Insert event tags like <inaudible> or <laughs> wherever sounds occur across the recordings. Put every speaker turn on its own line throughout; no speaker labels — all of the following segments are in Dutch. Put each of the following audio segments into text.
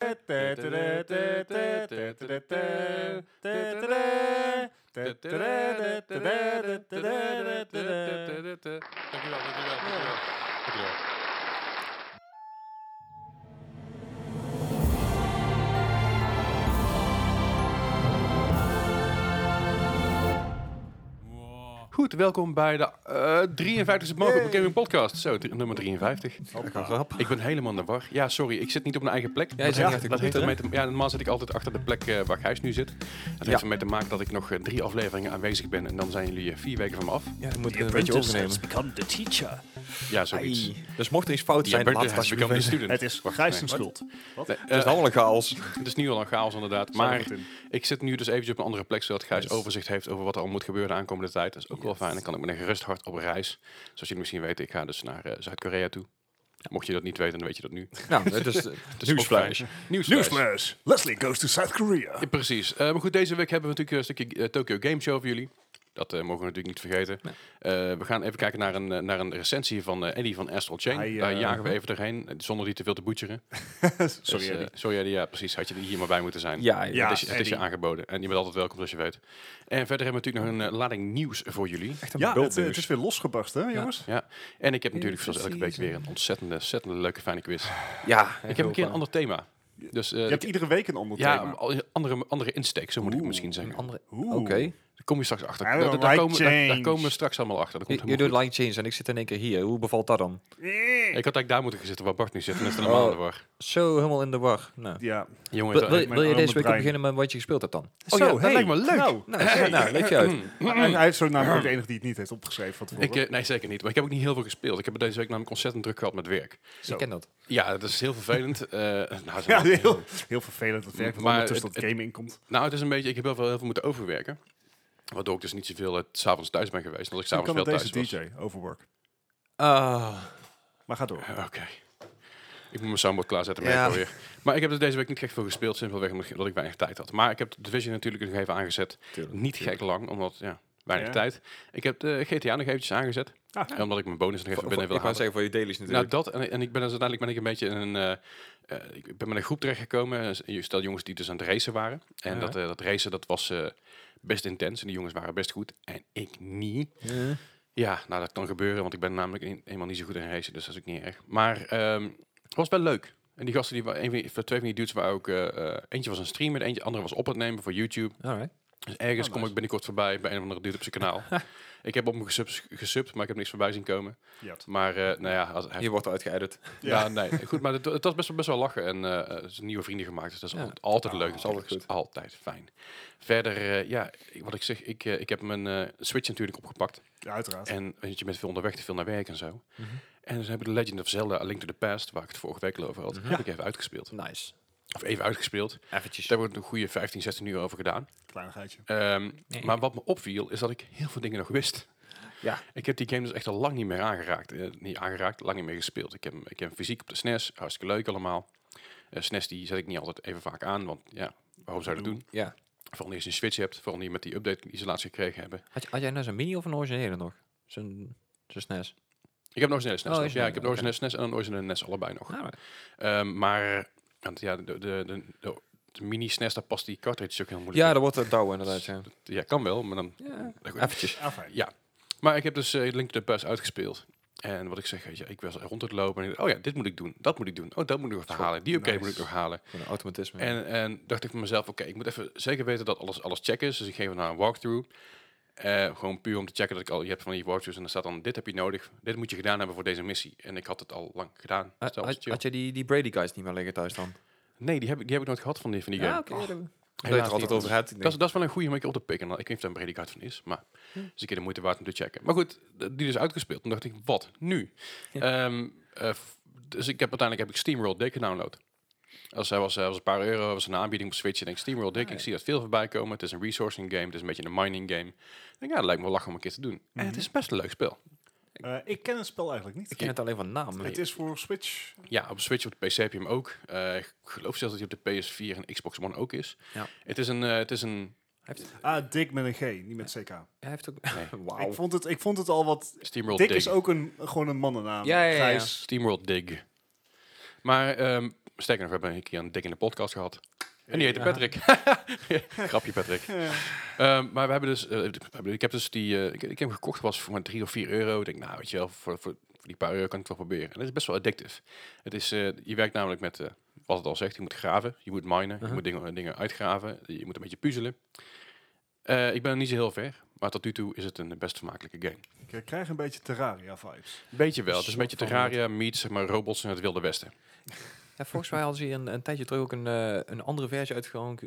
eh,
Dankjewel, dankjewel, dankjewel. dankjewel. Goed, welkom bij de eh 53e Mogelijk Bekending Podcast. Zo, drie- nummer 53. Ik ben helemaal naar war. Ja, sorry, ik zit niet op mijn eigen plek.
Jij zit
Dat-
niet achter de
dat heeft
computer,
ermee te- ja, normaal zit ik altijd achter de plek eh, waar Gijs nu zit. Dat heeft ermee te maken dat ik nog eh, drie afleveringen aanwezig ben. En dan zijn jullie eh, vier weken van me af.
Ja, dan moet ik
The
het een beetje
apprentice has become
overnemen.
the teacher.
Ja, zoiets.
Ai. Dus mocht er iets fout
Jij
zijn,
bent
laat
de
het alsjeblieft
become the
weten.
student.
Het is
Wacht,
Gijs'
nee.
schuld.
Nee,
Het is
eh,
allemaal een chaos.
het is nu al een chaos inderdaad. Maar
Zat het in.
ik zit nu dus eventjes op een andere plek, zodat Gijs overzicht heeft over wat er al moet gebeuren de aankomende tijd. Dat is ook wel fijn. Dan kan ik met een gerust hart op reis. Zoals jullie misschien weten, ik ga dus naar eh, Zuid-Korea toe. Mocht je dat niet weten, dan weet je dat
<laughs>
nu.
<laughs> Nou, het
Het
is
is ook
nieuwsflash.
fijn. Nieuwsflash.
Newsflash. Leslie goes to South Korea.
Ja, precies. Eh, maar goed, deze week hebben we natuurlijk een stukje eh, Tokyo Game Show voor jullie. Dat eh, mogen we natuurlijk niet vergeten. Eh, we gaan even kijken naar een, eh, naar een recensie van eh, Eddie van Astral Chain.
Hij, eh,
Daar jagen we even doorheen, eh, zonder die te veel te
<laughs>
boetjeren.
Sorry,
Dus, eh,
Eddie.
sorry Eddie, ja precies. Had je er hier maar bij moeten zijn.
Ja,
Ja.
ja.
Het is, het is je
Eddie.
aangeboden. En je bent altijd welkom, zoals je weet. En verder hebben we natuurlijk nog een eh, lading nieuws voor jullie.
Echt een
Ja, het, eh, het
bultneus.
is weer losgebarst, hè, jongens?
Ja. Eh, En ik heb natuurlijk zoals elke week weer een ontzettende, ontzettende leuke fijne quiz.
Ja,
Ik heb een keer een ander thema. Dus, eh,
Je hebt iedere week een ander
ja,
thema.
een andere, andere insteek, zo moet ik het
Oeh.
misschien zeggen.
andere.
Oeh.
Oké.
Daar kom je straks achter.
I
Daar,
don't
daar- daar
like
komen, daar, daar
change.
komen we straks allemaal achter. Dat komt
Je, je
helemaal
doet line change en ik zit in één keer hier. Hoe bevalt dat dan?
goed. Ik had eigenlijk daar moeten gaan zitten waar Bart nu zit. En dat is er normaal
Oh.
aan de war.
Zo helemaal in de war. Nou.
Ja.
Jongen,
Wil,
dat-
wil- wil je
arme
deze week ook
brein.
beginnen met wat je gespeeld hebt dan?
Oh ja, dat lijkt me leuk.
Nou,
Nou, <laughs> zo- nou leg je uit.
hij, hij is zo namelijk ook de enige die het niet heeft opgeschreven van tevoren.
ik, eh, nee, zeker niet. Maar ik heb ook niet heel veel gespeeld. Ik heb deze week namelijk ontzettend druk gehad met werk.
Zo.
Ik ken dat.
Ja, dat is heel vervelend. Eh, nou,
<laughs> ja,
zo-
heel, heel vervelend dat werk, want
Maar
ondertussen
het-
dat game inkomt.
Nou, het is een beetje... Ik heb heel veel, heel veel moeten overwerken. Waardoor ik dus niet zoveel eh, 's s'avonds thuis ben geweest. Omdat ik
Dan
s'avonds
kan
veel
het
thuis
deze
was.
DJ, Overwork.
Ah,
Maar ga door.
Eh, Oké. Ik moet mijn soundboard klaarzetten.
Ja.
Ja. Weer. Maar ik heb dus deze week niet echt veel gespeeld. Simpelweg omdat ik- omdat ik weinig tijd had. Maar ik heb Division natuurlijk nog even aangezet. Niet gek lang, omdat ja, weinig
Ja.
tijd. Ik heb de GTA nog eventjes aangezet.
Ah.
En Omdat ik mijn bonus nog even
ik
binnen wil
wou
halen.
zeggen voor je dailies
Nou,
natuurlijk.
dat en, en ik ben dus uiteindelijk ben ik een beetje in een. eh, eh, ik ben met een groep terechtgekomen. eh, Je stel jongens die dus aan het racen waren. En dat, eh, dat racen dat was eh, best intens. En die jongens waren best goed. En ik niet.
Ja.
Ja, nou dat kan gebeuren, want ik ben namelijk een- eenmaal niet zo goed in racen, dus dat is ook niet erg. Maar ehm, het was wel leuk. En die gasten, die waren, een van die, twee van die dudes waren ook, eh, eh, eentje was een streamer, de eentje, andere was op het nemen voor YouTube.
Alright.
Dus ergens
Oh,
kom ik binnenkort voorbij bij een of andere dude op zijn
<laughs>
kanaal. ik heb op hem gesubs- gesubt, maar ik heb niks voorbij zien komen.
Ja.
Maar eh, nou ja, als, hij,
Je wordt uitgeëdit.
ja. nee, goed, maar het, het was best, wel- best wel lachen en eh, eh, ze zijn nieuwe vrienden gemaakt, dus dat is
Ja.
al- altijd leuk.
is
natuurlijk.
altijd
Dat is altijd fijn. Verder, eh, ja, ik- wat ik zeg, ik, eh, ik heb mijn eh, Switch natuurlijk opgepakt.
Ja, uiteraard.
En weet je bent veel onderweg, te veel naar werk en zo.
Mhm.
En dan hebben we The Legend of Zelda, A Link to the Past, waar ik het vorige week al over
Mhm.
had, heb ik even uitgespeeld.
<laughs> Nice.
Of even uitgespeeld.
Eventjes.
Daar wordt een goede 15, 16 uur over gedaan.
Kleinigheidje.
Ehm, Maar wat me opviel, is dat ik heel veel dingen nog wist.
Ja.
Ik heb die game dus echt al lang niet meer aangeraakt. Eh, niet aangeraakt, lang niet meer gespeeld. Ik heb, hem- ik heb hem fysiek op de SNES, hartstikke leuk allemaal. Eh, SNES die zet ik niet altijd even vaak aan, want ja, waarom zou je dat doen?
Ja.
Vooral als je een Switch hebt, vooral niet met die update die ze laatst gekregen hebben.
Had, had jij nou zo'n mini of een originele nog? Zo'n zo'n SNES?
Ik heb nog een originele SNES.
Oh,
nog. ja, ik heb een
originele,
originele SNES en een originele NES allebei nog.
Alright.
Ehm, maar want ja, de, de, de, de, de mini SNES, daar past die cartridge ook heel moeilijk
Ja,
in.
dat wordt het douwen inderdaad. Ja.
ja, kan wel, maar dan...
Ja.
Nou goed.
Eventjes.
Afijn.
Ja. Maar ik heb dus eh, Link to the Past uitgespeeld. En wat ik zeg, weet je, ik was rond het lopen en ik dacht, oh ja, dit moet ik doen, dat moet ik doen, oh, dat moet ik nog halen, die upgrade moet ik
nice.
nog halen.
Een automatisme.
En, en dacht ik van mezelf, oké, ik moet even zeker weten dat alles, alles check is, dus ik geef hem naar een walkthrough. Eh, gewoon puur om te checken dat ik al, je hebt van die walkthroughs en er staat dan, dit heb je nodig, dit moet je gedaan hebben voor deze missie. En ik had het al lang gedaan.
Ha-
Dus dat was
had,
chill.
had je die, die Brady guys niet meer liggen thuis dan?
Nee, die heb, ik, die heb ik nooit gehad van die, van die game.
oké. dat- Dat je
Helaas
er altijd
niet.
over hebt.
Dat
ik
is,
denk,
dat is wel een goede om een keer op te pikken. Ik weet niet of daar een predikant van is, maar het is een keer de moeite waard om te checken. Maar goed, d- die is dus uitgespeeld. Toen dacht ik, wat nu? Ehm, eh, f- dus ik heb, uiteindelijk heb ik SteamWorld Dick gedownload. Als hij was, eh, was een paar euro, was een aanbieding op Switch. En ik denk, SteamWorld Dick, ik zie dat veel voorbij komen. Het is een resourcing game, het is een beetje een mining game. Ik denk, ja, dat lijkt me wel lachen om een keer te doen. En het is best een leuk spel.
Eh, ik ken het spel eigenlijk niet.
Ik ken het alleen van naam.
Het is voor Switch.
Ja, op Switch, op de PC heb je hem ook. Eh, ik geloof zelfs dat hij op de PS4 en Xbox One ook is.
Ja.
Het is een, eh, het is een
Hij heeft,
Ah, Dick met een G, niet met CK.
hij heeft ook...
Ik,
Wauw.
vond het, ik vond het al wat...
SteamWorld
Dick
Dig.
is ook een, gewoon een mannennaam.
Ja, ja, ja, ja.
Gijs.
Steamworld Dig. Maar ehm, Sterker nog, we hebben een keer een dik in de podcast gehad. En die heette
Ja.
Patrick. Grapje, Patrick. Ehm, maar we hebben dus, eh, we hebben- ik heb dus die, eh, ik, ik heb hem gekocht, was voor maar 3 of 4 euro. Ik denk, nou weet je wel, voor, voor, voor die paar euro kan ik het wel proberen. En dat is best wel addictief. Het is, eh, je werkt namelijk met, eh, wat het al zegt, je moet graven, je moet minen, je
Mhm.
moet dingen, dingen uitgraven, je moet een beetje puzzelen. Eh, ik ben er niet zo heel ver, maar tot nu toe is het een best vermakelijke game.
Ik eh, krijg een beetje Terraria-vibes.
Beetje wel, het is een
Soort
beetje
van
Terraria meets zeg maar, robots in het Wilde Westen.
Ja, volgens mij hadden ze hier een, een tijdje terug ook een, eh, een andere versie uitgebracht,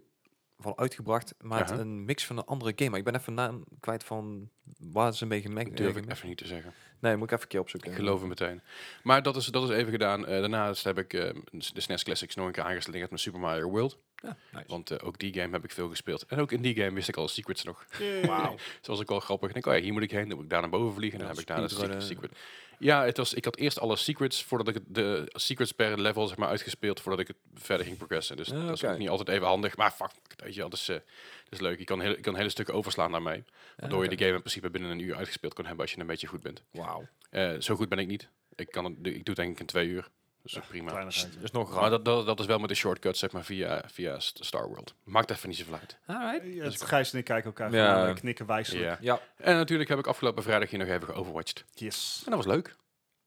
van uitgebracht maar het
Aha.
een mix van een andere game. Maar ik ben even naam kwijt van waar ze mee gemerkt
Dat durf ik even niet te zeggen.
eh, Nee, moet ik even een keer opzoeken.
Ik geloof hem meteen. Maar dat is, dat is even gedaan. Eh, daarnaast heb ik eh, de SNES Classics nog een keer aangeslingerd met Super Mario World.
Ja, nice.
Want eh, ook die game heb ik veel gespeeld. En ook in die game wist ik al secrets nog.
Wauw.
Dus was ook wel grappig. Ik denk, oh ja, hier moet ik heen. Dan moet ik daar naar boven vliegen. En
Ja,
dan heb ik daar een secret.
speedrunnen.
secret. Ja, het was, ik had eerst alle secrets voordat ik het- de secrets per level zeg maar, uitgespeeld. Voordat ik het verder ging progressen. Dus
Ah,
dat is
oké.
ook niet altijd even handig. Maar fuck, weet je wel, dat is, eh, dat is leuk. Je kan, heel, je kan hele stukken overslaan daarmee. Waardoor je de game in principe binnen een uur uitgespeeld kan hebben als je een beetje goed bent.
Wauw.
Eh, zo goed ben ik niet. Ik, kan het, ik doe het denk ik in twee uur. Dus ook prima.
Kleinigheid.
is nog
Maar dat, dat, dat is wel met de shortcut, zeg maar, via, via S- Star World. Maakt even niet zoveel uit.
Alright.
Eh, Ja, het Gijs en ik kijken elkaar
Ja.
gewoon, eh, knikken wijselijk.
Ja.
Ja,
En natuurlijk heb ik afgelopen vrijdag hier nog even geoverwatcht.
Yes.
En dat was leuk.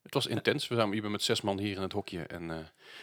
Het was intens. We zijn hier met zes man hier in het hokje. En eh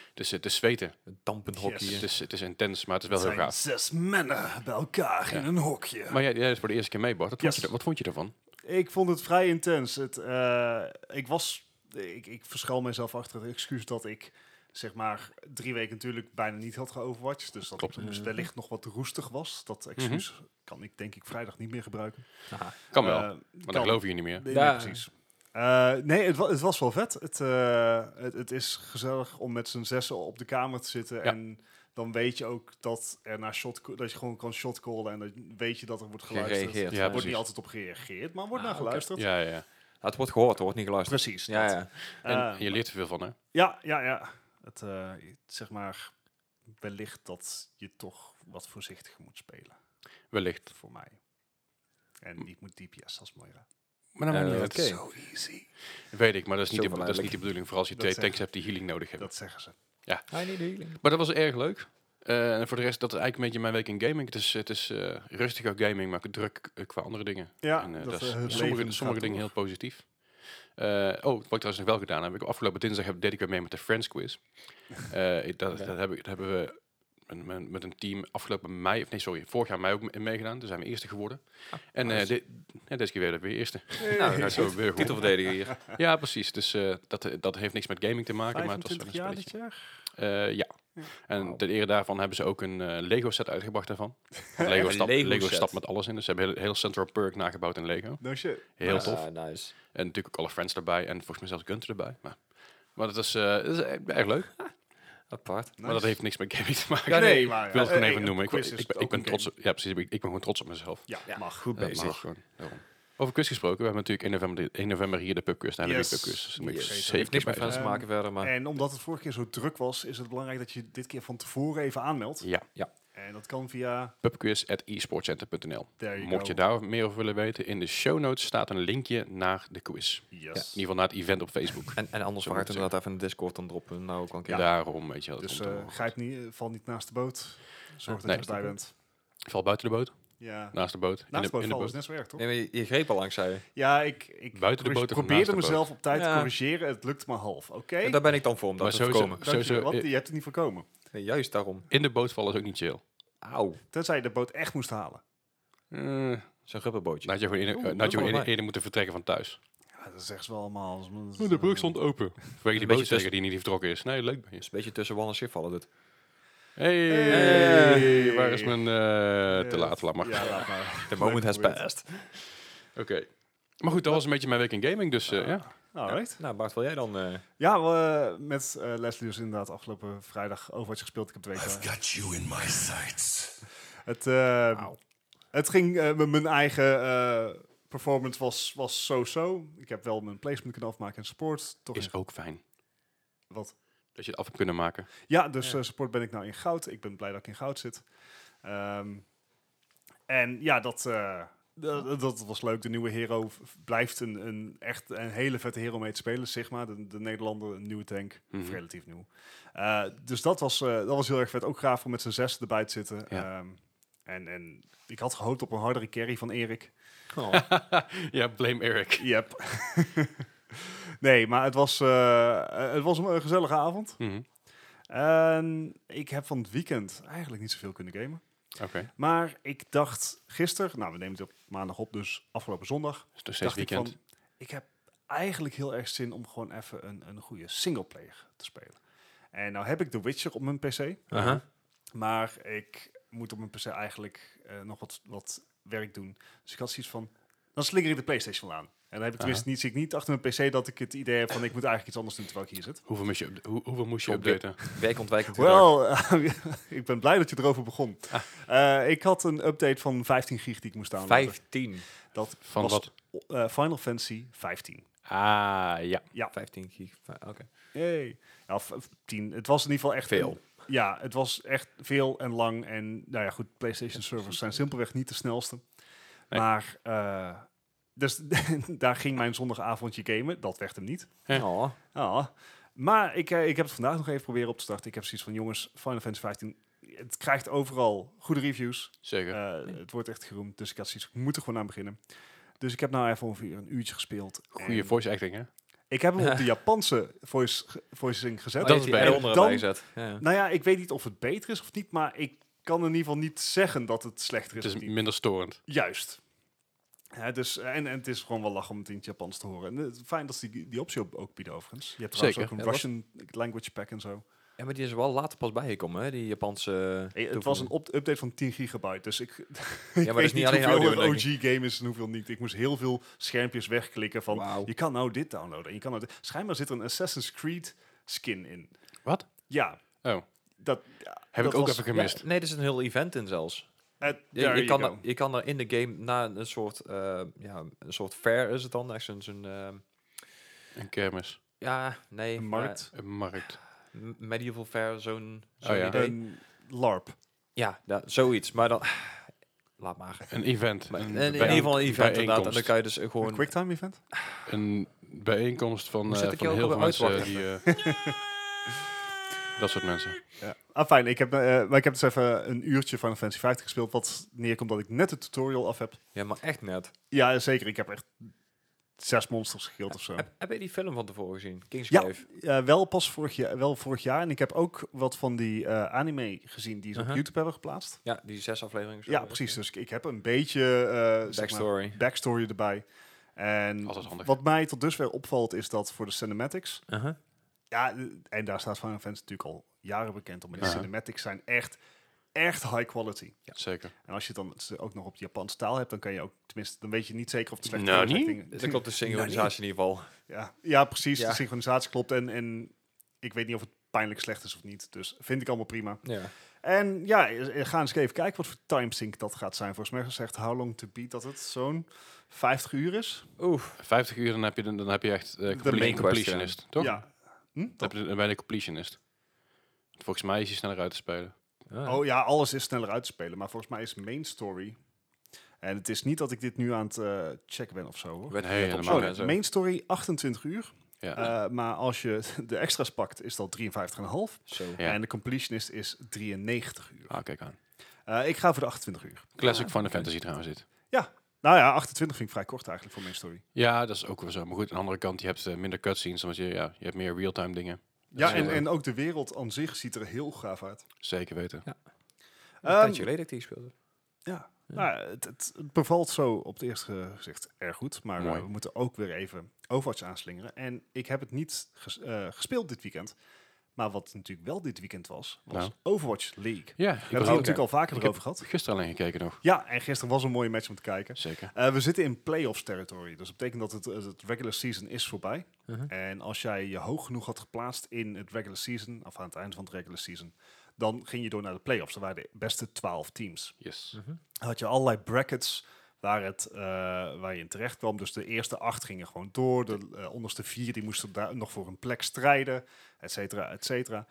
het, is, het is zweten.
dampend
Yes.
hockey.
Het is, het is intens, maar het is wel
Het
heel
zijn
gaaf.
zes mannen bij elkaar in een hokje.
Maar jij, jij is voor de eerste keer mee, Bart. Wat vond,
Yes.
je, er- wat vond je ervan?
Ik vond het vrij intens. Het, eh, ik was, ik, ik verschuil mezelf achter het excuus dat ik zeg maar drie weken natuurlijk bijna niet had geoverwatcht. Dus dat
Klopt. Mhm.
ik dus
Mhm.
wellicht nog wat roestig was. Dat excuus kan ik denk ik vrijdag niet meer gebruiken.
Aha.
Kan wel,
Eh,
maar
kan.
dan geloof je niet meer.
Nee,
Ja.
nee, precies. Eh, nee, het, wa- het was wel vet. Het, eh, het, het is gezellig om met z'n zessen op de kamer te zitten. En dan weet je ook dat, er naar shot, dat je gewoon kan shotcallen. En dan weet je dat er wordt geluisterd.
Gereageerd.
Ja,
Er wordt
precies.
niet altijd op gereageerd, maar wordt
Ah,
naar
oké.
geluisterd.
Ja, ja, ja.
Ja, het wordt gehoord, er wordt niet geluisterd.
Precies.
Ja,
dat.
ja.
En
Eh,
je leert er veel van, hè?
Ja, ja, ja. Het, eh, zeg maar, wellicht dat je toch wat voorzichtiger moet spelen,
Wellicht.
voor mij. En niet moet DPS als Moira.
Maar dan
Eh,
maakt niet uit.
oké.
Zo easy.
Weet ik, maar dat is, niet de,
Zo
dat is niet de
verleidelijk.
bedoeling. Vooral als je
Dat
twee
zeggen-
tanks hebt die healing nodig hebben.
Dat zeggen ze.
I need healing.
Maar dat was erg leuk. Eh, en voor de rest, dat is eigenlijk een beetje mijn week in gaming. Het is, het is eh, rustig ook gaming, maar druk eh, qua andere dingen.
Ja,
en, eh,
dat,
dat is
eh, het
sommige,
leven
sommige
gaat
dingen
door.
heel positief. Eh, oh, wat ik trouwens nog wel gedaan heb. Ik afgelopen dinsdag heb, deed ik weer mee met de Friends
<laughs>
Quiz. Eh, ik- dat,
Oké.
dat, heb ik, dat hebben we met, met- met een team afgelopen mei, of nee, sorry, vorig jaar mei ook mee- meegedaan. Toen zijn we eerste geworden. en eh,
nice.
dit- ja, deze keer weer, weer eerste. <laughs>
Nou,
Ja,
nou,
zo
zo
weer goed.
titelverdediger hier.
Ja, precies. Dus eh, dat, dat heeft niks met gaming te maken. Maar het was wel
25
een
jaar
spelletje.
dit jaar?
Eh, ja.
Ja.
En
Wauw.
ten ere daarvan hebben ze ook een eh, Lego set uitgebracht
<laughs>
daarvan. Want Lego,
Een
stapt,
Lego
Lego,
set.
stapt met alles in. Dus ze hebben heel, heel Central Perk nagebouwd in Lego.
No shit.
Heel
Ah,
tof.
nice.
En natuurlijk ook alle friends erbij. En volgens mij zelfs Gunter erbij. Maar, maar dat is, eh, dat is e- erg leuk.
Apart.
Maar dat heeft niks met gaming te maken.
Ja, nee,
Ik
maar ja.
wil het gewoon
Eh,
even
een
noemen. Ik,
quiz
ik,
is
ik,
ook
ik ben
een
trots
game.
op, ja, precies. Ik, ik ben gewoon trots op mezelf.
Ja,
Ja.
mag. Goed
Dat mag gewoon. Daarom. Over quiz gesproken. We hebben natuurlijk in november, de- in november hier de pubquiz. Daar hebben we
Yes.
de pubquiz. Dus daar moet ik
Yes.
zeker
Heeft niks met
bij
fans te maken verder, maar...
En omdat het vorige keer zo druk was, is het belangrijk dat je dit keer van tevoren even aanmeldt.
zijn. Ja,
En dat kan via...
pubquiz at esportcenter.nl.
There you
Mocht je
go.
daar meer over willen weten, in de show notes staat een linkje naar de quiz. In
Yes.
ieder geval naar het event op Facebook.
En, en anders
Zo
vraag ik
moet ik
inderdaad even in de Discord dan droppen. Nou, ook wel een keer.
Daarom, weet je wel. dat
Dus
komt
eh,
allemaal goed.
grijp niet, eh, val niet naast de boot. Zorg dat
Nee.
je erbij bent.
Val buiten de boot,
Ja.
naast de boot,
Naast de
in de,
boot
in de
vallen is
boot.
net zo erg, toch?
Nee, maar je, je greep al langs, zei je.
Ja, ik, ik
Buiten
corrige-
de boot of naast
probeerde
de boot?
mezelf op tijd te
Ja.
corrigeren. Het lukt maar half, oké?
En daar ben ik dan voor, om dat
Maar
te
sowieso-
voorkomen.
Dank je,
sowieso-
want
eh,
je hebt het niet voorkomen.
Nee, juist daarom.
In de boot vallen is ook niet chill.
Auw.
Tenzij je de boot echt moest halen.
Eh,
Zo'n rubberbootje.
Dan had je gewoon, eerder,
Oeh,
eh, dan had je gewoon
dat is wel
eerder,
waar.
eerder moeten vertrekken van thuis.
Ja, dat zeggen ze wel allemaal. Dat is-
Oh, de brug stond open. Vanwege die
beetje
bootsteker die niet vertrokken is. Nee, leuk ben je.
Dus een beetje tussen wal en schip vallen dit.
Hey,
Hey.
waar is mijn... eh, te
Eh,
laat, laat maar.
Ja, laat
<laughs>
maar.
The moment has passed.
Oké. Maar goed, dat was een beetje mijn week in gaming, dus eh, ja.
Alright.
Nou, Bart, wil jij dan... eh,
Ja, we, eh, met eh, Leslie dus inderdaad afgelopen vrijdag Overwatch gespeeld. Ik heb twee keer.
Got you in my sights.
Het, eh, het ging, eh, m- mijn eigen eh, performance was was zo-zo. ik heb wel mijn placement kunnen afmaken in support. Toch
Is
in-
ook fijn.
wat
Dat je het af hebt kunnen maken.
Ja, dus
Ja.
eh, support ben ik nou in goud. Ik ben blij dat ik in goud zit. Ehm, en ja, dat, eh, Dat, dat was leuk. De nieuwe hero v- blijft een, een, echt een hele vette hero om mee te spelen. Sigma, de, de Nederlander, een nieuwe tank. Of
Mhm.
relatief nieuw. Eh, dus dat was, eh, dat was heel erg vet. Ook gaaf om met z'n zes erbij te zitten.
Ja.
Ehm, en, en ik had gehoopt op een hardere carry van Erik.
ja, blame Eric.
Yep. <laughs> nee, maar het was, eh, eh, het was een gezellige avond.
Mhm.
En Ehm, ik heb van het weekend eigenlijk niet zoveel kunnen gamen.
Oké,
Maar ik dacht gisteren, nou we nemen het op maandag op, dus afgelopen zondag.
dus nog steeds
dacht
weekend.
ik van, ik heb eigenlijk heel erg zin om gewoon even een, een goede singleplayer te spelen. En nou heb ik The Witcher op mijn pc,
Aha.
maar ik moet op mijn pc eigenlijk eh, nog wat, wat werk doen. Dus ik had zoiets van, dan slinger ik de Playstation wel aan. En dan heb ik tenminste niet, zit ik niet achter mijn pc dat ik het idee heb van ik moet eigenlijk iets anders doen terwijl ik hier zit.
Hoeveel moest je, upda- hoe, hoeveel moest je
Op dit-
updaten?
Werkontwijkend gedrag.
Wel, <laughs> ik ben blij dat je erover begon.
Ah.
Eh, ik had een update van 15 gig die ik moest downloaden.
15.
Dat
Van
was
wat?
eh, Final Fantasy 15.
Ah, ja.
15 gig. fi- Oké.
Hey. Ja, of, of 10. Het was in ieder geval echt
Veel.
een- ja, het was echt veel en lang. En nou ja, goed, PlayStation servers zijn simpelweg niet de snelste.
Nee.
Maar eh, dus <laughs> daar ging mijn zondagavondje gamen. Dat werd hem niet.
Ja.
Oh.
Ah, maar ik, eh, ik heb het vandaag nog even proberen op te starten. Ik heb zoiets van, jongens, Final Fantasy 15. Het krijgt overal goede reviews.
Zeker.
Eh, het wordt echt geroemd. Dus ik had zoiets, ik moet er gewoon aan beginnen. Dus ik heb nou even ongeveer een uurtje gespeeld.
Goede
En
voice acting, hè?
Ik heb hem op
<laughs>
de Japanse voice, ge- voicing gezet.
Dat
Oh,
is beter.
onder
Dan-
gezet. Ja. ja.
Nou ja, ik weet niet of het beter is of niet, maar ik kan in ieder geval niet zeggen dat het slechter is.
Het is
of niet.
minder storend.
Juist. Hè, dus, en, en het is gewoon wel lach om het in het Japans te horen. En het is fijn dat ze die, die optie op- ook bieden overigens. Je hebt trouwens
Zeker.
ook een
Ja, dat-
Russian language pack en zo.
Ja, maar die is er wel later pas bijgekomen, hè? Die Japanse.
Hey, het was een op- update van 10 gigabyte, dus ik, <laughs> ik
Ja, maar dat
weet
is niet alleen
hoeveel
audio.
een
denk ik.
OG-game is en hoeveel niet. Ik moest heel veel schermpjes wegklikken van,
Wauw.
je kan nou dit downloaden. en Je kan nou dit. Schijnbaar zit er een Assassin's Creed skin in.
Wat?
Ja,
Oh,
dat...
heb
Dat
ik ook
was-
even gemist.
Ja, nee, er is een heel event in zelfs.
eh,
Je,
there
je,
you
kan
go.
er, je kan er in de game na een soort, eh, ja, een soort fair is het dan. Echt zo'n, zo'n, eh,
Een kermis.
ja, nee.
Een
maar
markt.
Een markt.
m- medieval fair, zo'n zo'n
Oh ja.
idee.
Een LARP.
ja, da- zoiets. Maar dan, <sighs> laat maar.
Een event.
Maar
een
in, in
bijeen-
ieder geval een event inderdaad. En dan
bijeenkomst.
kan je dus
Een
gewoon...
quicktime event?
Een bijeenkomst van,
Hoe
eh,
zit ik
van
je
heel
ook
veel
alweer
mensen.
uit te
Die, eh, <laughs> dat soort mensen.
Ja. Ah, fijn. Ik heb, eh, maar ik heb dus even een uurtje Final Fantasy 50 gespeeld, wat neerkomt dat ik net de tutorial af heb.
Ja, maar echt net.
Ja, zeker. Ik heb echt zes monsters gekild of zo.
Heb, heb je die film van tevoren gezien?
Ja.
Kingsgrave?
Eh, wel pas vorig jaar, wel vorig jaar. En ik heb ook wat van die eh, anime gezien die ze
Mhm.
op YouTube hebben geplaatst.
Ja, die zes afleveringen.
Ja, precies. Dus ik, ik heb een beetje eh, zeg maar,
Backstory.
backstory erbij. En
Altijd handig.
wat mij tot dusver opvalt is dat voor de cinematics,
Uh-huh.
Ja, eh, en daar staat Final Fantasy natuurlijk al jaren bekend om. Maar de
Ja.
cinematics zijn echt, echt high quality.
Zeker.
En als je dan ze ook nog op de Japanse taal hebt, dan kan je ook, tenminste, dan weet je niet zeker of het slecht
Nou,
is.
niet.
Dat klopt de
Nou,
synchronisatie in ieder geval.
Ja, ja precies.
Ja.
De synchronisatie klopt. En, en ik weet niet of het pijnlijk slecht is of niet. Dus vind ik allemaal prima.
Ja.
En ja, eh, ga eens even kijken wat voor timesync dat gaat zijn. Volgens mij zegt How Long To Beat dat het zo'n 50 uur is.
Oeh.
50 uur, dan heb je, dan, dan heb je echt eh complete-
main
quest, ja.
completionist, toch?
Ja. Hm?
Dan heb je dan ben je een completionist. Volgens mij is hij sneller uit te spelen.
Ah.
Oh ja, alles is sneller uit te spelen. Maar volgens mij is main story. En het is niet dat ik dit nu aan het eh, checken ben of zo. Hoor.
Werd
Nee,
werd
helemaal
opzoeken
niet.
en zo.
Main story 28 uur.
Ja.
Eh, maar als je <laughs> de extra's pakt, is dat 53,5.
Zo.
Ja.
En de completionist is 93 uur.
ah, kijk aan.
Eh, ik ga voor de 28 uur.
Classic Final Fantasy trouwens dit.
Nou ja, 28 vind ik vrij kort eigenlijk voor main story.
Ja, dat is ook wel zo. Maar goed, aan de andere kant, je hebt eh, minder cutscenes, want je, ja, je hebt meer real-time dingen. Dat
Ja,
is
en,
wel-
en ook de wereld aan zich ziet er heel gaaf uit.
Zeker weten.
Een
Ehm,
tijdje geleden dat ik die speelde.
Ja. Nou, het, het, het bevalt zo op het eerste gezicht erg goed. Maar eh,
Mooi.
we moeten ook weer even Overwatch aanslingeren. En ik heb het niet ges- eh, gespeeld dit weekend. Maar wat natuurlijk wel dit weekend was, was
Nou.
Overwatch League. We
Ja,
hebben
ik
het
was
hier
ook
natuurlijk al vaker
Ik
over gehad.
gisteren alleen gekeken nog.
Ja, en gisteren was een mooie match om te kijken.
Zeker.
Eh, we zitten in playoffs territory. Dus dat betekent dat het, het regular season is voorbij.
Mhm.
En als jij je hoog genoeg had geplaatst in het regular season, of aan het eind van het regular season, dan ging je door naar de playoffs. Er waren de beste 12 teams
Yes.
had je allerlei brackets waar, het, eh, waar je in terecht kwam. Dus de eerste acht gingen gewoon door. De eh, onderste vier die moesten daar nog voor een plek strijden, et cetera, et cetera.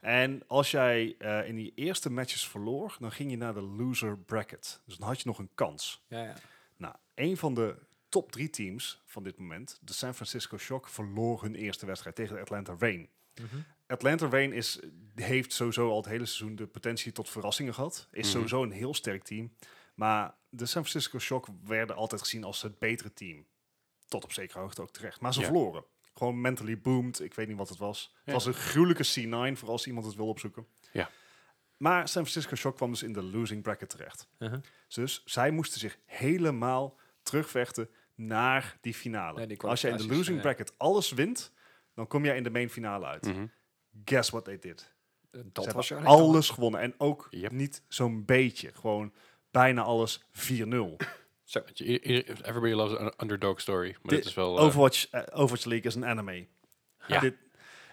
En als jij eh, in die eerste matches verloor, dan ging je naar de loser bracket. Dus dan had je nog een kans.
Ja, ja.
Nou, een van de top drie teams van dit moment, de San Francisco Shock, verloor hun eerste wedstrijd tegen de Atlanta Rain.
Mhm.
Atlanta Rain is, heeft sowieso al het hele seizoen de potentie tot verrassingen gehad. Is
Mhm.
sowieso een heel sterk team. Maar de San Francisco Shock werden altijd gezien als het betere team. Tot op zekere hoogte ook terecht. Maar ze
Ja.
verloren. Gewoon mentally boomed. Ik weet niet wat het was.
Ja.
Het was een gruwelijke C9 voor als iemand het wil opzoeken.
Ja.
Maar San Francisco Shock kwam dus in de losing bracket terecht.
Mhm.
Dus zij moesten zich helemaal terugvechten naar die finale.
Nee, die
als jij in de
kwalificaties,
losing
ja.
bracket alles wint, dan kom jij in de main finale uit.
Mhm.
Guess what they did?
Dat
ze
was
hebben
Charlotte.
alles gewonnen. En ook
Yep.
niet zo'n beetje. Gewoon bijna alles 4-0.
Zo, weet je, i- i- everybody loves an underdog story. Maar
Dit-
dit is wel... eh,
Overwatch, eh, Overwatch League is een anime.
Ja.
Dit-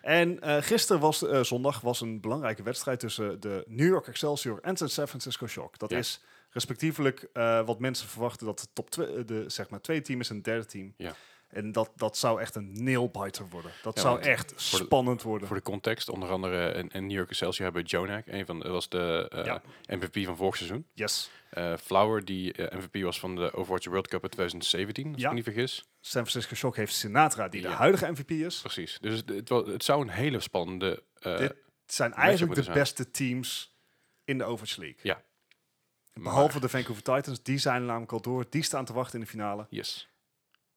en eh gisteren was, eh, zondag was een belangrijke wedstrijd tussen de New York Excelsior en de San Francisco Shock. Dat
Ja.
is respectievelijk eh, wat mensen verwachten dat de top twe- eh, de zeg maar twee team is en het derde team.
Ja.
En dat, dat zou echt een nailbiter worden. Dat
Ja,
zou
want
echt
voor de-
spannend worden.
Voor de context, onder andere in, in New York Excelsior hebben we Jonak, een van, dat was de eh,
Ja.
MVP van vorig seizoen.
yes.
Eh, Flower, die eh, MVP was van de Overwatch World Cup in 2017, als
Ja.
ik me niet vergis.
San Francisco Shock heeft Sinatra, die de
Ja.
huidige MVP is.
Precies. Dus het, het, wa- het zou een hele spannende... eh,
Dit- Het zijn
matchup
eigenlijk de
moeten zijn.
beste teams in de Overwatch League.
Ja.
Behalve de Vancouver Titans, die zijn namelijk al door. Die staan te wachten in de finale.
Yes.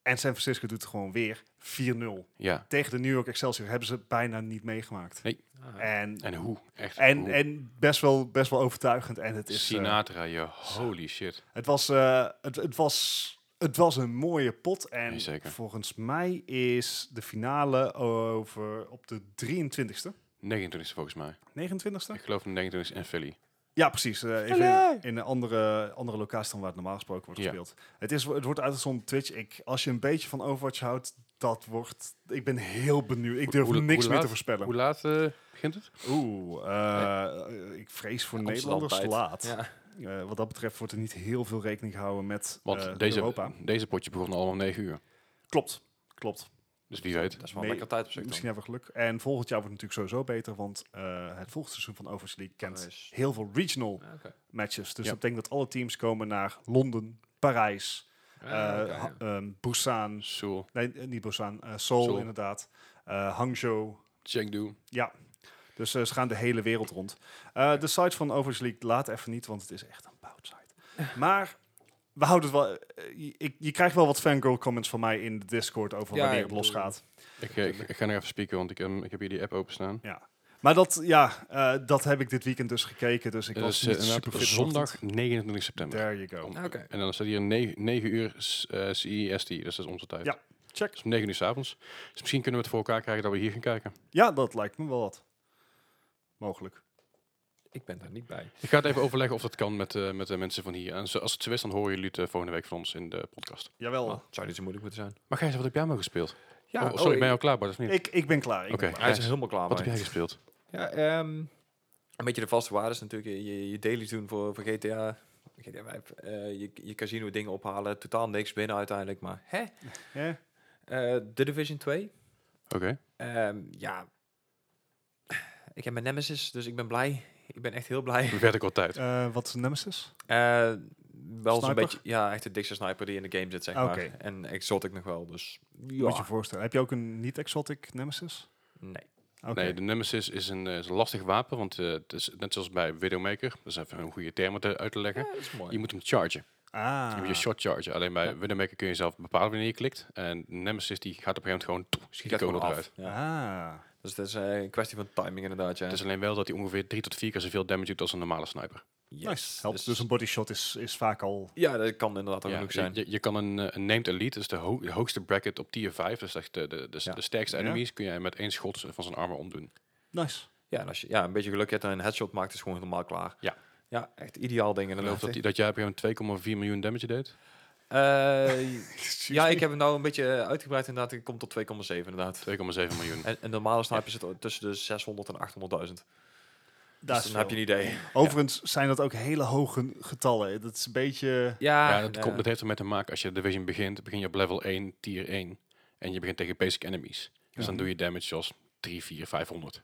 En San Francisco doet het gewoon weer 4-0.
Ja.
Tegen de New York Excelsior hebben ze bijna niet meegemaakt.
Nee.
Ah,
En,
En hoe? Echt
en,
hoe?
en best, wel, best wel overtuigend. En het is... eh,
Sinatra, je holy shit.
het, was, eh, het, het, was, het was een mooie pot. En
Nee, zeker.
volgens mij is de finale over op de 23e.
29 volgens mij.
29e?
Ik geloof in 29 en Philly.
Ja, precies. Eh, even in, in een andere, andere locatie dan waar het normaal gesproken wordt
Ja.
gespeeld. Het, is, het wordt uitgezonden op Twitch. Ik, als je een beetje van Overwatch houdt, dat wordt... Ik ben heel benieuwd. Ik
Hoe-
durf
hoe-
niks
hoe
meer
laat-
te voorspellen.
Hoe laat eh, begint het?
Oeh, eh, ik vrees voor
Amsterdam
Nederlanders
bijt.
laat.
ja.
Eh, wat dat betreft wordt er niet heel veel rekening gehouden met
Want
eh,
deze,
Europa.
deze potje begon allemaal om 9 uur.
Klopt, klopt.
Dus wie weet.
Dat is wel
Nee,
een lekker tijd op zich dan.
Misschien hebben we geluk. En volgend jaar wordt het natuurlijk sowieso beter, want eh, het volgende seizoen van Overwatch League kent
Nice.
heel veel regional
Ah, oké.
matches. Dus
Ja.
dat betekent dat alle teams komen naar Londen, Parijs,
Ah,
eh,
oké,
ha-
ja.
ehm, Busan,
Seoul,
nee, eh, niet Busan, eh, Seoul,
Seoul.
inderdaad, eh, Hangzhou.
Chengdu.
Ja, dus eh, ze gaan de hele wereld rond. Eh, de site van Overwatch League laat even niet, want het is echt een boutsite. <laughs> Maar we houden het wel. eh, je, ik- je krijgt wel wat fangirl comments van mij in de Discord over
Ja,
wanneer
ik
het
bedoel-
losgaat.
Ik, eh, ik, ik ga nog even spieken, want ik, ehm, ik heb hier die app openstaan.
Ja. Maar dat, ja, eh, dat heb ik dit weekend dus gekeken. Dus ik
Het
was
is
niet
eh,
super
inderdaad
fit
zondag 29 september.
There you go.
Om-
Ah, oké.
En dan staat hier 9, 9 uur s- eh, CEST, dus dat is onze tijd.
Ja. Check.
Dus om 9 uur s'avonds. Dus misschien kunnen we het voor elkaar krijgen dat we hier gaan kijken.
Ja, dat lijkt me wel wat. Mogelijk.
Ik ben daar niet bij.
Ik ga het even overleggen of dat kan met, eh, met de mensen van hier. En zo- als het zo is, dan horen jullie het eh, volgende week van ons in de podcast.
Jawel.
Oh, het zou niet zo moeilijk moeten zijn.
Maar Gijs, wat heb jij allemaal gespeeld?
Ja,
oh, sorry, ben je al klaar, Bart, of niet?
Ik, ik ben klaar. Ik ben
Oké,
klaar.
Hij is
Gijs,
er helemaal klaar
wat
mee.
heb jij gespeeld?
Ja, ehm, een beetje de vaste waardes natuurlijk. Je- Je, je daily doen voor, voor GTA. GTA vijf. Eh, je, je casino dingen ophalen. Totaal niks binnen uiteindelijk. Maar hè?
Ja.
Eh, The Division 2.
Oké. <laughs>
Ehm, ja. Ik heb mijn Nemesis, dus ik ben blij. Ik ben echt heel blij.
We werd ook al tijd.
Eh, wat is Nemesis?
Eh, wel zo'n
Sniper?
beetje, ja, echt de dikste sniper die in de game zit, zeg maar.
Oké.
En exotic nog wel, dus ja.
Moet je voorstellen. Heb je ook een niet-exotic Nemesis?
Nee.
Oké.
Nee, de Nemesis is een, eh, is een lastig wapen, want eh, het is net zoals bij Widowmaker, dat is even een goede term om te- uit te leggen.
Ja, dat is mooi.
Je moet hem chargen. Je
Ah.
moet je shot chargen. Alleen bij
Ja.
Widowmaker kun je zelf bepalen wanneer je klikt. En Nemesis die gaat op een gegeven moment gewoon
Die
schiet
gaat
de
gewoon
kogel
af.
eruit.
Ja.
Ah.
Dus het is eh, een kwestie van timing inderdaad, ja.
Het
Dus
is alleen wel dat hij ongeveer drie tot vier keer zoveel damage doet als een normale sniper.
Yes.
Nice. Helpt.
Dus-
Dus een bodyshot is, is vaak al...
Ja, dat kan inderdaad ook
Ja,
genoeg
je-
zijn.
Je, je kan een, eh, een named elite, dus de, ho- de hoogste bracket op tier 5, dus echt de, de, de,
Ja.
de sterkste
Ja.
enemies, kun jij met één schot van zijn armor omdoen.
Nice.
Ja, en als je ja, een beetje geluk hebt en een headshot maakt, is gewoon helemaal klaar.
Ja.
Ja, echt ideaal ding
Ik
inderdaad.
geloof dat, die- dat jij op een gegeven moment 2,4 miljoen damage deed. <laughs>
Eh, ja, ik heb hem nou een beetje uitgebreid inderdaad. Ik kom tot 2,7 inderdaad.
2,7 miljoen.
En, en normale sniper zit o- tussen de 600 en 800.000. Dus dan heb je een idee.
Oh.
Overigens zijn dat ook hele hoge getallen. Dat is een beetje...
Ja, eh,
ja, dat, Komt, dat heeft ermee te maken als je Division begint, begin je op level 1, tier 1. En je begint tegen basic enemies.
Ja.
Dus dan doe je damage zoals 3, 4, 500.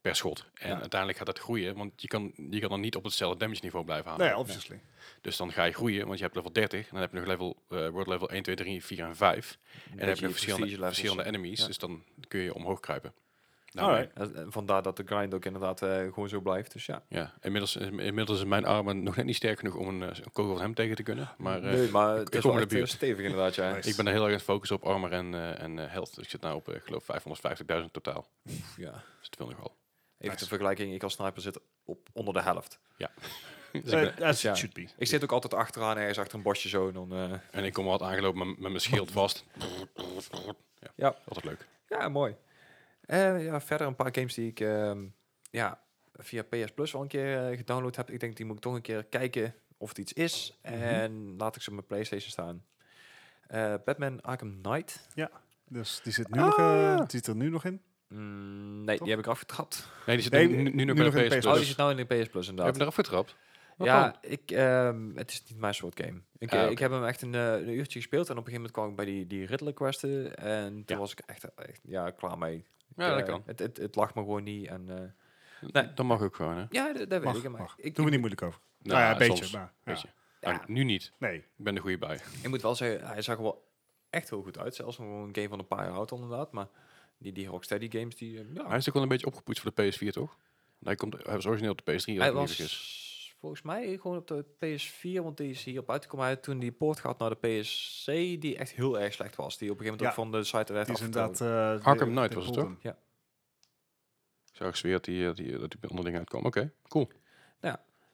per schot. En
Ja.
uiteindelijk gaat dat groeien, want je kan, je kan dan niet op hetzelfde damage niveau blijven houden.
Nee, obviously.
Dus dan ga je groeien, want je hebt level 30. En dan heb je nog level, eh world level 1, 2, 3, 4 en 5. En dan heb je nog verschillende, verschillende enemies,
Ja.
dus dan kun je omhoog kruipen.
Alright.
Eh, Vandaar dat de grind ook inderdaad eh, gewoon zo blijft. Dus ja.
Ja, inmiddels, inmiddels is mijn armen nog net niet sterk genoeg om een, eh, een kogel van hem tegen te kunnen. Maar eh,
nee, maar
ik
het is
kom
wel
in de
echt, eh,
buurt.
stevig inderdaad, ja.
Nice.
<laughs> ik ben er heel erg aan het focussen op armor en, eh, en eh, health. Dus ik zit nou op, eh, ik geloof, 550.000 totaal.
Pff, ja.
Dus het wil nogal.
Even
Nice.
ter vergelijking, ik als sniper zit op onder de helft.
Dus ik
Eh,
ben-
as
ja.
it should be.
Ik zit ook altijd achteraan, ergens achter een bosje zo. En dan, eh,
en ik kom wat aangelopen met, met mijn schild vast. Ja,
Ja.
altijd leuk.
ja, mooi. Eh, ja, verder een paar games die ik ehm, ja, via PS Plus al een keer eh, gedownload heb. Ik denk, die moet ik toch een keer kijken of het iets is. En laat ik ze op mijn Playstation staan. Eh, Batman Arkham Knight.
Dus die, zit nu nog, eh, die zit er nu nog in.
Mm, nee,
Toch?
die heb ik afgetrapt.
Nee, die zit
Nee,
nu, nu, nu nog bij
nog
de
in de
PS
PS
Plus.
Oh, die
Plus.
zit nou in de PS Plus
Heb
inderdaad.
je hem eraf getrapt? Wat dan?
Ja, ik, ehm, het is niet mijn soort game. Ik,
Ah,
eh,
oké.
ik heb hem echt een, eh, een uurtje gespeeld en op een gegeven moment kwam ik bij die, die Riddler questen en toen
Ja.
was ik echt, echt ja, klaar mee. Ik,
Ja, dat
eh,
kan.
Het, het, het lag me gewoon niet. En, eh, nee.
Dat mag ook gewoon, hè?
ja, dat, dat weet
Mag,
ik. Maar
mag.
Ik,
Doen we
ik,
niet moeilijk over. Nou, ja, een beetje.
soms.
maar, ja.
Beetje. Nou,
Ja.
nu niet.
Nee,
Ik ben er goede bij.
ik moet wel zeggen, hij zag er wel echt heel goed uit. Zelfs voor een game van een paar jaar oud inderdaad. Maar die, die Rocksteady games, die... eh, ja,
Hij is ook wel een beetje opgepoetst voor de PS4, toch? Hij, komt, hij was origineel op de PS3.
hij
Hij was...
was volgens mij gewoon op de PS4, want die is hierop uitgekomen. Hij had toen die poort gehad naar de PSC, die echt heel erg slecht was. Die op een gegeven moment
Ja.
ook van de site werd
die is
afgetrokken.
inderdaad... eh,
Arkham
de-
Knight
de
was het,
Golden.
toch? Zou ik zweer dat hij die, die, dat die bij andere dingen uitkwam. Oké, cool.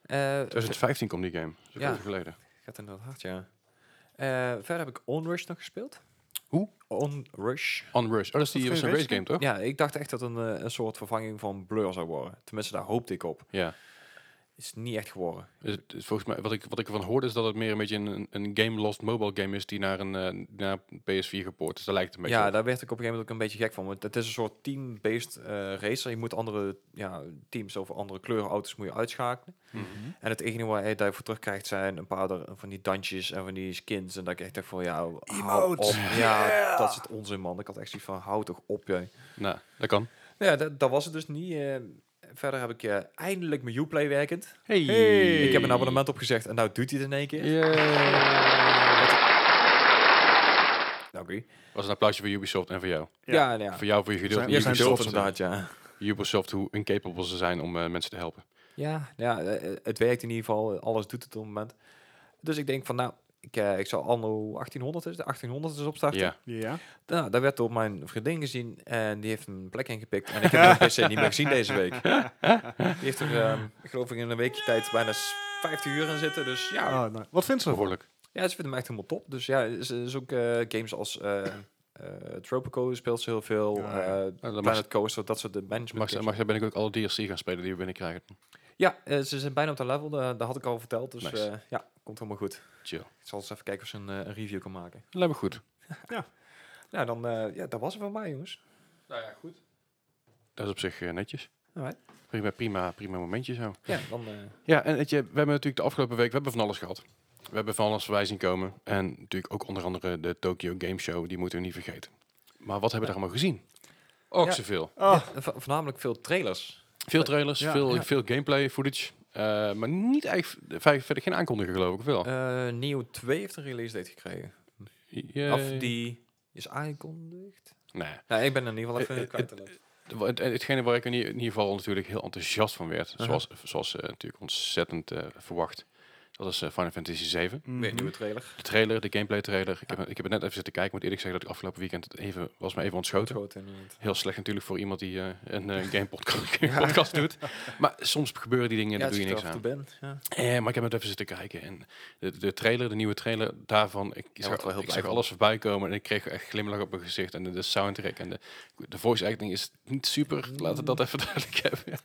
Eh, het
2015 kwam die game. Dat is
Ja.
ja. geleden.
gaat inderdaad hard, ja. Eh, verder heb ik Onrush nog gespeeld.
Hoe?
Onrush.
On Rush. Oh, dat is die
Wat
was
voor
een
een
race game, toch?
Ja, ik dacht echt dat een, eh, een soort vervanging van Blur zou worden. Tenminste, daar hoopte ik op.
Ja.
Is niet echt geworden.
Dus het is volgens mij, wat ik, wat ik ervan hoorde is dat het meer een beetje een, een game lost mobile game is die naar een eh, naar een PS4 gepoord is. Dat lijkt het een beetje
ja,
op.
daar werd ik op een gegeven moment ook een beetje gek van. Want het is een soort team-based eh, racer. Je moet andere ja, teams of andere kleuren auto's moet je uitschakelen.
Mhm.
En het enige waar je daarvoor terugkrijgt zijn een paar der- van die dansjes en van die skins. En dat ik echt dacht van, ja, hou
Emotes.
op. Ja, dat is het onzin, man. Ik had echt zoiets van, hou toch op, jij.
Nou, dat kan.
Nou Ja, dat, dat was het dus niet. eh. verder heb ik eh, eindelijk mijn Uplay werkend.
Hey.
Hey.
Ik heb een abonnement opgezegd en nou doet hij het in één keer. Nou, oké.
Was een applausje voor Ubisoft en voor jou.
Ja.
Ja, nou ja.
Voor jou, voor je geduld.
zijn-
en
we zijn
Ubisoft,
Ubisoft
trots op
eh,
inderdaad, ja.
Ubisoft, hoe incapable ze zijn om eh, mensen te helpen.
Ja, ja eh, eh, het werkt in ieder geval. Alles doet het op het moment. Dus ik denk van, nou, ik, eh, ik zal anno 1800 is, de 1800 is opstarten.
Ja.
Ja.
Nou, daar werd door mijn vriendin gezien en die heeft een plek ingepikt. En
<laughs>
ik heb haar PC niet meer gezien deze week. Die heeft er, ehm, ik geloof ik, in een weekje tijd bijna s- 50 uur in zitten. Dus ja,
Oh, nee. Wat vindt ze ervan?
Behoorlijk.
Ja, ze vindt hem echt helemaal top. Dus ja, ze is ook eh, games als eh, eh, Tropico speelt ze heel veel.
Ja,
eh,
ja.
Nou, dan mag,
Planet Coaster, dat soort de management
mag,
games.
mag, ben ik ook alle DLC gaan spelen die we binnenkrijgen.
Ja, eh, ze zijn bijna op dat level. daar dat had ik al verteld. Dus
Nice.
eh, ja, komt helemaal goed.
Chill.
Ik zal eens even kijken of ze een, eh, een review kan maken.
Dat lijkt me goed.
Nou, dan, eh, ja, dat was het van mij, jongens.
Nou ja, goed. Dat is op zich eh, netjes.
Alright.
Prima, prima, prima momentje zo.
Ja, dan... eh,
Ja, en weet je, we hebben natuurlijk de afgelopen week we hebben van alles gehad. We hebben van alles voorbij zien komen. En natuurlijk ook onder andere de Tokyo Game Show, die moeten we niet vergeten. Maar wat hebben we daar allemaal gezien? Ook
Ja.
zoveel.
Oh,
ja, vo- voornamelijk veel trailers.
Veel trailers,
Ja,
veel,
ja.
veel gameplay footage. eh, maar niet eigenlijk ver- verder geen aankondiging geloof ik of wel.
Eh Neo 2 heeft een release date gekregen.
Ja,
Of Eh, die is aangekondigd.
Nee.
Nou, ik ben er in ieder geval
Eh,
even
eh,
kwijt. inderdaad.
Wa- het- Hetgene waar ik in i- in ieder geval natuurlijk heel enthousiast van werd,
Uh-huh.
zoals, zoals eh, natuurlijk ontzettend eh, verwacht, dat is eh, Final Fantasy 7.
Weer een nieuwe
mhm.
trailer.
De trailer, de gameplay trailer. Ik, heb, ik heb het net even zitten kijken. Ik moet eerlijk zeggen dat ik afgelopen weekend het even, was me even ontschoten.
Groot inderdaad.
Heel slecht natuurlijk voor iemand die eh, een <laughs> eh, game podcast, game podcast doet. Maar soms gebeuren die dingen en
Ja,
daar doe je niks
het
aan.
ziet er af en toe ben, ja.
Eh, maar ik heb het even zitten kijken. En de, de trailer, de nieuwe trailer daarvan. Ik
word
zag,
er wel heel
ik
blij
zag
van.
alles voorbij komen. En ik kreeg echt glimlach op mijn gezicht. En de, de soundtrack en de, de voice acting is niet super. Laten we dat even duidelijk hebben.
En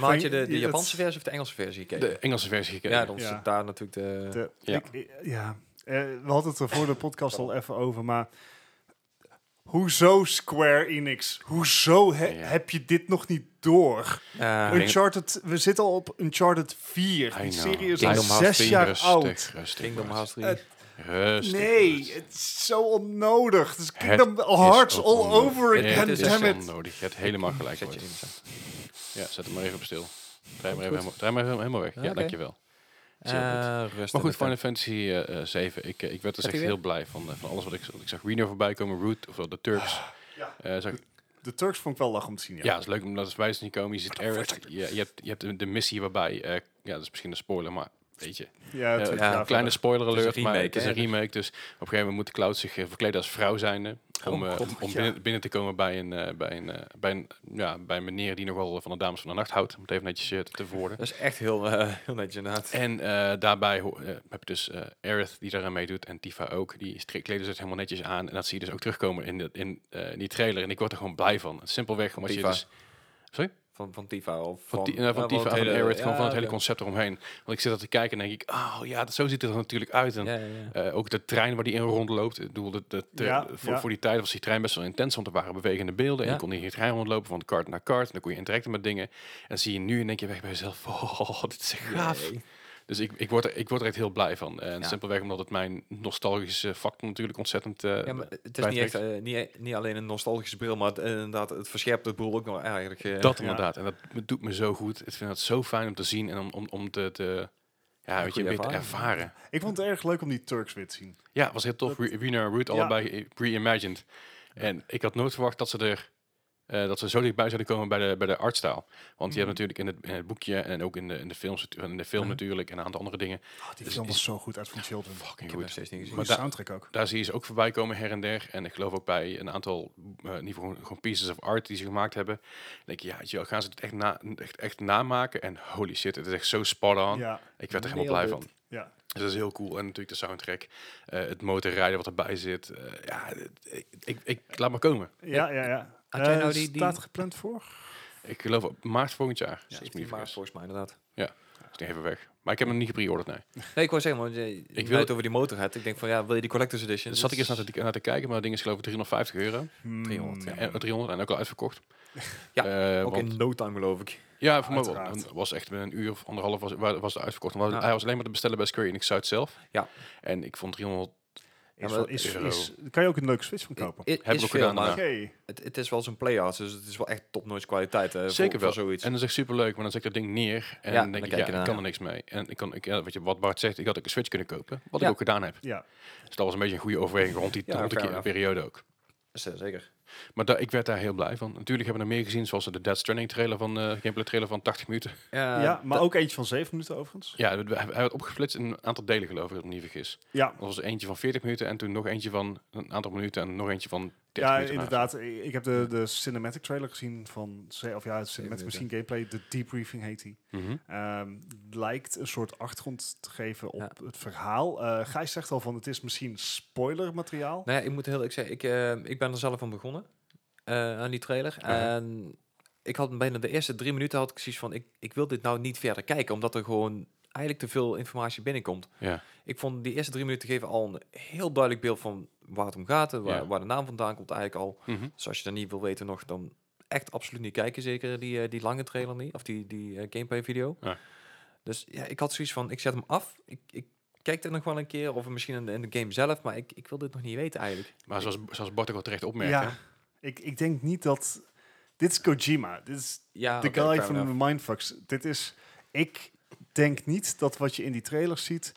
maar had
Van-
je de, de
je-
Japanse
dat-
versie of de Engelse versie gekeken?
De Engelse versie gekeken.
ja, dan
Ja.
zit daar natuurlijk de...
De-
Ja.
ik- ik- ja. Eh, we hadden het er voor de podcast al even over, maar hoezo Square Enix? Hoezo he-
Ja.
heb je dit nog niet door?
Eh,
Ring-
Uncharted, we zitten al op Uncharted 4.
I
Die
know.
serie is al
Kingdom Hearts
zes
10,
jaar
rustig,
oud.
Rustig, rustig.
Kingdom
Bart.
Hearts 3.
Het-
Rustig.
Nee,
Bart.
het is zo onnodig. Het is
Het
Kingdom Hearts
is
all
onnodig.
over
Het
again,
is
damn it.
onnodig. Je hebt helemaal gelijk.
Zet je
Bart.
in.
Ja, zet hem maar even op stil. Draai maar even, helemaal, draai maar even helemaal weg. Ja,
Oké.
dankjewel. Zeer goed.
Eh, rustig.
Maar goed,
met
Final
hem.
Fantasy eh, eh, 7. Ik, eh, ik werd dus
Heb
echt
je
heel blij van, eh, van alles wat ik, wat ik zag. Reno voorbij komen, Root, of wel de Turks.
Ah,
Ja.
Eh, zag ik-
De Turks vond ik wel lach om te zien. Ja.
ja, het is leuk omdat de wijzen niet komen. Je ziet Eric. Je, je hebt, je hebt de- de missie waarbij... eh, ja, dat is misschien een spoiler, maar weet je.
Ja, het-
Eh,
ja,
een kleine spoiler
Het is
alert,
een
maar
remake,
het is
hè,
een remake. Dus op een gegeven moment moet Cloud zich eh, verkleden als vrouw zijnde.
Oh,
Om, eh, om om binnen, binnen te komen bij een, eh, bij, een, eh, bij, een, ja, bij een meneer die nogal eh, van de dames van de nacht houdt. Om het even netjes eh, te- te verwoorden.
Dat is echt heel, eh, heel netjes inderdaad.
En eh, daarbij ho- eh, heb je dus eh Aerith die daaraan meedoet en Tifa ook. Die stri- kleden zich helemaal netjes aan. En dat zie je dus ook terugkomen in, de, in eh, die trailer. En ik word er gewoon blij van. Simpelweg omdat je
Tifa.
dus... Sorry?
Van, van Tifa of
Van, Ti- eh,
ja,
van Tifa en
het
van
hele-
Aerith. Gewoon
ja,
van het hele
oké.
concept eromheen. Want ik zit dat te kijken en denk ik... Oh ja, dat- zo ziet het er natuurlijk uit. En,
Ja, ja, ja.
eh, ook de trein waar die in rondloopt. Ik bedoel, de, de, de-
Ja,
voor,
ja.
voor die tijd was die trein best wel intens, want er waren bewegende beelden. En
Ja.
je kon in die trein rondlopen van kaart naar kaart. En dan kon je interacten met dingen. En zie je nu en denk je weg bij jezelf, <laughs> oh, dit is echt gaaf.
Yay.
Dus ik, ik, word er, ik word er echt heel blij van. En
Ja.
simpelweg omdat het mijn nostalgische factor natuurlijk ontzettend... eh,
Ja, maar het is
bij
niet, echt,
trekt.
eh, niet, niet alleen een nostalgische bril, maar het, eh, inderdaad, het verscherpt het bril ook nog eigenlijk. eh,
dat
ja.
inderdaad. En dat doet me zo goed. Ik vind dat zo fijn om te zien en om, om, om te, te- ja, weet je,
goede
weer te
ervaring.
ervaren.
Ik vond het erg leuk om die Turks weer te zien.
Ja, het was heel tof. Re- Rina en Root
Ja.
allebei reimagined. En ik had nooit verwacht dat ze er eh, dat ze zo dichtbij zouden komen bij de, bij de artstyle. Want je hebt
Mm.
natuurlijk in het, in het boekje en ook in de, in de, films, natu- in de film
Mhm.
natuurlijk en een aantal andere dingen.
Ah, die
film
film
was
was zo goed uit van Children.
Fucking
Ik heb nog
goed.
steeds niet gezien.
Maar
Goede
daar-
soundtrack ook.
Daar zie je ze ook voorbij komen her en der. En ik geloof ook bij een aantal eh, in ieder geval gewoon pieces of art die ze gemaakt hebben. Dan denk je, ja, weet je wel, gaan ze het echt, na, echt, echt namaken? En holy shit, het is echt zo spot on.
Ja,
Ik werd er helemaal blij
Nailed
van.
ja.
Dus dat is heel cool. En natuurlijk de soundtrack, eh, het motorrijden wat erbij zit. Eh, ja, het- ik, ik, ik- laat maar komen.
Ja, ja, ja.
Had jij
Eh,
nou die- die-
Staat er gepland voor?
Ik geloof op maart volgend jaar. Ja,
17 maart volgens mij inderdaad.
is nog even weg. Maar ik heb hem niet gepreorderd, nee.
Nee, ik wou zeggen, want eh, je, ik
wil-
wil het over die motor had. Ik denk van ja, wil je die collector's edition?
Dus zat ik eerst naar te, naar te kijken, maar dat ding is geloof ik 350 euro.
300,
Hmm,
ja.
En, eh, 300 en ook al uitverkocht.
Ja,
Eh,
Ook
want-
in no time geloof ik.
Ja, voor mij wel.
Uiteraard.
Het was echt binnen een uur of anderhalf was, wa- was het uitverkocht. Want
Ja.
Hij was alleen maar te bestellen bij Square Enix Zuid zelf.
Ja.
En ik vond 300...
Is,
maar-
wel- is,
Euro.
is, kan je ook een leuke Switch van kopen?
Het
we
is
ook
veel,
gedaan
maar
daarna.
Oké.
het, het is wel zo'n playhouse, dus het is wel echt topnotch kwaliteit. eh, voor-
Zeker wel.
Voor zoiets.
En dat is echt superleuk, maar dan zet ik dat ding neer. En
Ja,
dan
dan
denk ik,
kijk
ja,
je
ik kan
ernaar.
er niks mee. En ik kan, ik, ja, weet je, wat Bart zegt, ik had ook een Switch kunnen kopen. Wat
Ja.
ik ook gedaan heb.
Ja.
Dus dat was een beetje een goede overweging rond die,
Ja,
rond die
fair
ke-
enough.
periode ook.
Z- Zeker.
Maar daar ik werd daar heel blij van. Natuurlijk hebben we er meer gezien, zoals de Dead Stranding trailer van, eh gameplay trailer van 80 minuten.
eh,
ja, maar ook eentje van 7 minuten overigens.
Ja, hij- hij werd opgeflitst in een aantal delen geloof ik, als ik me niet vergis.
Ja,
Er was eentje van 40 minuten en toen nog eentje van een aantal minuten en nog eentje van 30
ja
minuten.
inderdaad. Ik ik heb de, de cinematic trailer gezien van... ze- Of ja, de cinematic
minuten.
misschien gameplay. De debriefing heet die.
Mhm.
Ehm, lijkt een soort achtergrond te geven op
Ja.
het verhaal. Eh Gijs zegt al van het is misschien spoiler materiaal.
Nou ja, ik moet heel eerlijk zeggen, ik, eh, ik ben er zelf aan begonnen. eh, aan die trailer.
Ja.
En ik had bijna de eerste drie minuten had ik zoiets van, ik, ik wil dit nou niet verder kijken, omdat er gewoon eigenlijk te veel informatie binnenkomt.
Ja.
Ik vond die eerste drie minuten geven al een heel duidelijk beeld van waar het om gaat, en waar,
Ja.
waar de naam vandaan komt eigenlijk al.
Mhm.
Dus als je dat niet wil weten nog, dan echt absoluut niet kijken. Zeker die, eh, die lange trailer niet. Of die, die eh, gameplay video.
Ja.
Dus ja, ik had zoiets van, ik zet hem af. Ik, ik kijk dit nog wel een keer. Of misschien in de, in de game zelf. Maar ik, ik wil dit nog niet weten eigenlijk.
Maar zoals, zoals Bart ook al terecht opmerkte,
ja, ik, ik denk niet dat... Dit is Kojima. Dit is
Ja,
de
Ah, oké,
guy
fair
van
enough.
de Mindfucks. Dit is... Ik denk niet dat wat je in die trailer ziet...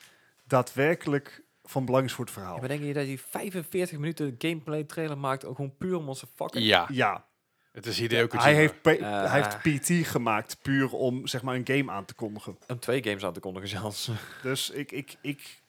daadwerkelijk van belang is voor het verhaal.
Ja, maar denk je dat hij 45 minuten gameplay trailer maakt? Ook gewoon puur om onze fucking...
Ja,
Ja,
het is Hideo Kojima.
hij heeft, P-
Eh.
hij heeft PT gemaakt puur om zeg maar een game aan te kondigen.
Om twee games aan te kondigen
<laughs>
zelfs.
Dus ik, ik, ik,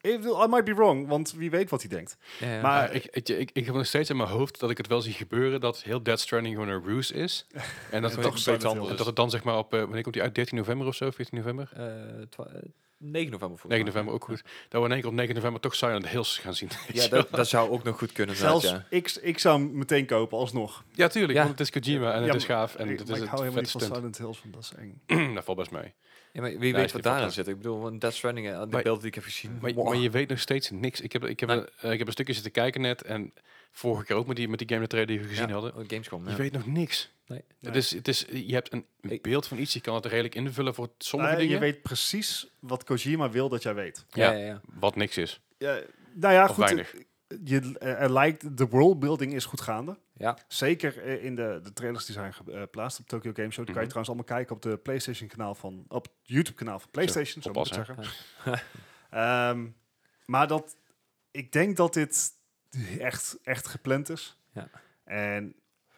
ik bedoel, I might be wrong, want wie weet wat hij denkt.
ja, ja.
Maar
Maar
ik, ik, ik, ik heb nog steeds in mijn hoofd dat ik het wel zie gebeuren dat heel Dead Stranding gewoon een
<laughs>
ruse is. En dat,
toch
het,
zo met
dat,
heel
het,
anders.
dat het dan zeg maar op, eh, wanneer komt die uit? 13 november of zo? 14 november?
Eh, twa- eh, 9 november voor
9 november, ook goed. Dat we in één keer op 9 november toch Silent Hills gaan zien.
<laughs> Ja, dat, dat zou ook nog goed kunnen zijn.
Zelfs
Ja.
ik, ik zou hem meteen kopen, alsnog.
<laughs> ja tuurlijk,
Ja.
want het is Kojima en
Ja,
het is
maar-
gaaf en
ik,
het
maar
is
ik hou
het
helemaal
vette
niet van
stunt.
Silent Hills, want dat is eng.
<clears throat> dat valt best mee.
Ja, maar wie
is
weet wat
die
daarin
fantastisch.
zit. Ik bedoel, een Death Stranding, eh, de
Maar-
beelden die ik heb gezien.
Maar,
wow.
maar je weet nog steeds niks. Ik heb, ik, heb
Nee.
een, eh, ik heb een stukje zitten kijken net en vorige keer ook met die, met die game trailer die we gezien
Ja,
hadden.
oh, Gamescom,
Je
ja.
weet nog niks.
Nee.
Het is, het is, je hebt een een
Ik-
beeld van iets, je kan het redelijk invullen voor sommige
Eh,
dingen.
je weet precies wat Kojima wil dat jij weet.
Ja,
Ja.
ja, ja.
Wat niks is.
Ja, nou ja,
Of
goed.
weinig.
eh, je, er lijkt, de worldbuilding is goed gaande.
Ja.
Zeker eh, in de, de trailers die zijn eh, geplaatst op Tokyo Game Show. Die kan je
Mhm.
trouwens allemaal kijken op de PlayStation kanaal van, op het YouTube kanaal van PlayStation, zo, moet ik het
oppassen,
zeggen. Ehm, maar dat, ik denk dat dit echt, echt gepland is.
Ja.
En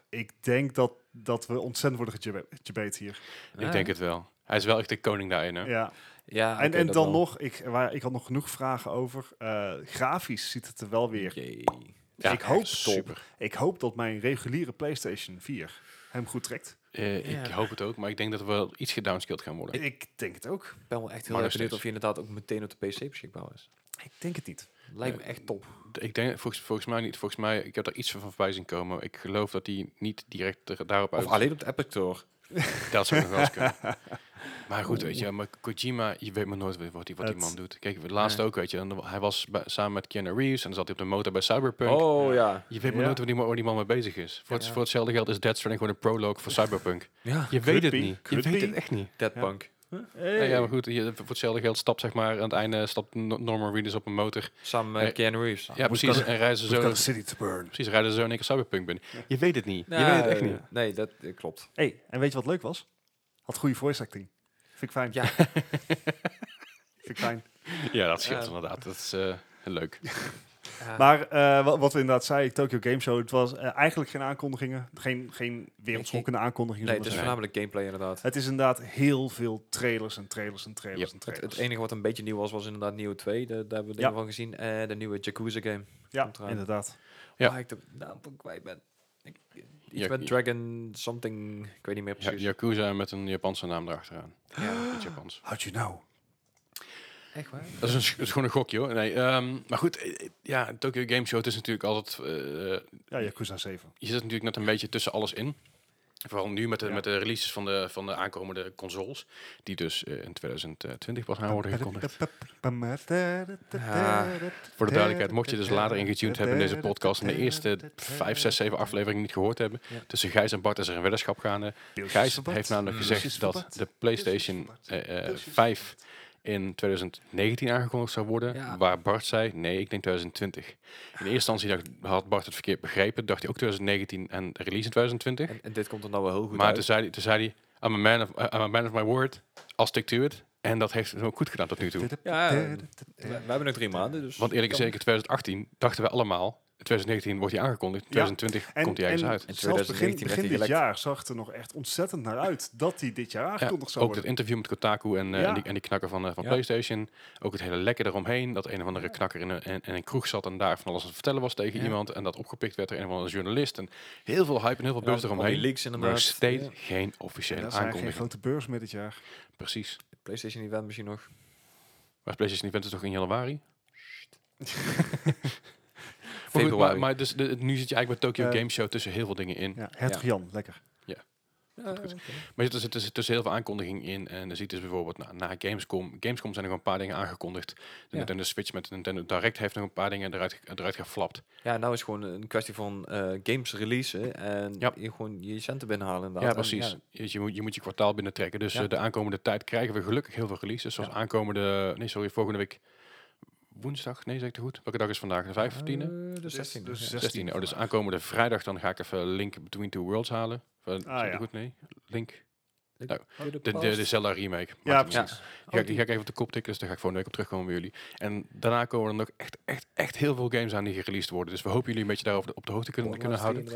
ik denk dat, dat we ontzettend worden gejebe- gebeten hier.
Ik denk het wel. Hij is wel echt de koning daarin. Hè?
Ja.
Ja,
en
oké,
en
dat
dan
wel.
nog, ik, waar, ik had nog genoeg vragen over. Eh, grafisch ziet het er wel weer.
Jee.
Ja,
ik hoop top.
super.
Ik hoop dat mijn reguliere PlayStation 4 hem goed trekt.
Eh, Ik
Ja.
hoop het ook, maar ik denk dat we wel iets gedownscaled gaan worden.
Ik denk het ook.
Ik ben wel echt heel
Maar nog
erg benieuwd
steeds.
of je inderdaad ook meteen op de PC beschikbaar is.
Ik denk het niet.
Lijkt me
Eh,
echt top.
Ik denk, volgens, volgens mij niet. Volgens mij, ik heb daar iets van voorbij zien komen. Ik geloof dat die niet direct er- daarop uit.
Of alleen op de Epic Store.
Dat zou nog wel eens kunnen. <laughs> Maar goed, weet je, maar Kojima, je weet maar nooit wat, wat die, wat die
Het-
man doet. Kijk, het laatste
Nee.
ook, weet je. en Hij was bij- samen met Keanu Reeves en dan zat hij op de motor bij Cyberpunk.
Oh ja.
Je weet maar
Ja.
nooit waar die, man- waar die man mee bezig is. Voor, het,
Ja.
voor hetzelfde geld is Dead Stranding gewoon een prologue voor Cyberpunk.
Ja.
<laughs> Je
Could
weet het
be,
niet. Je
could
weet
be.
het echt niet.
Deadpunk.
Ja, ja, maar goed, je, voor hetzelfde geld stapt zeg maar aan het einde stapt No- Norman Reedus op een motor.
Samen met
Eh,
Keanu Reeves.
Ja, precies. En rijden ze zo,
city to burn.
precies, rijden ze zo in één keer Cyberpunk binnen. Je weet het niet. Je weet het echt niet.
Eh, Nee, dat eh, klopt.
hey, en weet je wat leuk was? Had goede voice acting. Vind ik <laughs> fijn.
Ja.
Vind ik fijn.
Ja, dat scheelt
Eh.
inderdaad. Dat is eh, leuk.
Maar eh, wa- wat we inderdaad zeiden, Tokyo Game Show, het was eh, eigenlijk geen aankondigingen. Geen, geen wereldschokkende aankondigingen.
nee, dus-
zullen
het
we
Nee.
is voornamelijk gameplay inderdaad.
Het is inderdaad heel veel trailers en trailers en trailers
Yep.
en
Het,
trailers.
het enige wat een beetje nieuw was, was inderdaad Neo 2. Daar, daar hebben we dingen
Ja.
van gezien. En de nieuwe Yakuza game.
ja,
komt eraan.
inderdaad.
Ja.
Waar ik de naam van kwijt ben. Ik, eh, iets
Ja,
met
ja.
Dragon something. Ik weet niet meer
Ja,
precies.
Yakuza met een Japanse naam erachteraan.
Ja.
In het Japans.
How'd Dus, you know?
Echt waar?
Dat is, een, sch- dat is gewoon een gokje hoor. Nee, ehm, maar goed, eh, eh, ja, Tokyo Game Show het is natuurlijk altijd... eh,
Ja, Yakuza 7.
je zit natuurlijk net een beetje tussen alles in. Vooral nu met de,
Ja.
met de releases van de, van de aankomende consoles. Die dus eh, in 2020 pas aan worden gekondigd. Voor de duidelijkheid, mocht je dus later ingetuned hebben in deze podcast... en de eerste 5, 6, 7 afleveringen niet gehoord hebben...
Ja.
tussen Gijs en Bart is er een weddenschap gaande. Gijs heeft namelijk
Mm.
gezegd dat de PlayStation eh, eh, 5 in 2019 aangekondigd zou worden.
Ja.
Waar Bart zei, nee, ik denk 2020. In eerste instantie dacht, had Bart het verkeerd begrepen. Dacht hij ook 2019 en release in 2020.
En, en dit komt er nou wel heel goed
maar
uit.
toen zei, hij- toen zei hij, I'm a, man of, I'm a man of my word. I'll stick to it. En dat heeft hem ook goed gedaan tot nu toe.
Ja, eh, we, we hebben nog drie maanden, dus...
Want eerlijk
kan-
gezegd, in 2018 dachten we allemaal... 2019 wordt hij aangekondigd, 2020
En,
komt hij ergens
en
uit.
In
zelfs begin,
2019 werd
begin
hij
dit
gelekt.
jaar zag het er nog echt ontzettend naar uit dat hij dit jaar
Ja,
aangekondigd zou
ook dat
worden.
interview met Kotaku en, eh,
Ja.
en, die, en die knakker van, eh, van
Ja.
PlayStation. Ook het hele lekker eromheen. Dat een of andere knakker in een, in, in een kroeg zat en daar van alles aan het vertellen was tegen
Ja.
iemand. En dat opgepikt werd door een of andere journalist. En heel veel hype en heel veel
Ja,
beurs
al die
eromheen.
leaks
maar
inderdaad.
nog steeds
Ja.
geen officiële
Dat zijn geen
aankondiging.
grote beurs meer dit jaar.
Precies.
PlayStation event misschien nog.
Maar het PlayStation Event is toch in januari? <laughs> Maar, goed,
Februari.
maar, maar dus de- nu zit je eigenlijk bij Tokyo
Eh,
Game Show tussen heel veel dingen in.
Ja, Hertog Jan, lekker.
Ja, oké.
Maar er zit, er zit- er zit tussen heel veel aankondigingen in. En dan ziet dus bijvoorbeeld na, na Gamescom. Gamescom zijn er nog een paar dingen aangekondigd. De
Ja.
Nintendo Switch met de Nintendo Direct heeft nog een paar dingen eruit, ge- eruit geflapt.
Ja, nou is gewoon een kwestie van eh, games releasen en
Ja.
je gewoon je centen binnenhalen
Ja,
inderdaad. En
precies. Je- Je, moet, je moet je kwartaal binnentrekken. Dus
eh, Ja.
eh, de aankomende tijd krijgen we gelukkig heel veel releases. Zoals aankomende... Nee, sorry, volgende week woensdag. Nee, zeg ik het goed? Welke dag is vandaag? De 15e?
Eh, de
Dus-
16e.
dus
ja.
16e.
16e. Oh, dus
vandaag.
aankomende vrijdag dan ga ik even Link Between Two Worlds halen. Van, zeg ik
ja.
het goed? Nee? Link?
Doe
De, de, de
past.
Zelda remake. Maakt
Ja,
het niet
ja.
uit. Die ga,
Oh,
ik- die ga ik even op de kop tikken, dus daar ga ik volgende week op terugkomen bij jullie. En daarna komen er nog echt, echt, echt heel veel games aan die gereleased worden. Dus we hopen jullie een beetje daarover op de hoogte
Oh,
kunnen, kunnen houden.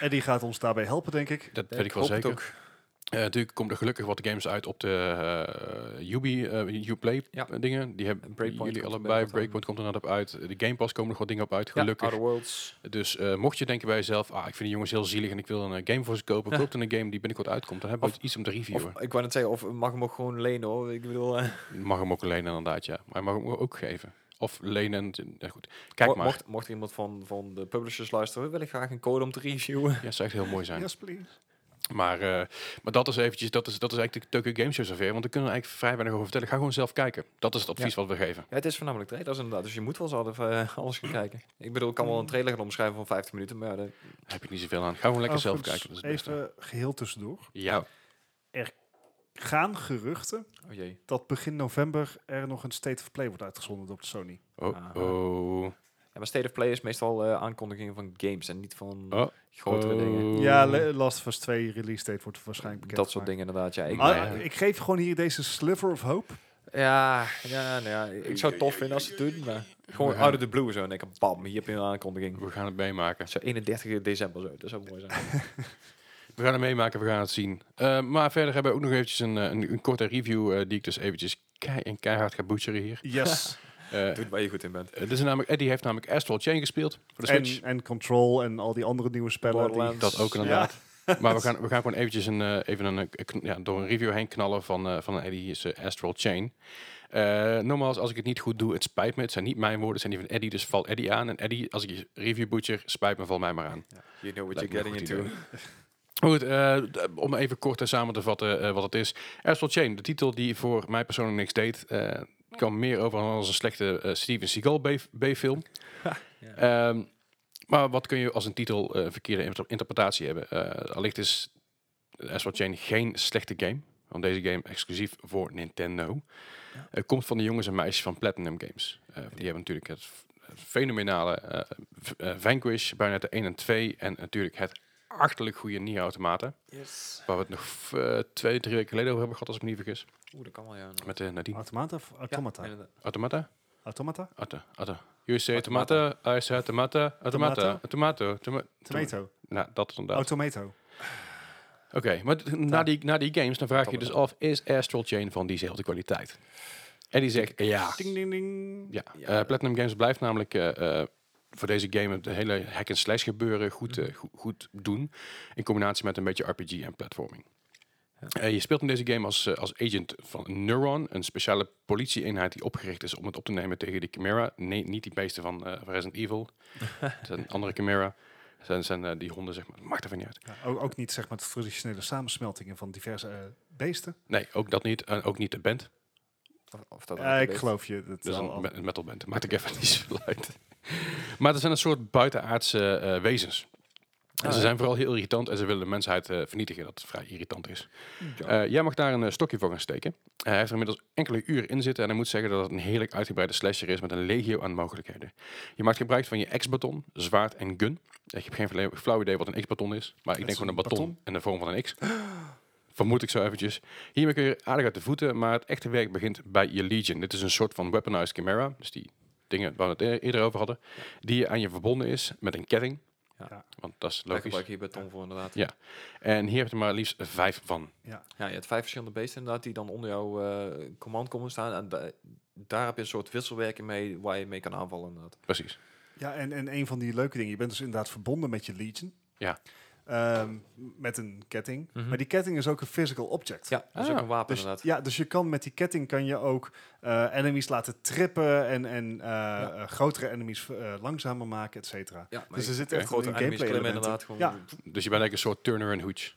En die gaat ons daarbij helpen, denk ik.
Dat weet ik wel zeker. Eh, natuurlijk komt er gelukkig wat games uit op de eh Ubi, eh, Uplay
Ja.
eh, dingen. Die hebben
En Breakpoint
jullie
komt er
allebei.
binnenkort
Breakpoint komt er net op uit. De Game Pass komen nog wat dingen op uit, gelukkig.
Outer Worlds.
dus eh, mocht je denken bij jezelf, ah, ik vind die jongens heel zielig en ik wil een eh, game voor ze kopen.
Ja. <laughs>
Koopt dan een game die binnenkort uitkomt. Dan hebben we
Of-
iets om te
Of,
reviewen.
ik wou net zeggen, of mag hem ook gewoon lenen hoor. Ik bedoel, eh,
Mag hem ook lenen inderdaad, ja. Maar mag hem ook geven. Of lenen, en- ja, goed. Kijk
mo-
maar.
Mocht, mocht er iemand van, van de publishers luisteren, wil ik graag een code om te reviewen. <laughs>
Ja, zou echt heel mooi zijn.
Yes, please.
Maar, eh, maar dat is eventjes, dat is, dat is eigenlijk de Tokyo Game Show zover. Want daar kunnen we eigenlijk vrij weinig over vertellen. Ga gewoon zelf kijken. Dat is het advies wat we geven.
Ja, het is voornamelijk trailers inderdaad, dus je moet wel eens alle- eh, alles gaan kijken. Ik bedoel, ik kan wel een trailer gaan omschrijven van 15 minuten, maar ja, dat-
Daar heb je niet zoveel aan. Ga gewoon lekker zelf
Overigens,
kijken. Dat is het beste.
Oh, Even geheel tussendoor.
Ja.
Gaan geruchten
oh jee.
dat begin november er nog een State of Play wordt uitgezonden op de Sony.
Oh,
Aha.
oh.
Ja, maar State of Play is meestal eh, aankondigingen van games en niet van
Oh.
grotere dingen.
Ja, Le- Last of Us 2 release date wordt waarschijnlijk bekend.
Dat soort dingen inderdaad, ja. Ik,
Maar-
Ah, ik geef gewoon hier deze sliver of hope.
ja, ja, nou ja, ik zou het tof vinden als ze het doen, maar gewoon out of the blue zo. En ik bam, hier heb je een aankondiging.
We gaan het meemaken.
Zo 31 december zo, dat zou mooi zijn.
<laughs> We gaan het meemaken, we gaan het zien. Eh, maar verder hebben we ook nog eventjes een, eh, een, een korte review eh, die ik dus eventjes kei en keihard ga butcheren hier.
Yes.
<laughs> Eh,
Doe waar je goed in bent.
Eh, dit is namelijk, Eddie heeft namelijk Astral Chain gespeeld Dus voor de Switch.
en, en Control en al die andere nieuwe spellen. Die,
Dus Borderlands.
dat ook
Ja.
inderdaad. maar we gaan, we gaan gewoon eventjes een, eh, even een, eh, kn- ja, door een review heen knallen van, eh, van Eddie's eh, Astral Chain. Eh nogmaals, als ik het niet goed doe, het spijt me. Het zijn niet mijn woorden, het zijn die van Eddie. Dus val Eddie aan. En Eddie, als ik je review butcher, spijt me, val mij maar aan.
You know what
Lijkt
you're
me een
getting
goed
into.
Goed, eh, d- om even kort en samen te vatten eh, wat het is. Astral Chain, de titel die voor mij persoonlijk niks deed, eh kwam meer over als een slechte eh, Steven Seagal B- B-film. Ehm, maar wat kun je als een titel eh, verkeerde inter- interpretatie hebben? Eh allicht is Astral Chain geen slechte game, want deze game exclusief voor Nintendo. Eh, komt van de jongens en meisjes van Platinum Games. Eh, die hebben natuurlijk het f- fenomenale eh, v- eh, Vanquish, bijna de 1 en 2 en natuurlijk het achterlijk goede Nier-automaten. Waar we het nog v- eh, twee, drie weken geleden over hebben gehad, als ik me niet vergis.
Oeh, dat kan wel, ja.
Met de Nadine.
Automata of Automata?
Ja, inderdaad.
Automata?
Automata?
Auto. Auto. You say automata, I say automata, automata, tomato. toma-
Tomato.
Nou, dat inderdaad.
Automato.
Oké, maar d- na die, na die games, dan vraag je dus af, is Astral Chain van diezelfde kwaliteit? En die zegt, ja.
Ding, ding, ding.
Ja, eh, Platinum Games blijft namelijk eh, eh, voor deze game het hele hack-and-slash gebeuren goed, eh, goed, goed doen. In combinatie met een beetje RPG en platforming. Eh, je speelt in deze game als, eh, als agent van Neuron, een speciale politie-eenheid die opgericht is om het op te nemen tegen de Chimera. Nee, niet die beesten van eh, van Resident Evil. Het zijn andere Chimera. Het zijn, zijn eh, die honden, zeg maar. Maakt er van niet uit.
Ja, ook, ook niet zeg maar de traditionele samensmeltingen van diverse eh, beesten.
Nee, ook dat niet. En ook niet de band.
Of- Of dat
Ja,
ook
eh, ik
weet.
geloof je. Dat
Dus
Dat is
wel
een,
al-
me- een metal band. Maakt ook even <laughs> niet zoveel uit. Maar het zijn een soort buitenaardse eh, wezens. En
Ah,
ze
ja.
zijn vooral heel irritant en ze willen de mensheid eh, vernietigen. Dat vrij irritant is. Eh, jij mag daar een eh, stokje voor gaan steken. Eh, hij heeft er inmiddels enkele uren in zitten. En hij moet zeggen dat het een heerlijk uitgebreide slasher is met een legio aan mogelijkheden. Je maakt gebruik van je X-baton, zwaard en gun. Ik heb geen fle- flauw idee wat een X-baton is. Maar ik
is
denk gewoon een
een
baton,
baton.
in de vorm van een X. <gasps> Vermoed ik zo eventjes. Hiermee kun je aardig uit de voeten, maar het echte werk begint bij je Legion. Dit is een soort van weaponized chimera. Dus die dingen waar we het e- eerder over hadden. Die aan je verbonden is met een ketting.
Ja.
Ja.
Want dat is
Daar
logisch.
gebruik je hier beton voor inderdaad.
Ja. En hier heb je er maar liefst vijf van.
Ja.
Ja, je hebt vijf verschillende beesten inderdaad die dan onder jouw eh, command komen staan. En da- daar heb je een soort wisselwerking mee waar je mee kan aanvallen inderdaad.
Precies.
Ja, en, en een van die leuke dingen. Je bent dus inderdaad verbonden met je Legion.
Ja.
Ehm, met een ketting.
Mhm.
Maar die ketting is ook een physical object.
Ja, dat is
Ah,
ook een wapen
Dus,
inderdaad.
ja, dus je kan met die ketting kan je ook eh, enemies laten trippen en, en eh, eh, grotere enemies eh, langzamer maken, et cetera.
Ja, maar
Dus er
ik-
zit
oké.
echt
grote
een
enemies
gameplay
klimmen
element in.
inderdaad gewoon.
Ja.
Dus je bent eigenlijk een soort Turner en Hooch.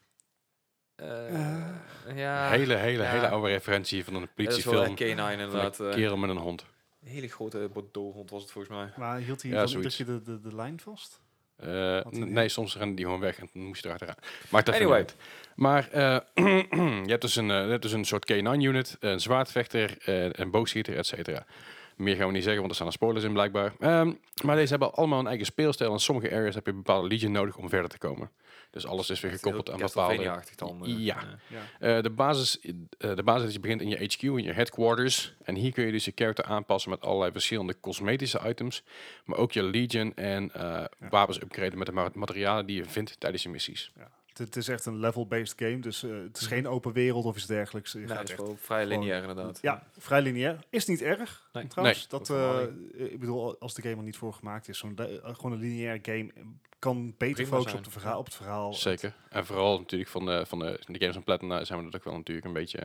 Eh, ja.
hele, hele,
ja.
hele oude referentie van een
Ja, dat is wel
politiefilm.
echt K9
Van
inderdaad.
een
eh.
kerel met een hond.
Een hele grote bordeauxhond was het volgens mij.
eh, Maar hield hij
Ja,
dan
zoiets.
iedere keer de, de, de lijn vast?
Eh,
Wat een-
nee, soms rennen die gewoon weg en dan moest je erachteraan. Maakt dat
Anyway.
niet uit. Maar eh, <clears throat> je hebt dus een, eh, je hebt dus een soort K9-unit, een zwaardvechter, eh, een boogschieter, et cetera. Meer gaan we niet zeggen, want er staan er spoilers in blijkbaar. Ehm, maar deze hebben allemaal een eigen speelstijl. En sommige areas heb je een bepaalde legion nodig om verder te komen. Dus alles is weer gekoppeld aan bepaalde...
Castlevania-achtig dan. eh.
Ja.
Ja.
Eh, de, basis, eh, de basis is je begint in je HQ, in je headquarters. En hier kun je dus je character aanpassen met allerlei verschillende cosmetische items. Maar ook je legion en eh, wapens upgraden met de ma- materialen die je vindt tijdens je missies.
Het, het is echt een level-based game, dus eh, het is geen open wereld of iets dergelijks. Je
Nee,
gaat
dat is
echt-
wel vrij
gewoon-
lineair inderdaad.
ja, vrij lineair. Is niet erg,
Nee.
trouwens.
Nee.
dat,
Helemaal
eh, ik bedoel, als de game er niet voor gemaakt is, zo'n le- eh, gewoon een lineair game kan beter
Prima
focussen
zijn.
op, de verhaal, op het verhaal.
Zeker. En vooral natuurlijk van de, van de, van de games van Platinum nou, zijn we dat ook wel natuurlijk een beetje...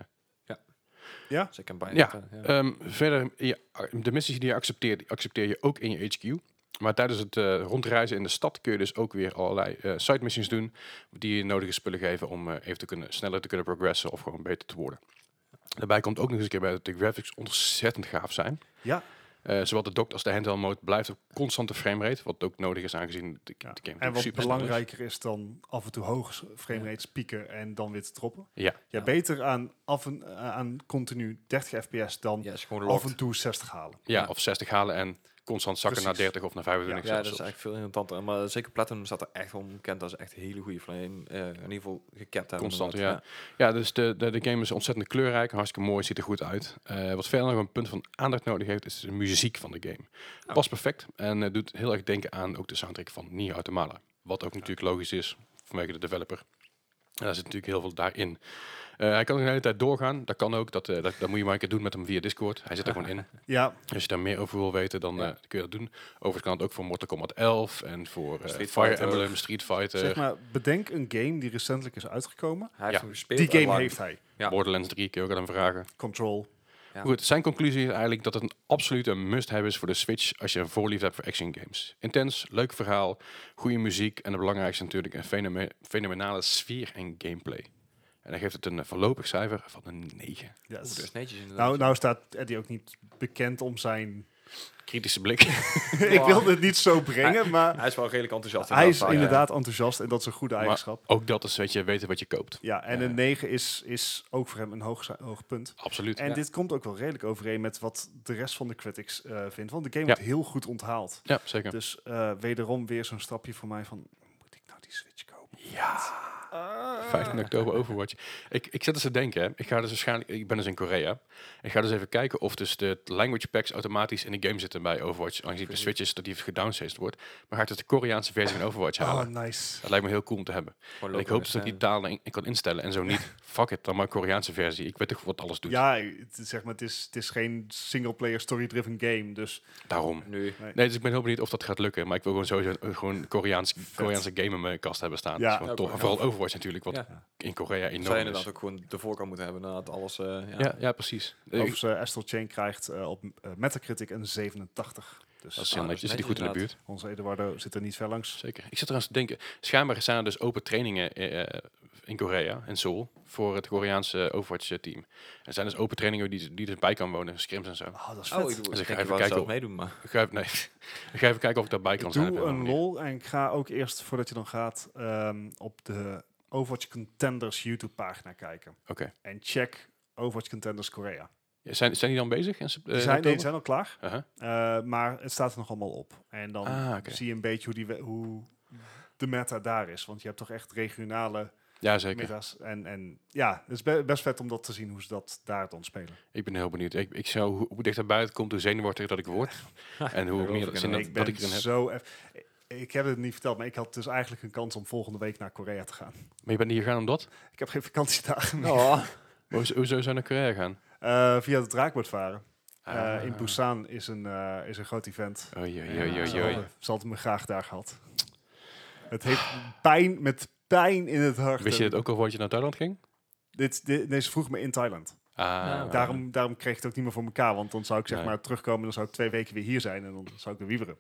Dus ik kan bijna...
Ja,
niet, eh,
Ehm, verder, je- de missies die je accepteert, die accepteer je ook in je HQ. Maar tijdens het eh, rondreizen in de stad kun je dus ook weer allerlei eh, side missions doen. Die je nodige spullen geven om eh, even te kunnen, sneller te kunnen progressen of gewoon beter te worden. Daarbij komt ook nog eens een keer bij dat de graphics ontzettend gaaf zijn.
Ja.
Eh, zowel de dock als de handheld mode blijft op constante framerate. Wat ook nodig is aangezien de,
Ja.
de game
En wat
super snel is.
belangrijker is dan af en toe hoge framerates pieken en dan weer te droppen.
Ja.
Ja, beter aan, af en, eh, aan continu 30 fps dan
Ja, is gewoon
af
locked.
en toe 60 halen.
Ja,
Ja.
of 60 halen en constant zakken
Precies.
naar 30 of naar 25
Ja, dat is
zelfs.
eigenlijk veel interessanter. Maar zeker Platinum staat er echt om bekend als echt hele goede flame. in ieder geval gekapt hebben. eh,
Constant,
inderdaad.
Ja, dus de, de, de game is ontzettend kleurrijk, hartstikke mooi, ziet er goed uit. Eh, wat verder nog een punt van aandacht nodig heeft, is de muziek van de game.
Ja.
Past perfect en eh, doet heel erg denken aan ook de soundtrack van Nier Automata. Wat ook natuurlijk logisch is vanwege de developer. En daar zit natuurlijk heel veel daarin. Eh, hij kan ook de hele tijd doorgaan. Dat kan ook. Dat, eh, dat, dat moet je maar een keer doen met hem via Discord. Hij zit er
<laughs>
gewoon in.
Ja,
Als je daar meer over wil weten, dan
Ja.
eh, kun je dat doen. Overigens kan het ook voor Mortal Kombat 11 en voor eh,
Street
Fire
Fighter.
Emblem, Street Fighter,
zeg maar, bedenk een game die recentelijk is uitgekomen.
Hij heeft
Ja.
hem gespeeld.
Die
en
game
lang.
heeft hij.
Ja.
Borderlands 3, kun je ook aan hem vragen.
Control.
Ja.
Goed, zijn conclusie is eigenlijk dat het een absolute must-have is voor de Switch als je een voorliefde hebt voor action games. Intens, leuk verhaal, goede muziek en het belangrijkste natuurlijk een fenome- fenomenale sfeer en gameplay. En dan geeft het een eh, voorlopig cijfer van een 9.
Oeh, dat is netjes inderdaad.
Nou, nou staat Eddie ook niet bekend om
<laughs>
zijn...
Kritische blik.
ik wilde het niet zo brengen, maar
Hij is wel redelijk enthousiast.
hij is
inderdaad, maar,
inderdaad enthousiast en dat is een goede eigenschap.
Ook dat is, weet je, weten wat je koopt.
Ja, en
Ja.
een 9 is, is ook voor hem een hoog, ci- hoog punt.
Absoluut.
En
Ja.
dit komt ook wel redelijk overeen met wat de rest van de critics eh, vindt. Want de game
Ja.
wordt heel goed onthaald.
Ja, zeker.
Dus eh, wederom weer zo'n stapje voor mij van... Moet ik nou die Switch kopen?
Ja.
Ah.
15 oktober Overwatch. Ik, ik zit dus te denken, hè. ik ga dus waarschijnlijk, ik ben dus in Korea. Ik ga dus even kijken of dus de language packs automatisch in de game zitten bij Overwatch. Aangezien de Switch is dat die gedownsized wordt. Maar ga ik dus de Koreaanse versie van Overwatch halen.
Oh, nice.
Dat lijkt me heel cool om te hebben.
ja.
En ik hoop dus dat ik die
eh,
talen in- ik kan instellen. En zo
<laughs>
niet, fuck it, dan maar Koreaanse versie. Ik weet toch wat alles doet.
Ja, het, is- zeg maar, het, is, het is geen single-player story-driven game. Dus
Daarom.
Nu.
Nee, dus ik ben heel benieuwd of dat gaat lukken. Maar ik wil gewoon sowieso een- gewoon Koreaans, Koreaanse game in mijn kast hebben staan.
Ja.
Dat is gewoon
Ja,
tof.
ook
En
wel.
vooral Overwatch natuurlijk, wat
Ja.
in Korea
Zou je
enorm is.
inderdaad ook gewoon de voorkant moeten hebben. Inderdaad, alles. eh, ja.
Ja, ja, precies.
of ze Astral Chain krijgt eh, op eh, Metacritic een 87.
Dat is
Dus
heel
Ah, dat
netjes.
is
Zit die goed in de
netjes
buurt?
onze Eduardo zit er niet ver langs.
Zeker. Ik zit trouwens te denken. Schijnbaar zijn er dus open trainingen eh, eh, in Korea, en Seoul, voor het Koreaanse Overwatch-team. Er zijn dus open trainingen die, die erbij kan wonen, scrims en zo.
Oh, dat is
Oh,
vet.
ik, doe-
Dus ik
ik
ga
denk
even
wel zelf
kijken.
meedoen,
<laughs>
maar...
Ik ga even, nee. ik ga even kijken of ik daarbij kan eh, zijn. op
Doe
een
een
andere manier.
lol en ik ga ook eerst, voordat je dan gaat, ehm, op de Overwatch Contenders YouTube-pagina kijken.
Oké.
En check Overwatch Contenders Korea.
Ja, Zijn, zijn die dan bezig? In, sep- eh,
Die zijn, nee,
oktober?
die zijn al klaar,
Aha.
eh, maar het staat er nog allemaal op. En dan
Ah, oké.
zie je een beetje hoe, die, we- hoe de meta daar is. Want je hebt toch echt regionale
Ja, zeker.
meta's. En, en ja, het is be- best vet om dat te zien hoe ze dat daar dan spelen.
Ik ben heel benieuwd. Ik, ik zou, hoe, hoe dichter buiten komt, hoe zenuwachtig dat ik
<laughs>
word. En hoe
geloof
meer
ik
zin
inderdaad.
dat,
ik
dat
ben
ik erin heb.
zo... eff- Ik heb het niet verteld, maar ik had dus eigenlijk een kans om volgende week naar Korea te gaan. <laughs>
Maar je bent niet gegaan om dat?
Ik heb geen vakantiedagen meer.
Oh.
Hoezo, hoezo zou je naar Korea gaan?
Eh, via de draakboot varen. Eh,
Ah.
in Busan is een, eh, is een groot event.
Oei, oei,
Ja,
oei,
dat is
oei,
wel
oei.
leuk.
Ze hadden me graag daar gehad. Het heeft pijn met pijn in het hart.
Wist je
En
dat ook al voordat je naar Thailand ging?
Dit, dit, nee, ze vroeg me in Thailand.
Ah,
Ja,
Daarom, daarom kreeg ik het ook niet meer voor elkaar. Want dan zou ik zeg
Nee.
maar terugkomen en dan zou ik twee weken weer hier zijn. En dan zou ik weer wieberen.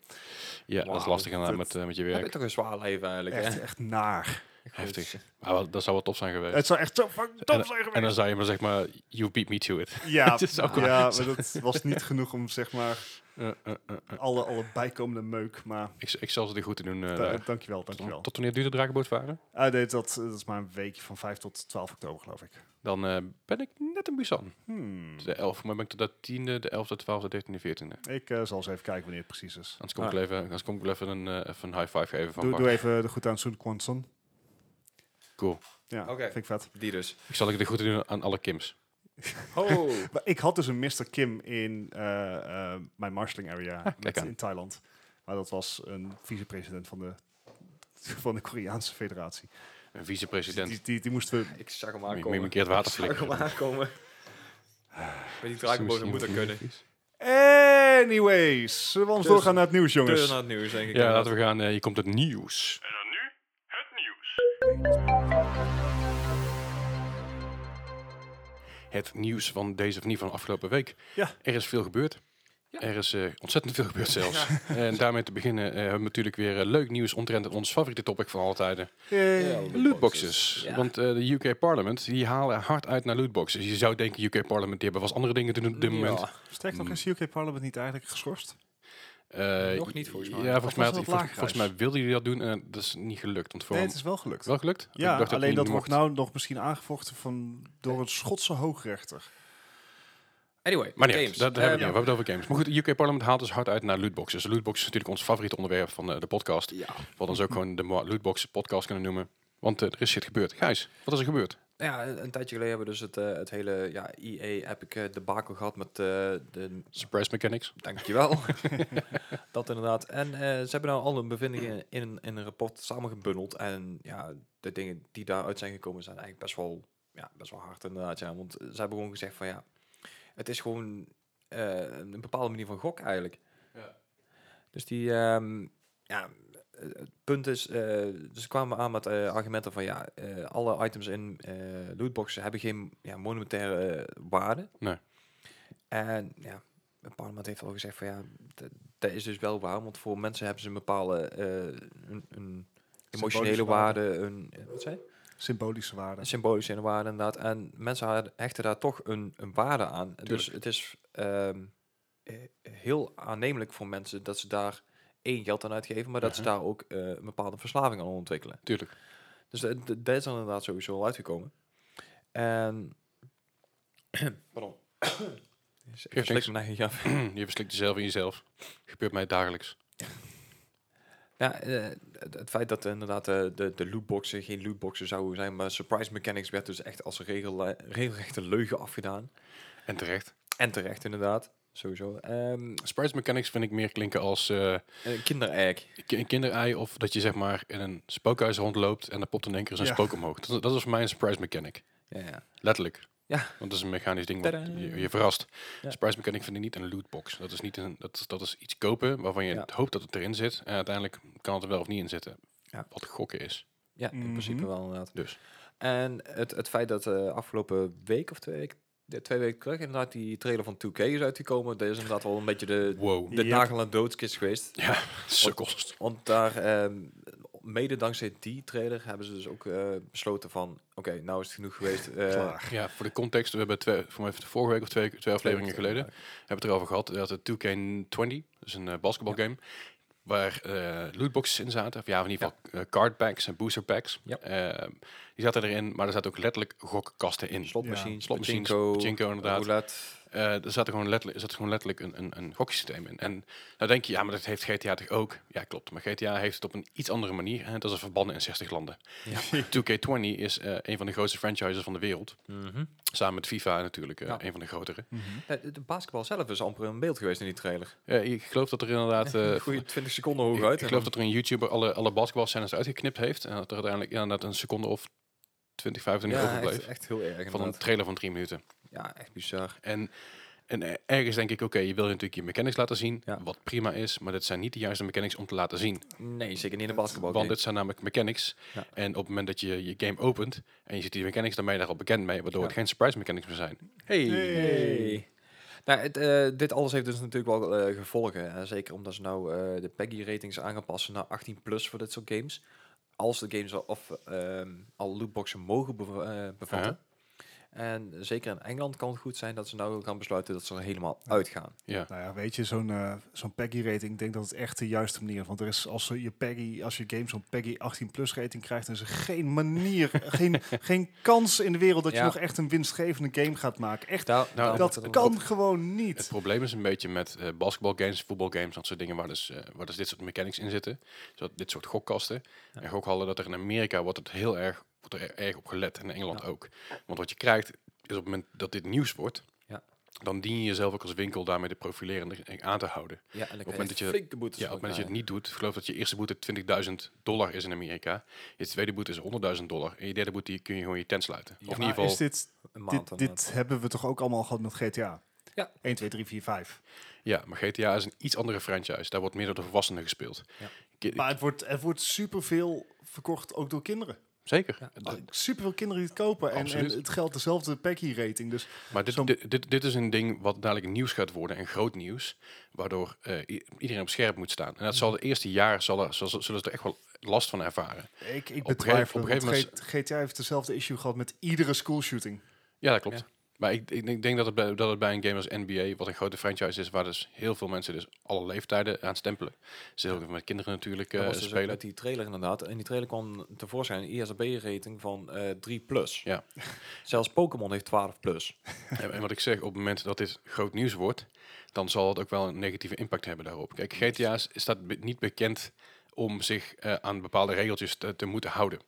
Ja, dat is
Wauw,
lastig inderdaad
dat-
met, eh, met je
Heb je
werk.
toch een zwaar leven eigenlijk,
Echt,
hè?
echt naar.
<laughs> Heftig. Maar Ah, wel- dat zou wel tof zijn geweest.
Het zou echt zo fucking
en,
top
<laughs>
zijn
en dan
geweest.
zou je maar zeg maar, you beat me to it.
Ja,
Het is ook wel-
ja, maar dat was niet genoeg om zeg maar
Eh, eh, eh, eh.
alle, alle bijkomende meuk. Maar
<laughs> Ik, ik zal ze er goed te doen. eh,
eh,
daar.
dankjewel, dankjewel.
Tot wanneer duurt de drakenboot varen?
Ah, nee, dat, dat is maar een weekje van 5 tot 12 oktober, geloof ik.
Dan eh, ben ik net in Busan.
Hmm.
Dus De 11, maar ben ik tot de 10e, de 11e, 12e, 13e, 14e.
Ik eh, zal eens even kijken wanneer het precies is.
Anders kom,
Ah.
ik wel even, anders kom ik wel even een, eh, even een high five geven van
Doe,
Mark.
doe even de goed aan Soen Kwanson.
Cool.
Ja,
Oké.
vind ik vet.
Die
<laughs>
dus.
Ik zal ik de goed doen aan alle Kims.
Ho!
Maar ik had dus een Mr. Kim in eh, eh, mijn marshalling
Ah,
area met-
aan.
in Thailand. Maar dat was een vicepresident van de, <laughs> van de Koreaanse federatie.
Een
Die,
vicepresident.
die, die moesten we...
Ik zag hem
Moet je- moet je
aankomen.
een keer het water
Ik zag hem
flikkeren. <laughs>
aankomen. Met die draakboot moet dat kunnen.
Anyways, zullen we ons
Dus-
doorgaan naar het nieuws,
Deur
jongens?
naar het nieuws, denk ik.
Ja, laten we gaan. eh, hier komt het nieuws.
En dan nu het nieuws.
het nieuws van deze of niet van de afgelopen week.
Ja.
Er is veel gebeurd.
Ja.
Er is eh, ontzettend veel gebeurd zelfs. <laughs> En daarmee te beginnen eh, hebben we natuurlijk weer eh, leuk nieuws omtrent ons favoriete topic van alle tijden.
Yay.
Ja,
Lootboxes.
Ja.
Want eh, de UK Parliament, die halen hard uit naar lootboxes. Je zou denken UK Parliament, die hebben was andere dingen te doen op dit moment.
Ja.
Sterk nog is UK Parliament niet eigenlijk geschorst?
Eh,
Nog niet, volgens mij.
Ja, volgens mij,
was
had-
het lager
volgens, volgens mij wilden jullie dat doen en dat is niet gelukt. Want voor
Nee, het is wel gelukt.
wel gelukt?
Ja,
Ik dacht
alleen
jullie
dat wordt
mochten.
nou nog misschien aangevochten van, door een Schotse hoogrechter.
Anyway,
Maar niet,
games.
uit, dat hebben we niet.
Ehm,
over. We hebben het over games. Maar goed, de UK Parliament haalt dus hard uit naar lootboxes. De lootbox is natuurlijk ons favoriete onderwerp van eh, de podcast.
Ehm, Ja.
We hadden
<laughs>
ons ook gewoon de mo- lootbox podcast kunnen noemen. Want eh, er is shit gebeurd. Gijs, wat is er gebeurd?
Ja, een een tijdje geleden hebben we dus het, eh, het hele ja, EA Epic eh, debacle gehad met eh, de...
Surprise mechanics.
Dankjewel.
<laughs>
<laughs> dat inderdaad. En eh, ze hebben nou al hun bevindingen in, een- in een rapport samengebundeld. En ja, de dingen die daaruit zijn gekomen zijn eigenlijk best wel, ja, best wel hard inderdaad. Ja. Want eh, ze hebben gewoon gezegd van ja, het is gewoon eh, een bepaalde manier van gok eigenlijk. Dus die, ehm, ja, eh, het punt is, eh, dus ze kwamen aan met eh, argumenten van ja, eh, alle items in eh, lootboxen hebben geen ja, monetaire eh, waarde.
Nee.
En ja, het parlement heeft al gezegd van ja, dat- dat is dus wel waar, want voor mensen hebben ze een bepaalde eh, een, een emotionele waarde,
waarde.
een, eh, wat zei je?
Symbolische waarde.
Een symbolische waarde inderdaad. En mensen had- hechten daar toch een, een waarde aan. Dus het is ehm, eh, heel aannemelijk voor mensen dat ze daar één geld aan uitgeven, maar dat ze daar ook eh, een bepaalde verslaving aan ontwikkelen.
Tuurlijk. <clears throat>
Dus dat, dat- dat is dan inderdaad sowieso al uitgekomen. En... <clears throat> Pardon. Ik
niks.
slik mijn eigen jaf.
je verslikt jezelf in jezelf. Gebeurt mij dagelijks.
Ja, eh, het, het feit dat inderdaad de, de, de lootboxen geen lootboxen zouden zijn, maar surprise mechanics werd dus echt als een regel, regelrechte leugen afgedaan.
En terecht.
En terecht, inderdaad. Sowieso. Ehm
Surprise mechanics vind ik meer klinken als eh,
een kindererg.
ki- een kinderei. Of dat je zeg maar in een spookhuis rondloopt en er popt in één keer eens een
Ja.
spook omhoog. Dat, dat is voor mij een surprise mechanic.
Ja, ja.
Letterlijk.
Ja.
Want dat is een mechanisch ding. Wat
Tadaa.
je, je verrast.
Ja.
Surprise mechanic vind ik niet een lootbox. Dat is, niet een, dat, is- dat is iets kopen waarvan je
Ja.
hoopt dat het erin zit. En uiteindelijk kan het er wel of niet in zitten.
Ja.
Wat gokken is.
ja in principe
Mhm.
wel inderdaad.
Dus.
En het, het feit dat eh, afgelopen week of twee weken, de twee weken terug, inderdaad die trailer van 2K is uitgekomen. Dat is inderdaad wel een beetje de,
<laughs> Wow.
de
Ja.
nagel aan doodskist geweest.
Ja, sukkels.
Want daar, ehm, mede dankzij die trailer, hebben ze dus ook eh, besloten van, oké, nou is het genoeg geweest. eh,
Klaar.
Ja, voor de context. We hebben twee, voor mij vorige week of twee, twee afleveringen geleden... hebben we het erover gehad. Dat het 2K20, dus een eh, basketbalgame... waar eh, lootboxes in zaten. Of ja, in ieder geval eh, card packs en booster packs.
Ja.
Eh, die zaten erin, maar er zaten ook letterlijk gokkasten in.
Slotmachines,
Ja. Slotmachines,
pachinko,
pachinko inderdaad.
roulette.
Eh, er zat gewoon letterlijk, er zat gewoon letterlijk een, een, een goksysteem in. En nou denk je, ja, maar dat heeft GTA toch ook? Ja, klopt. Maar GTA heeft het op een iets andere manier. En dat is verbannen in 60 landen. <laughs> 2K20 is eh, een van de grootste franchises van de wereld.
Mhm.
Samen met FIFA natuurlijk, eh,
Ja.
een van de grotere.
Eh, De, de basketbal zelf is amper in beeld geweest in die trailer.
Eh, ik geloof dat er inderdaad... eh, <laughs>
Goeie 20 seconden hoog
ik,
uit.
ik geloof dat er een YouTuber alle, alle basketbalscènes uitgeknipt heeft. En dat er uiteindelijk inderdaad een seconde of 20, 25
ja, echt,
overbleef.
echt heel erg.
Van een
inderdaad.
trailer van drie minuten.
Ja, echt bizar.
En, en eh, ergens denk ik, oké, je wil natuurlijk je mechanics laten zien,
Ja.
wat prima is, maar dit zijn niet de juiste mechanics om te laten zien.
Nee, zeker niet in de basketbal.
Want dit zijn namelijk mechanics.
Ja.
En op het moment dat je je game opent en je ziet die mechanics, dan ben je daar al bekend mee, waardoor het
Ja.
geen surprise mechanics meer zijn.
Hey. Nou, het, eh, dit alles heeft dus natuurlijk wel eh, gevolgen. Hè? Zeker omdat ze nou eh, de PEGI-ratings aan gaan passen naar 18 plus voor dit soort games. Als de games al, of, ehm, al lootboxen mogen bev- eh, bevatten. En zeker in Engeland kan het goed zijn dat ze nou gaan besluiten dat ze er helemaal uitgaan.
Ja.
Nou ja, weet je, zo'n eh zo'n Peggy rating, ik denk dat het echt de juiste manier is. Want er is, als ze je Peggy, als je game zo'n Peggy 18 plus rating krijgt, dan is er geen
<laughs>
manier, geen, geen kans in de wereld dat
Ja.
je nog echt een winstgevende game gaat maken. Echt,
Daar- daarom
dat
wordt
dat
het
kan
inderdaad-
gewoon
Het
niet.
probleem is een beetje met eh, basketbalgames, voetbalgames, dat soort dingen waar dus, eh, waar dus dit soort mechanics in zitten. Zodat dit soort gokkasten en gokhallen, dat er in Amerika wordt het heel erg, wordt er erg op gelet en in Engeland ook. Want wat je krijgt, is op het moment dat dit nieuws wordt,
Ja.
dan dien je jezelf ook als winkel daarmee te profileren en er- aan te houden.
Ja, en dan
het
krijg
moment dat
je
je-
flinke boetes.
Ja, op het
voor
moment dat je het
elkaar.
niet doet, ik geloof dat je eerste boete 20.000 dollar is in Amerika. Je tweede boete is 100.000 dollar. En je derde boete die kun je gewoon je tent sluiten. of in
Maar
ieder geval,
is dit,
Een maand
dit,
inderdaad.
eh,
dit hebben we toch ook allemaal gehad met GTA?
Ja.
1, 2, 3, 4, 5.
ja, maar GTA is een iets andere franchise. Daar wordt meer door de volwassenen gespeeld.
Ja.
Ki-
Maar het wordt, er wordt superveel verkocht, ook door kinderen.
Zeker.
Ja.
Dat-
Superveel kinderen die het kopen. En, en
Absoluut.
het geldt dezelfde Peggy rating. Dus
Maar dit,
Zo'n-
dit, dit, dit is een ding wat dadelijk nieuws gaat worden en groot nieuws, waardoor eh, i- iedereen op scherp moet staan. En dat zal de eerste jaar zal er, zal, zullen ze er echt wel last van ervaren.
Ik, ik
Op een gegeven-
betwijfel.
op
Op
een gegeven
GTA heeft dezelfde issue gehad met iedere schoolshooting.
Ja, dat klopt. Maar ik, ik, ik denk dat het, bij, dat het bij een game als NBA, wat een grote franchise is, waar dus heel veel mensen dus alle leeftijden aan stempelen. Dus heel veel met kinderen natuurlijk
Dat
eh,
was dus ook
spelen.
met die trailer inderdaad. En die trailer kwam tevoorschijn een E ISB-rating van eh 3+. Plus.
Ja.
Zelfs Pokémon heeft 12+. Plus.
En, en wat ik zeg, op het moment dat dit groot nieuws wordt, dan zal het ook wel een negatieve impact hebben daarop. Kijk, GTA is- staat be- niet bekend om zich eh, aan bepaalde regeltjes te, te moeten houden.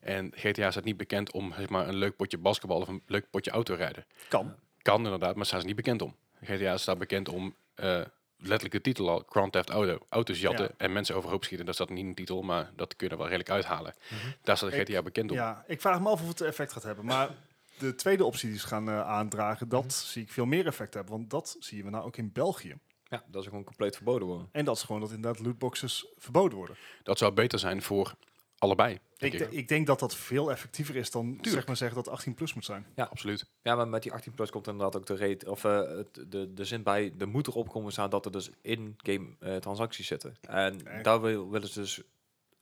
En GTA staat niet bekend om zeg maar, een leuk potje basketbal of een leuk potje autorijden.
Kan.
Kan inderdaad, maar staan ze niet bekend om. GTA staat bekend om eh, letterlijk de titel al, Grand Theft Auto. Auto's jatten
Ja.
en mensen overhoop schieten. Dat staat niet in de titel, maar dat kun je er wel redelijk uithalen. Daar staat
Ik-
GTA bekend om.
Mhm. Ja, ik vraag me af of het effect gaat hebben.
<laughs>
Maar de tweede optie die ze gaan eh, aandragen,
Mhm.
dat zie ik veel meer effect hebben. Want dat zien we nou ook in België.
Ja, dat is gewoon compleet verboden worden.
En dat is gewoon dat inderdaad lootboxes verboden worden.
Dat zou beter zijn voor allebei. Denk
Ik,
ik,
de- ik denk dat dat veel effectiever is dan zeg maar zeggen dat 18 plus moet zijn.
Absoluut.
Ja, maar met die 18 plus komt inderdaad ook de rate of eh, het- de, de zin bij, er moet erop komen staan dat er dus in-game eh, transacties zitten. En
Echt?
daar wil, willen ze dus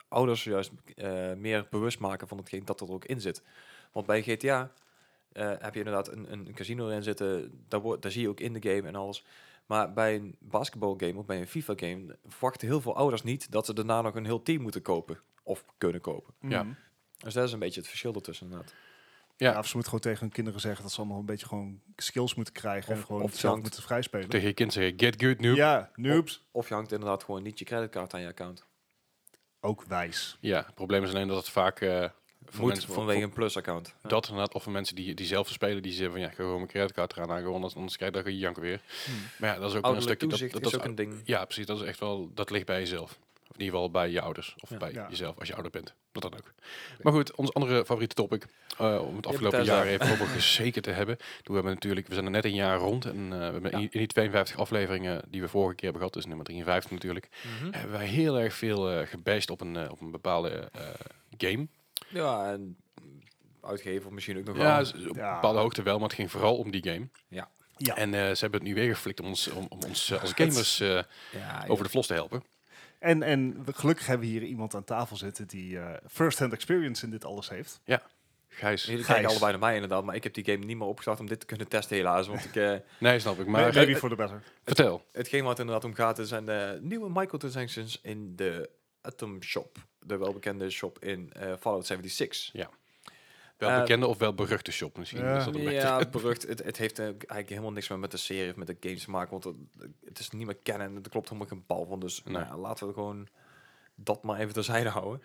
ouders juist eh, meer bewust maken van hetgeen dat er ook in zit. Want bij GTA eh, heb je inderdaad een, een casino erin zitten, daar, wordt daar zie je ook in de game en alles. Maar bij een basketbalgame of bij een FIFA-game verwachten heel veel ouders niet dat ze daarna nog een heel team moeten kopen of kunnen kopen.
Ja.
Mhm.
Dus dat is een beetje het verschil ertussen inderdaad.
Ja.
Ja, of ze moeten gewoon tegen hun kinderen zeggen dat ze allemaal een beetje gewoon skills moeten krijgen.
Of-
en gewoon
of
zelf
jankt.
moeten vrijspelen.
Tegen je kind zeggen, get good noob. Ja,
Ja, noobs.
Of je hangt inderdaad gewoon niet je creditcard aan je account.
Ook wijs.
het probleem is alleen dat het vaak... eh, voor
Moet
mensen, voor-
vanwege
voor
een plus-account.
dat inderdaad, of voor mensen die, die zelf spelen, die zeggen van ja, ik ga gewoon mijn creditcard eraan hangen, want anders- anders krijg je dat janken weer. Maar ja, dat is ook weer een
Hmm. Ouderlijk
stukje...
toezicht
dat,
is
dat, dat
ook een ding.
Ja, precies. Dat is echt wel, dat ligt bij jezelf. Of in ieder geval bij je ouders. Of
Ja.
bij
Ja.
jezelf als je ouder bent. Dat dan ook. Maar goed, ons andere favoriete topic. eh, om het afgelopen
Bethesda.
jaar even over zeker te hebben. Toen hebben we natuurlijk, we zijn er net een jaar rond. En eh, we hebben
Ja.
in in die 52 afleveringen die we vorige keer hebben gehad, dus nummer 53 natuurlijk, hebben wij heel erg veel eh gebashed op een, eh, op een bepaalde eh, game.
Ja, en uitgeven of misschien ook nog
Ja,
wel.
dus op een
Ja.
bepaalde hoogte wel, maar het ging vooral om die game.
Ja.
Ja.
En eh, ze hebben het nu weer geflikt om ons, om, om ons eh, als gamers eh,
Ja,
over de vlos te helpen.
En, en we- gelukkig hebben we hier iemand aan tafel zitten die eh first-hand experience in dit alles heeft.
Gijs.
Jullie
Gijs.
kijken allebei naar mij inderdaad, maar ik heb die game niet meer opgestart om dit te kunnen testen helaas. Want ik, eh, <laughs>
Nee, snap ik. Maar
Maar Maybe
eh,
for the better.
vertel.
hetgeen waar het inderdaad om gaat is zijn de nieuwe microtransactions in de Atom Shop. De welbekende shop in eh, Fallout 76.
Wel
Eh,
bekende of wel beruchte shop misschien.
ja.
Is dat een beetje-
Ja, berucht. Het, het heeft eh, eigenlijk helemaal niks meer met de serie of met de games te maken. Want het, het is niet meer kennen en er klopt helemaal geen bal van. Dus nou ja, laten we gewoon dat maar even terzijde
<laughs>
houden.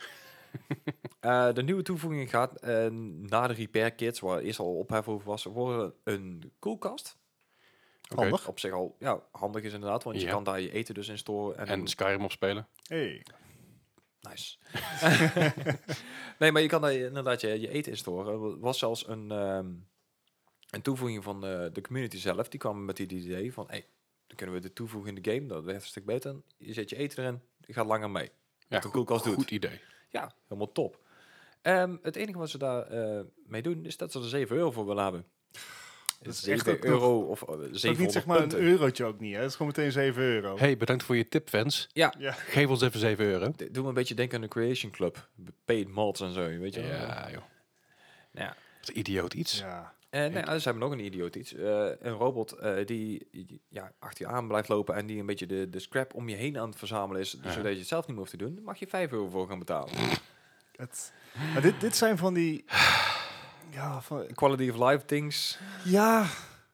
Eh, de nieuwe toevoeging gaat eh, na de repair kits, waar eerst al ophef over was, worden een koelkast.
Oké.
Handig.
Op zich al ja, handig is inderdaad, want
Ja.
je kan daar je eten dus in storen. En,
En Skyrim op spelen.
Hey.
Nice. <laughs> nee, maar je kan daar je- inderdaad je, je eten in storen. Er was zelfs een, ehm, een toevoeging van eh, de community zelf. Die kwam met dit idee van... Hey, dan kunnen we dit toevoegen in de game. Dat werkt een stuk beter. Je zet je eten erin. Je gaat langer mee.
Ja,
de koelkast
goed,
doet.
goed idee.
Ja, helemaal top. Ehm, het enige wat ze daar eh, mee doen... is dat ze er 7 euro voor willen hebben.
Dat is
7
echt ook nog-
euro of eh,
Dat is
700
niet zeg maar een
punten.
eurotje ook niet. Hè? Het is gewoon meteen 7 euro.
Hey, bedankt voor je tip, fans.
Ja.
<laughs>
Ja.
Geef ons even 7 euro.
Dit doet me een beetje denken aan de Creation Club. Paid malts en zo, weet je wel.
Ja, joh.
Ja.
Wat een idioot iets.
Ja.
En Eh, nee, anders hebben we nog een idioot iets. Eh, een robot eh, die die, ja, achter je aan blijft lopen en die een beetje de, de scrap om je heen aan het verzamelen is, dus zodat je het zelf niet meer hoeft te doen, daar mag je 5 euro voor gaan betalen.
Het, maar dit, dit zijn van die... Ja, van,
Quality of life things
ja,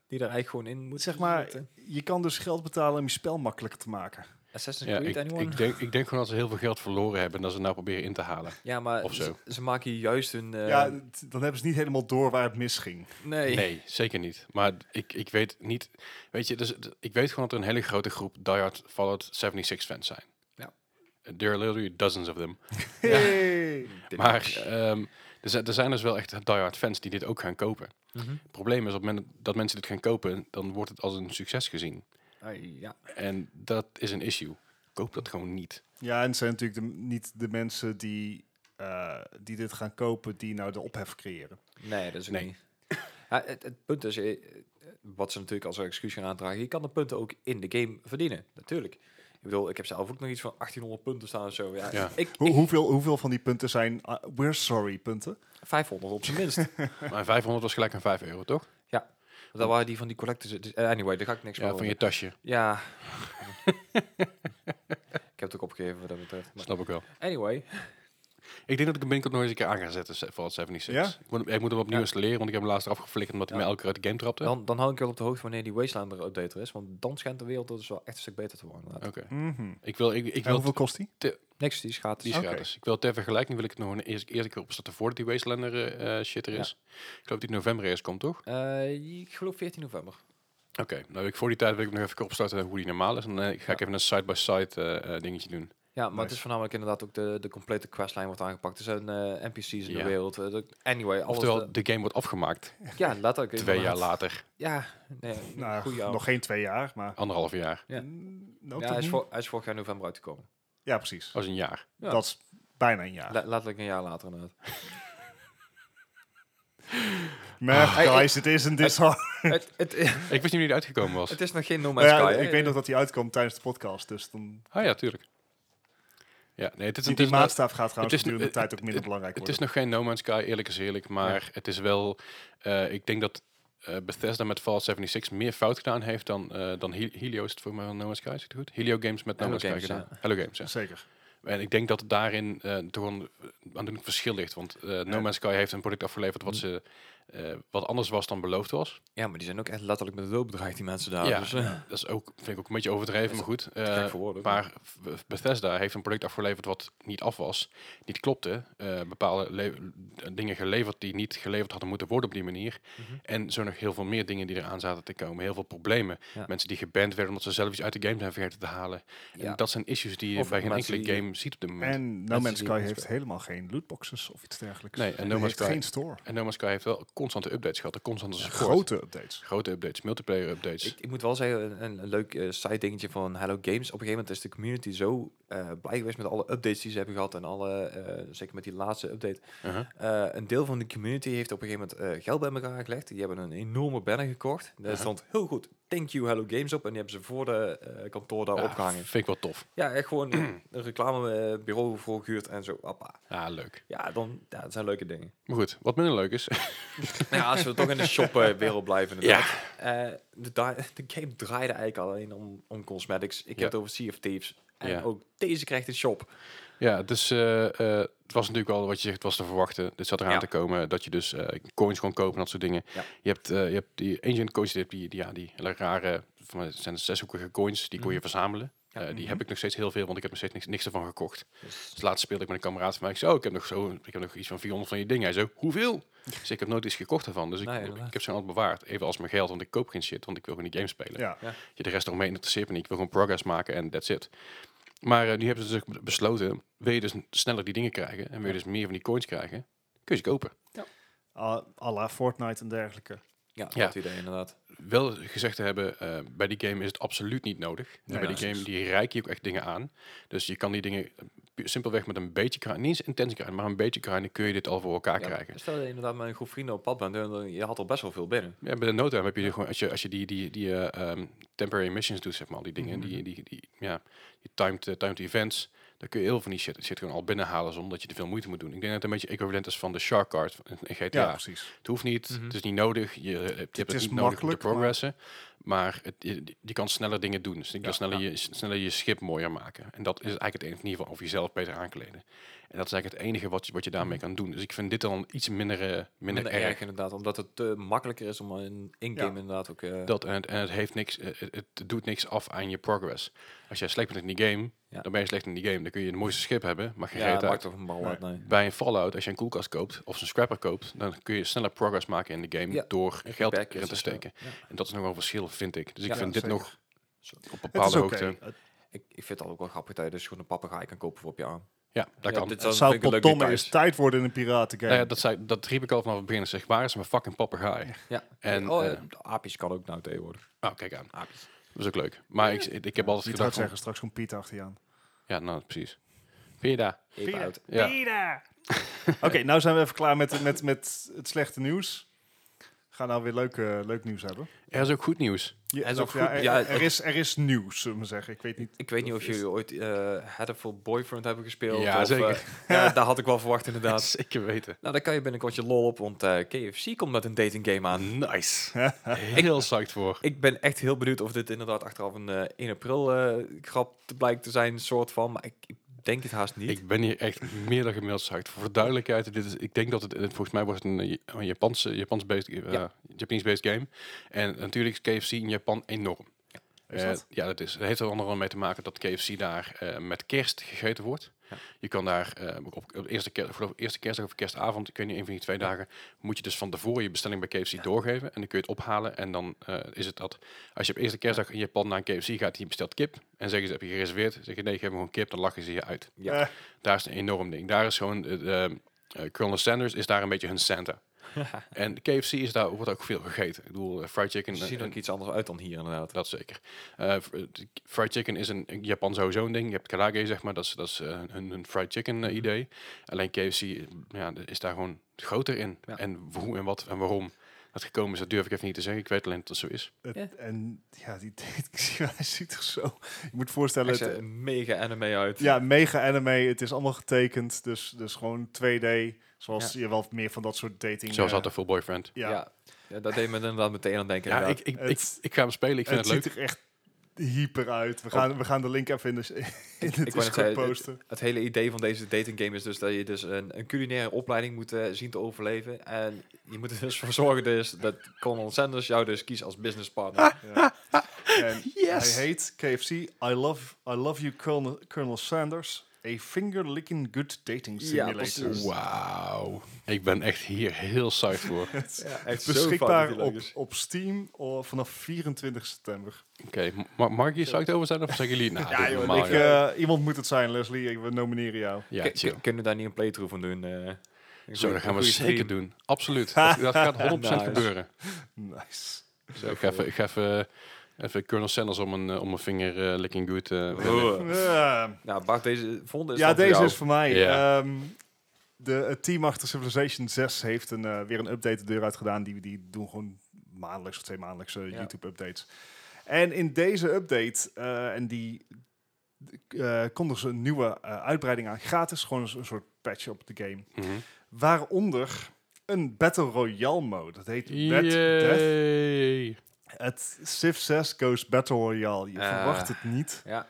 die er eigenlijk gewoon in moeten
zeg maar,
zitten.
je kan dus geld betalen om je spel makkelijker te maken.
Assassin's
Ja, ik,
Creed, anyone?
ik, denk, ik denk gewoon dat ze heel veel geld verloren hebben en dat ze nou proberen in te halen.
ja, maar
of zo.
Ze, ze maken hier juist hun... eh,
ja, het- dan hebben ze niet helemaal door waar het misging.
nee.
Nee, zeker niet. Maar ik, ik weet niet. Weet je, dus, d- ik weet gewoon dat er een hele grote groep diehard Fallout 76 fans zijn.
Ja.
There are literally dozens of them.
Hey.
Dit-
Maar ehm, er, zijn, er zijn dus wel echt diehard fans die dit ook gaan kopen.
Mhm.
Het probleem is op het moment dat mensen dit gaan kopen, dan wordt het als een succes gezien.
Ah, ja.
En dat is een issue. Koop dat gewoon <laughs> niet.
Ja, en het zijn natuurlijk de, niet de mensen die, eh, die dit gaan kopen, die nou de ophef creëren.
Nee, dat is ook
Nee.
niet. Ja, het, het punt is, eh, eh, wat ze natuurlijk als excuus gaan aandragen, je kan de punten ook in de game verdienen, natuurlijk. Ik bedoel, ik heb zelf ook nog iets van 1800 punten staan of zo. Ja,
Ja.
Ik,
Hoe,
ik-
hoeveel, hoeveel van die punten zijn ah, we're sorry punten?
<laughs>
500 op zijn minst.
Maar 500 was gelijk aan 5 euro, toch?
Ja. Dat waren die van die collectors. Dus, eh, Anyway, daar ga ik niks meer
Ja, van
over.
je tasje. <laughs>
Ja. ik heb het ook opgegeven wat dat betreft. Maar
Snap ik wel.
anyway.
Ik denk dat ik hem binnenkort nog eens een keer aan ga zetten, se- Fallout 76.
Ja?
Ik, moet, ik moet hem opnieuw
Ja.
installeren, want ik heb hem laatst afgeflikkerd omdat hij
Ja.
mij elke keer uit de game trapte.
Dan, dan hou ik je wel op de hoogte wanneer die Wastelander update er is. Want dan schijnt de wereld er dus wel echt een stuk beter te worden.
Oké.
inderdaad.
Mhm.
Ik wil, ik, ik
En
wil
hoeveel kost die?
Niks, die is gratis.
die is
Oké.
gratis. Ik wil ter vergelijking wil ik het nog een eerste, eerste keer opstarten voordat die Wastelander eh, eh, shit er
Ja.
is. Ik geloof dat die in november eerst komt, toch?
Eh, ik geloof 14 november.
Oké, nou wil ik voor die tijd wil ik hem nog even opstarten hoe die normaal is. En eh, ik ga ik even een side-by-side eh, eh, dingetje doen.
Ja, maar het
Nice.
is voornamelijk inderdaad ook de, de complete questlijn wordt aangepakt. Er zijn eh, NPC's in de
Ja.
wereld. eh, de- anyway, alles.
Oftewel,
eh,
de game wordt afgemaakt
ja,
<laughs>
letterlijk.
twee jaar
inderdaad.
later,
Ja, nee,
Nou,
goeie ouwe.
nog geen twee jaar, maar...
anderhalf jaar.
Ja.
Mm, nou,
ja,
toch
hij, is
niet?
voor, hij is vorig jaar november uitgekomen.
ja, precies.
Dat is een jaar.
Ja.
Dat is bijna een jaar.
Le- letterlijk een jaar later
<laughs>
inderdaad.
Maar
Hey,
guys, het is een this <laughs> hard.
het, het, <laughs>
Ik wist niet hoe die uitgekomen was.
het is nog geen No
Maar
Man's
Nou ja,
Sky. hè?
ik weet nog dat die uitkwam tijdens de podcast, dus dan...
Ah ja, tuurlijk. Ja, nee, het is,
Die,
het
die
is nou-
maatstaaf gaat
het
trouwens
is nu-
gedurende de
het-
tijd ook minder belangrijk
Het
worden.
is nog geen No Man's Sky, eerlijk is eerlijk. Maar het is wel... eh, ik denk dat eh, Bethesda met Fallout 76 meer fout gedaan heeft dan, eh, dan Hel- Helio. Is het voor mij wel No Man's Sky? Is het goed? Helio Games met No
Hello
Man's Sky
Games,
gedaan.
ja.
Hello Games, ja.
Zeker.
En ik denk dat het daarin eh, toch een aandoenlijk verschil ligt. Want eh, No
Ja.
Man's Sky heeft een product afgeleverd
Mm.
wat, ze, eh, wat anders was dan beloofd was.
Ja, maar die zijn ook echt letterlijk met de dood bedreigd, die mensen daar.
Ja.
Dus, eh,
Dat is ook, vind ik ook een beetje overdreven, maar goed.
gek
Eh,
voor woorden.
maar v- Bethesda heeft een product afgeleverd wat niet af was, niet klopte. eh, bepaalde le- eh, dingen geleverd die niet geleverd hadden moeten worden op die manier.
Mhm.
En zo nog heel veel meer dingen die eraan zaten te komen. Heel veel problemen.
Ja.
Mensen die geband werden omdat ze zelf iets uit de game zijn vergeten te halen.
Ja.
En dat zijn issues die je
Of
bij geen
mensen
enkele
die-
game ziet op dit moment. En,
En No
Mensen
Man's
die
Sky
het
heeft
spelen.
helemaal geen lootboxes of iets dergelijks.
Nee, en
Die
No Man's
heeft
Sky-
geen store.
No Man's Sky heeft wel constante updates gehad. een Constante support.
Grote updates.
Grote updates, multiplayer updates.
ik, ik moet wel zeggen, een- een, een leuk eh, side dingetje van Hello Games. Op een gegeven moment is de community zo eh, blij geweest met alle updates die ze hebben gehad. En alle, eh, zeker met die laatste update.
Uh-huh.
Eh, een deel van de community heeft op een gegeven moment eh, geld bij elkaar gelegd. Die hebben een enorme banner gekocht. Daar
Ja.
stond heel goed Thank you Hello Games op. En die hebben ze voor de eh, kantoor daar
Ja,
opgehangen.
Vind ik wel tof.
Ja, echt gewoon een reclamebureau voor gehuurd en zo. Appa.
Ah, leuk.
Ja, dan, ja, dat zijn leuke dingen.
Maar goed, wat minder leuk is.
Nou ja, als we toch in de shopwereld blijven inderdaad. Eh, de, da- de game draaide eigenlijk alleen om, om cosmetics. Ik
Ja.
heb het over Sea of Thieves. En
Ja.
ook deze krijgt een shop.
Ja, dus eh, eh, het was natuurlijk wel wat je zegt, het was te verwachten. Dit zat eraan
Ja.
te komen dat je dus eh, coins kon kopen en dat soort dingen.
Ja.
Je, hebt, eh, je hebt die ancient coins, die, die, die, ja, die hele rare, van, mij zijn het zeshoekige coins, die kon je verzamelen.
Mhm. Ja.
Eh, die heb ik nog steeds heel veel, want ik heb nog steeds niks, niks ervan gekocht.
Dus-
Dus laatst speelde ik met een kameraad van mij. Ik zei, oh, ik heb nog, zo, ik heb nog iets van 400 van je dingen. Hij zei, hoeveel? Dus ik heb nooit iets gekocht ervan. Dus ik,
Nee,
ik
inderdaad.
heb ze altijd bewaard. Even als mijn geld, want ik koop geen shit, want ik wil gewoon die game spelen.
Ja.
Je de rest eromheen interesseert me niet. Ik wil gewoon progress maken en that's it. Maar eh, nu hebben ze dus be- besloten, wil je dus n- sneller die dingen krijgen en wil je dus meer van die coins krijgen, kun je ze kopen.
A à la Fortnite en dergelijke.
Ja,
Ja.
dat idee inderdaad.
Wel gezegd te hebben, eh, bij die game is het absoluut niet nodig. En
Nee,
bij die
precies.
game, die rijk je ook echt dingen aan. Dus je kan die dingen eh, pu- simpelweg met een beetje grind, niet eens intens grind, maar een beetje grinden kun je dit al voor elkaar
Ja,
krijgen.
Stel dat je inderdaad met een groep vrienden op pad bent. en dan- Je had al best wel veel binnen.
Ja, bij de no-time heb je die gewoon, als je, als je die, die, die eh, ehm, temporary missions doet, zeg maar, al die dingen,
Mhm.
die, die, die, ja, die timed, eh, timed events, dan kun je heel veel van die shit, shit gewoon al binnenhalen zonder dat je te veel moeite moet doen. Ik denk dat het een beetje equivalent is van eh, de shark card in in GTA.
Ja, precies. Mhm.
Het hoeft niet, het is niet nodig, je, eh, hebt- je hebt het,
is
niet nodig om te
makkelijk, maar-
progressen, maar, het, je, je kan sneller dingen doen. Dus je kan sneller, je, sneller je schip mooier maken. En dat is eigenlijk het enige, in ieder geval, of jezelf beter aankleden. En dat is eigenlijk het enige wat je, wat je daarmee
Mhm.
kan doen. Dus ik vind dit dan iets minder, eh, minder,
Minder
erg.
erg inderdaad. Omdat het eh, makkelijker is om in- in-game
Ja.
inderdaad ook... eh,
Dat en het, en het heeft niks, eh, het, het doet niks af aan je progress. Als jij slecht bent in die game,
Ja.
dan ben je slecht in die game. Dan kun je het mooiste schip hebben, maar geen
ja,
reet
dat maakt
uit.
toch een bal uit, nee.
Bij een Fallout, als je een koelkast koopt of een scrapper koopt, dan kun je sneller progress maken in de game
Ja.
door geld erin
back is
te
en zo.
steken. En dat is nog wel een verschil, vind ik. Dus ik
Ja,
vind
ja,
dit
zeker.
nog
Zo.
op
Het is
bepaalde
oké.
hoogte.
Het-
Ik, ik vind het ook wel grappig dat je dus gewoon een papagaai kan kopen voor op je arm.
Ja, dat
Ja,
kan. Nou
dit is- Dat
Het zou
vind ik een leuk
potdomme
detail.
eens tijd worden in een piratengame.
ja, dat, zei, dat riep ik al vanaf het begin. Ik Zeg, waar is mijn fucking papegaai?
Ja.
En,
oh,
eh,
eh, de aapjes kan ook nou tegenwoordig.
Oh, kijk aan.
Aapjes.
Dat is ook leuk. Maar ik, ik heb altijd
Niet hard
gedacht van,
zeggen, straks komt Piet achter je
<laughs>
aan.
Ja, nou, precies. Vind je daar?
Eet uit.
Ja.
Oké, nou zijn we even klaar met, met, met het slechte nieuws. Gaan nou weer leuk, eh, leuk nieuws hebben.
Er is ook goed nieuws.
Ja,
En zo
of
goed-
ja, er,
ja,
er
het-
is, er is nieuws, zullen we maar zeggen. Ik weet niet.
Ik weet niet of
Of is-
jullie ooit eh Hatful Boyfriend hebben gespeeld.
Ja,
of,
zeker.
eh,
<laughs>
<laughs> ja, daar had ik wel verwacht inderdaad.
Zeker weten.
Nou, daar kan je binnenkort je lol op, want eh, KFC komt met een dating game aan.
Mhm. Nice. <laughs> Heel psyched voor.
Ik ben echt heel benieuwd of dit inderdaad achteraf een eh, 1 april eh, grap te- blijkt te zijn, soort van. Maar ik, ik denk het haast niet.
Ik ben hier echt meer dan gemiddeld zacht. Voor de duidelijkheid, dit is, ik denk dat het, eh, volgens mij was het een, eh, Ja- een Japanse, Japans-based, eh,
Ja.
Japanese-based game. En natuurlijk is KFC in Japan enorm.
Is
Eh,
dat?
ja, dat is. Het heeft er onder andere mee te maken dat KFC daar eh, met kerst gegeten wordt.
Ja.
Je kan daar eh, op, op de eerste, kerst, geloof ik, eerste kerstdag of kerstavond, kun je een van die twee dagen, moet je dus van tevoren je bestelling bij KFC doorgeven. En dan kun je het ophalen. En dan eh, is het dat, als je op eerste kerstdag in Japan naar een KFC gaat, je bestelt kip. En zeggen ze, heb je gereserveerd? Zeg je, nee, geef me gewoon kip. Dan lachen ze je uit.
Ja.
Eh,
Daar is een enorm ding. Daar is gewoon, eh, de, eh, Colonel Sanders is daar een beetje hun Santa. en KFC is daar, wordt ook veel gegeten. Ik bedoel, eh, fried chicken.
Ze zien
en-
er ook iets anders uit dan hier inderdaad.
dat zeker. Eh, fr- de k- fried chicken is in Japan sowieso een ding. Je hebt karage, zeg maar. Dat is, dat is eh, hun, hun fried chicken eh, idee. Alleen KFC eh, ja, de- is daar gewoon groter in.
Ja.
En hoe en wat en waarom dat gekomen is, dat durf ik even niet te zeggen. Ik weet alleen dat het zo is.
het-
Ja.
En ja, die date- <laughs> hij ziet er zo. Ik moet voorstellen.
Echt
het-
eh,
een mega anime uit.
ja, mega anime. Het is allemaal getekend. Dus, dus gewoon 2D. Zoals je wel meer van dat soort dating.
Zoals
eh,
altijd veel boyfriend.
Ja,
ja. Ja, dat deed me inderdaad meteen aan denken.
Ja, ik,
inderdaad.
ik, ik,
Het-
ik ga hem spelen. Ik vind
het
het,
ziet er
leuk.
echt hyper uit. We gaan, we gaan de link even in de, in de
net
Discord
zeggen, het-
posten.
Het hele idee van deze datinggame is dus dat je dus een, een culinaire opleiding moet eh, zien te overleven. En je moet er dus voor zorgen dus dat Colonel Sanders jou dus kiest als
Ah,
businesspartner.
En Hij heet KFC. I love, I love you, Colonel, Colonel Sanders. A finger-licking good dating
Ja,
simulator.
precies.
Wauw. Ik ben echt hier heel psyched voor. Oké,
Ja, echt zo fout
Beschikbaar
dat die leuk
op,
is.
op Steam oh, vanaf 24 september.
ma- mag ik hier psyched over zijn? Of zeggen jullie, nou, ja,
joh,
normaal.
ik,
joh.
eh, iemand moet het zijn, Leslie. Ik, we nomineren jou.
ja,
Kun-
chill.
kun- Kunnen we daar niet een playthrough van doen? eh? Een
Zo,
goeie-
dat
een
gaan we
goeie
zeker
stream.
doen. Absoluut. Dat, dat gaat 100%
Nice.
gebeuren.
Nice.
Zo, ik ga even, ik ga even, even Colonel Sanders om een, eh, om een vinger eh, licking good. eh, willen.
Oh.
Eh,
Nou, Bart, deze volgende is
ja,
dan voor
deze
jou.
is voor mij.
Ja.
Ehm, de, het team achter Civilization 6 heeft een, eh, weer een update de deur uit gedaan. Die, die doen gewoon maandelijks of twee maandelijkse
Ja.
YouTube-updates. En in deze update, eh, en die eh kondigen ze een nieuwe eh, uitbreiding aan. Gratis, gewoon een, soort patch op de game.
Mhm.
Waaronder een Battle Royale mode. Dat heet Red Death.
Yay.
Het Civ 6 goes Battle Royale. Je
Ah.
verwacht het niet.
Ja,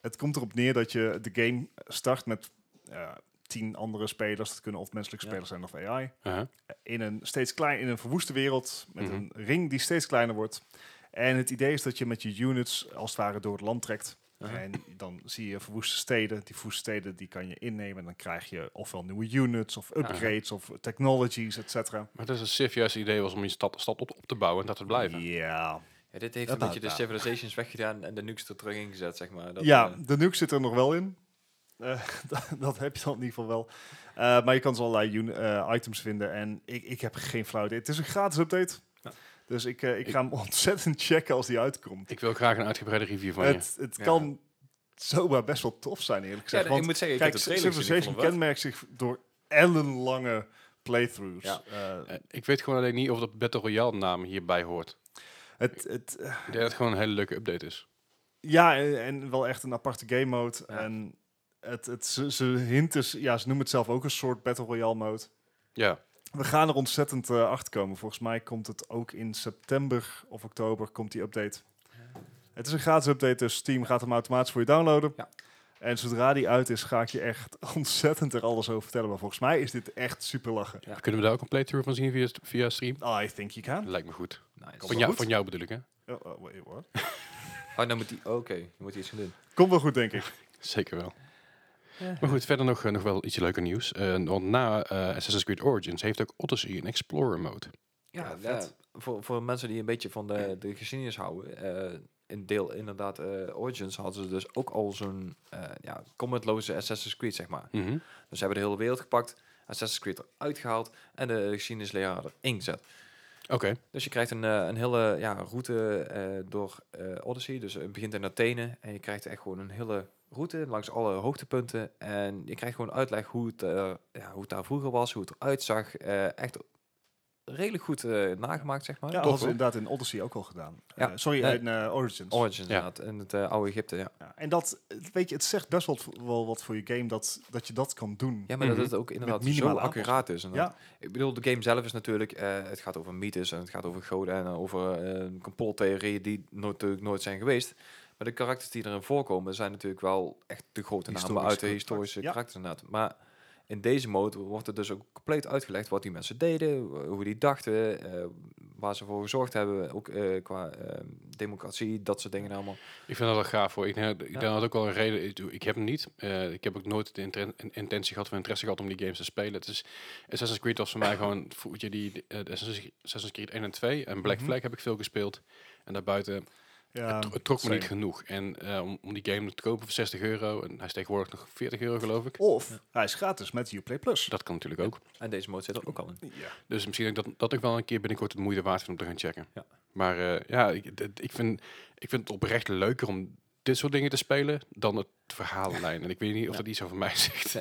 Het komt erop neer dat je de game start met eh, tien andere spelers. Dat kunnen of menselijke
Ja.
spelers zijn of AI.
Aha.
In een steeds klein, in een verwoeste wereld met
Mhm.
een ring die steeds kleiner wordt. En het idee is dat je met je units als het ware door het land trekt.
Mhm.
Aha.
En dan zie je verwoeste steden. Die verwoeste steden die kan je innemen. En dan krijg je ofwel nieuwe units of upgrades of technologies, et cetera.
Maar dat is een Civ juist het idee was om je stad, stad op, op te bouwen en dat te blijven.
Ja.
Ja, dit heeft
Dat
een beetje de
houdt
civilizations weggedaan en de nukes er terug ingezet, zeg maar. Dat,
ja,
eh,
de nuke zit er nog wel in. Eh, <laughs> dat, dat heb je dan in ieder geval wel. Eh, maar je kan zo allerlei uni- eh, items vinden. En ik, ik heb geen flauw idee. Het is een gratis update. Dus ik, eh, ik,
Ik-
ga hem <laughs> ontzettend checken als die uitkomt.
Ik wil graag een uitgebreide review van je.
het het
Ja.
kan zomaar best wel tof zijn, eerlijk
ja,
gezegd.
ik
Want
moet zeggen, ik
kijk,
heb de trailer gezien, ik
Civilization
vond hem wel-
kenmerkt zich door ellenlange playthroughs.
Ja.
Eh,
Eh, Ik weet gewoon alleen niet of dat Battle Royale naam hierbij hoort.
het, het, eh,
Ik denk dat het gewoon een hele leuke update is.
Ja, en, en wel echt een aparte game mode.
Ja.
En het, het, ze, ze hinten, ja, ze noemen het zelf ook een soort Battle Royale mode.
Ja,
We gaan er ontzettend eh, achter komen. Volgens mij komt het ook in september of oktober komt die update. Het is een gratis update, dus Steam gaat hem automatisch voor je downloaden.
Ja.
En zodra die uit is, ga ik je echt <laughs> ontzettend er alles over vertellen. Maar volgens mij is dit echt super lachen.
Ja.
kunnen we daar ook een playthrough van zien via, via stream?
Ah, I think you can.
Lijkt me goed.
Nice.
Komt
Van
wel
jou,
goed.
van jou bedoel ik, hè?
Oh, oh, wait, what?
Oh, dan moet die... oh, Oké, dan moet hij iets gaan doen.
Komt wel goed, denk ik.
Zeker wel.
Ja.
Maar goed, verder nog, eh, nog wel iets leuker nieuws. Eh, want na eh, Assassin's Creed Origins heeft ook Odyssey een Explorer mode.
Ja,
Ja,
ja,
vet.
voor, voor mensen die een beetje van de, de geschiedenis houden. eh een deel inderdaad, eh, Origins hadden ze dus ook al zo'n eh ja, commentloze Assassin's Creed, zeg maar.
Mhm.
Dus ze hebben de hele wereld gepakt, Assassin's Creed eruit gehaald en de geschiedenisleraar erin gezet.
Oké.
Dus je krijgt een, eh, een hele ja, route eh, door eh, Odyssey. Dus het begint in Athene en je krijgt echt gewoon een hele route langs alle hoogtepunten. En je krijgt gewoon uitleg hoe het, eh, ja, hoe het daar vroeger was, hoe het eruit zag. Eh, echt redelijk goed eh, nagemaakt, zeg maar.
Ja, dat hadden
Tof,
ze
hoor.
inderdaad in Odyssey ook al gedaan.
Ja.
Eh, sorry,
Nee.
in eh, Origins.
Origins,
Ja.
inderdaad. In het eh, oude Egypte, ja.
Ja, en dat, weet je, het zegt best wel, wel wat voor je game dat, dat je dat kan doen.
Ja, maar
Mhm.
dat het ook inderdaad
minimale
zo
aanpassing.
accuraat is. inderdaad.
Ja.
Ik bedoel, de game zelf is natuurlijk... eh, het gaat over mythes en het gaat over goden en eh, over eh, complottheorieën die nooit, natuurlijk nooit zijn geweest. Maar de karakters die erin voorkomen zijn natuurlijk wel echt de grote namen
Historisch
uit de
goed,
historische
ja.
karakters inderdaad. Maar in deze mode wordt het dus ook compleet uitgelegd wat die mensen deden, w- hoe die dachten, eh, waar ze voor gezorgd hebben. Ook eh, qua eh, democratie, dat soort dingen allemaal.
Ik vind dat wel gaaf hoor. Ik denk, dat- ik denk dat ook wel een reden. ik doe- Ik heb hem niet. Eh, ik heb ook nooit de inten- in- intentie gehad of interesse gehad om die games te spelen. Het is Assassin's Creed was voor
<coughs>
mij gewoon voelt je die eh, de Assassin's Assassin's Creed 1 en 2 en Black
Mhm.
Flag heb ik veel gespeeld. En daarbuiten
Ja,
het, tro- het trok me
same.
niet genoeg. En eh, om, om die game te kopen voor 60 euro en hij is tegenwoordig nog 40 euro geloof ik.
Of hij is gratis met Uplay Plus.
Dat kan natuurlijk ook.
En deze mode zit er ook al in.
Ja.
Dus misschien dat dat ik wel een keer binnenkort het moeite waard vind om te gaan checken.
Ja.
Maar eh, ja, ik, dit- ik, vind, ik vind het oprecht leuker om dit soort dingen te spelen dan het verhaallijn. En ik weet niet of
Ja.
dat iets over mij zegt.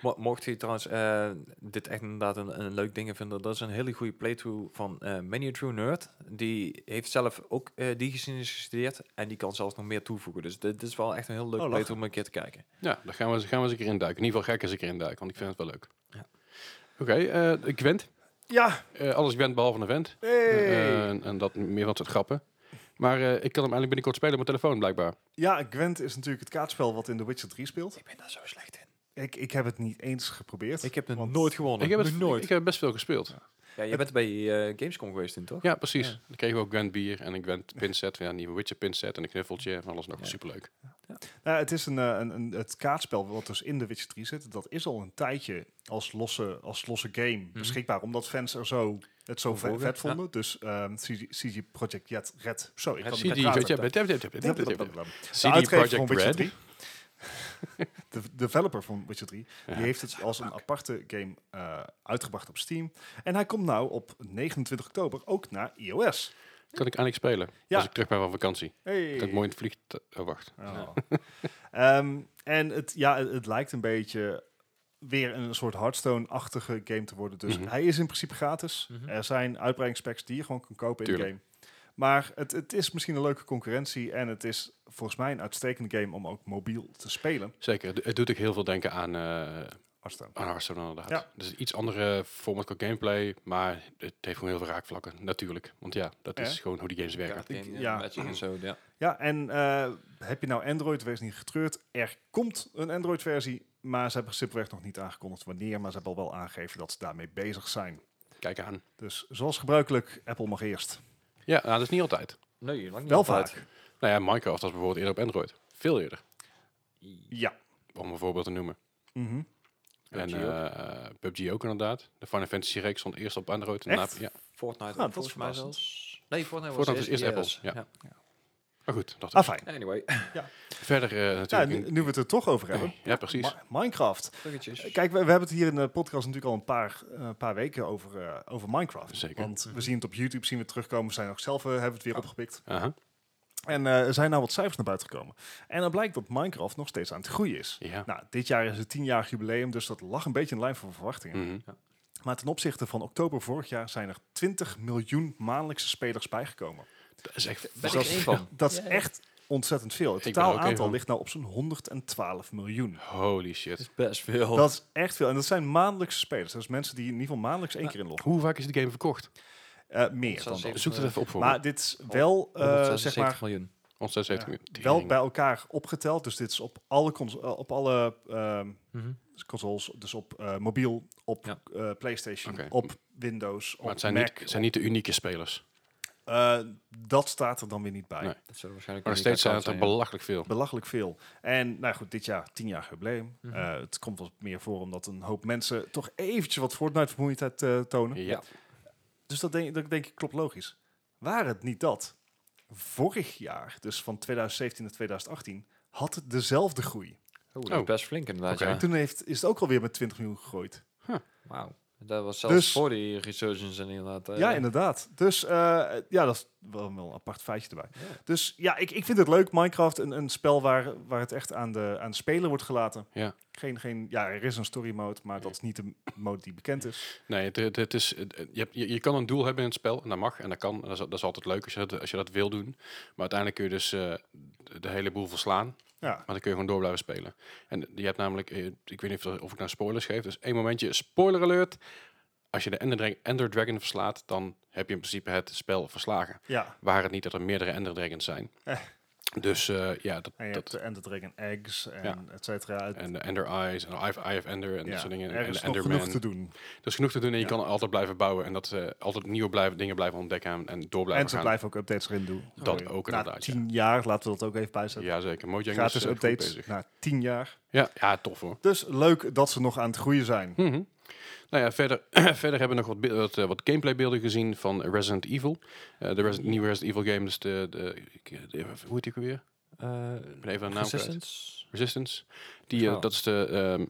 Mo- mocht je trouwens eh, dit echt inderdaad een, een leuk ding vinden, dat is een hele goede playthrough van eh Menu True Nerd. Die heeft zelf ook eh, die geschiedenis gestudeerd en die kan zelfs nog meer toevoegen. Dus dit is wel echt een heel leuk
lachen.
playthrough om een keer te kijken.
<laughs> Ja, daar gaan we, eens- gaan we eens een keer in duiken. In ieder geval ga ik eens een keer in duiken, want ik vind het wel leuk.
Ja.
Oké, eh, Gwent.
Ja,
Eh, alles Gwent behalve een vent.
hey.
Eh, en, en dat meer wat soort grappen. Maar eh, ik kan hem eigenlijk binnenkort spelen op mijn telefoon,
Oh,
blijkbaar.
ja, Gwent is natuurlijk het kaartspel wat in The Witcher 3 speelt.
Ik ben daar zo slecht in.
Ik, ik heb het niet eens geprobeerd.
Ik heb het
Want-
nooit gewonnen.
Ik heb, het,
nooit.
ik heb best veel gespeeld.
ja, je bent bij eh, Gamescom geweest toen, toch?
Ja, precies.
Ja.
Dan kregen we ook Gwent bier en een Gwent pinset. Ja, een nieuwe Witcher pinset en een knuffeltje en alles nog.
Ja.
Superleuk.
Nou, het is een, eh, een, een, het kaartspel wat dus in The Witcher 3 zit. Dat is al een tijdje als losse, als losse game
Mhm.
beschikbaar. Omdat fans er zo, het zo
Van
vet,
volgen,
vet vonden. Dus ehm, CG, CG Project Red. Red. Zo, ik kan
Red.
CD,
niet
weet je,
praten.
CD
De uitgever
Project
van Witcher
Red.
3.
<laughs>
De v- developer van Witcher 3.
Ja,
die heeft het als een aparte game eh, uitgebracht op Steam. En hij komt nou op 29 oktober ook naar iOS.
Kan ik eindelijk spelen
Ja.
als ik terug ben van vakantie.
Hey.
Kan ik mooi in het vliegtuig... Oh, wacht.
Oh. Ehm, en het, ja, het, het lijkt een beetje weer een soort Hearthstone-achtige game te worden. Dus
Mhm.
hij is in principe gratis.
Mhm.
Er zijn uitbreidingspecs die je gewoon kan kopen in de
Tuurlijk.
game. Maar het, het is misschien een leuke concurrentie. En het is volgens mij een uitstekende game om ook mobiel te spelen.
Zeker. Het- Het doet ook heel veel denken aan, eh,
Hearthstone.
aan Hearthstone inderdaad.
Ja.
Dus een iets andere format qua gameplay, maar het heeft gewoon heel veel raakvlakken. Natuurlijk. Want ja, dat is
Ja.
gewoon hoe die games werken.
Ja, in, eh,
ja.
Magic en zo, ja.
Ja, en eh, heb je nou Android, wees niet getreurd. Er komt een Android-versie, maar ze hebben simpelweg nog niet aangekondigd wanneer. Maar ze hebben al wel aangegeven dat ze daarmee bezig zijn.
Kijk aan.
Dus zoals gebruikelijk, Apple mag eerst.
Ja, nou, dat is niet altijd.
Nee, lang niet
Wel
altijd.
vaak.
Nou ja, Minecraft was bijvoorbeeld eerder op Android. Veel eerder,
Ja.
om een voorbeeld te noemen.
Mhm.
en
PUBG ook.
eh, PUBG ook inderdaad. De Final Fantasy reeks stond eerst op Android. en
Echt?
daarna- ja.
Fortnite
dat is
volgens mij
verrassend.
zelfs. Nee, Fortnite,
Fortnite
was
was eerst
iOS.
Apple,
Ja.
Maar goed, dat
Ah, fijn.
Anyway, <laughs>
verder eh,
Ja,
natuurlijk...
nu,
een-
nu we het er toch over hebben.
ja, precies.
Ma- Minecraft.
bruggetjes.
Kijk, we, we hebben het hier in de podcast natuurlijk al een paar, eh, paar weken over, eh, over Minecraft.
Zeker.
Want we zien het op YouTube, zien we het terugkomen. We zijn ook zelf, eh, hebben het weer opgepikt.
Aha.
En eh, er zijn nou wat cijfers naar buiten gekomen. En dan blijkt dat Minecraft nog steeds aan het groeien is.
Ja.
Nou, dit jaar is het 10-jarig jubileum, dus dat lag een beetje in lijn van verwachtingen.
Mhm.
Maar ten opzichte van oktober vorig jaar zijn er 20 miljoen maandelijkse spelers bijgekomen.
Dat is echt...
Ben ik
dat-
er één van?
Dat is
Yay.
echt ontzettend veel. Het
Ik ben er
totaal
ook één
aantal
van.
ligt nou op zo'n 112 miljoen.
Holy shit.
Dat is best veel.
Dat is echt veel. En dat zijn maandelijkse spelers. Dat is mensen die in ieder geval maandelijks één keer inloggen.
Hoe vaak is de game verkocht?
Eh, meer dan dat.
176
Zoek dat even op voor me.
Maar dit is wel, eh, zeg
176
maar,
miljoen.
Ons 76 miljoen.
wel
Tering.
bij elkaar opgeteld. Dus dit is op alle, cons- eh, op alle ehm,
Mhm.
consoles. Dus op eh, mobiel, op
Ja.
eh, PlayStation,
Oké.
op Windows,
Maar
op
het zijn,
Mac.
niet, het zijn niet de unieke spelers.
Eh, dat staat er dan weer niet bij.
Nee.
Dat zullen waarschijnlijk
Maar nog
niet
steeds zijn
account
het er
ja.
belachelijk veel.
Belachelijk veel. En nou goed, dit jaar 10 jaar jubileum.
Mhm.
Eh, het komt wat meer voor omdat een hoop mensen toch eventjes wat Fortnite-vermoeidheid eh, tonen.
Ja.
Dus dat denk, dat denk ik klopt logisch. Waar het niet dat, vorig jaar, dus van 2017 naar 2018, had het dezelfde groei.
Oeh, dat is
Oh.
best flink inderdaad.
Oké.
Ja.
En toen heeft, is het ook alweer met 20 miljoen gegroeid.
Wauw. Dat was zelfs
Dus-
voor die resurgence en inderdaad. eh,
Ja, inderdaad. Dus eh, ja, dat is wel, wel een apart feitje erbij.
Ja.
Dus ja, ik, ik vind het leuk. Minecraft, een, een spel waar, waar het echt aan de, aan de speler wordt gelaten.
Ja.
Geen, geen, ja, er is een story mode, maar dat is niet de mode die bekend is.
Nee, het, het, het is, het- je, hebt- je, je kan een doel hebben in het spel. En dat mag en dat kan. En dat is, dat is altijd leuk als je, dat, als je dat wil doen. Maar uiteindelijk kun je dus eh, de- de hele boel verslaan.
Ja,
Maar dan kun je gewoon door blijven spelen. En je hebt namelijk, eh, ik weet niet of, of ik nou spoilers geef, dus één momentje, spoiler alert. Als je de Ender, Dra- Ender Dragon verslaat, dan heb je in principe het spel verslagen.
ja.
Waar het niet dat er meerdere Ender Dragons zijn.
Eh.
Dus eh, ja, dat,
En je
dat,
hebt de Ender Dragon Eggs en et cetera. Het-
en de Ender Eyes en Eye of, Eye of Ender en
ja,
dat soort dingen.
er
en
is
de
nog genoeg
Enderman.
te doen.
Er is genoeg te doen en je
Ja.
kan altijd blijven bouwen. En dat eh, altijd nieuwe blijven, dingen blijven ontdekken en, en door blijven
en ze
gaan.
blijven ook updates erin doen.
Dat
Oké.
ook
Na
inderdaad, ja.
tien jaar, laten we dat ook even bijzetten.
Jazeker, Mojang is
Gratis
eh, goed
updates
bezig.
na tien jaar.
Ja, ja, tof hoor.
Dus leuk dat ze nog aan het groeien zijn.
Mhm. Nou ja, verder, <clears throat> verder hebben we nog wat, be- wat, eh, wat gameplaybeelden gezien van Resident Evil. Eh, de Resi- nieuwe Resident Evil game, dus de, de, ik- de- hoe heet die ook weer?
eh,
Ik ben even een naam kwijt.
Resistance.
Resistance. Die, eh,
Oh.
Dat is de ehm,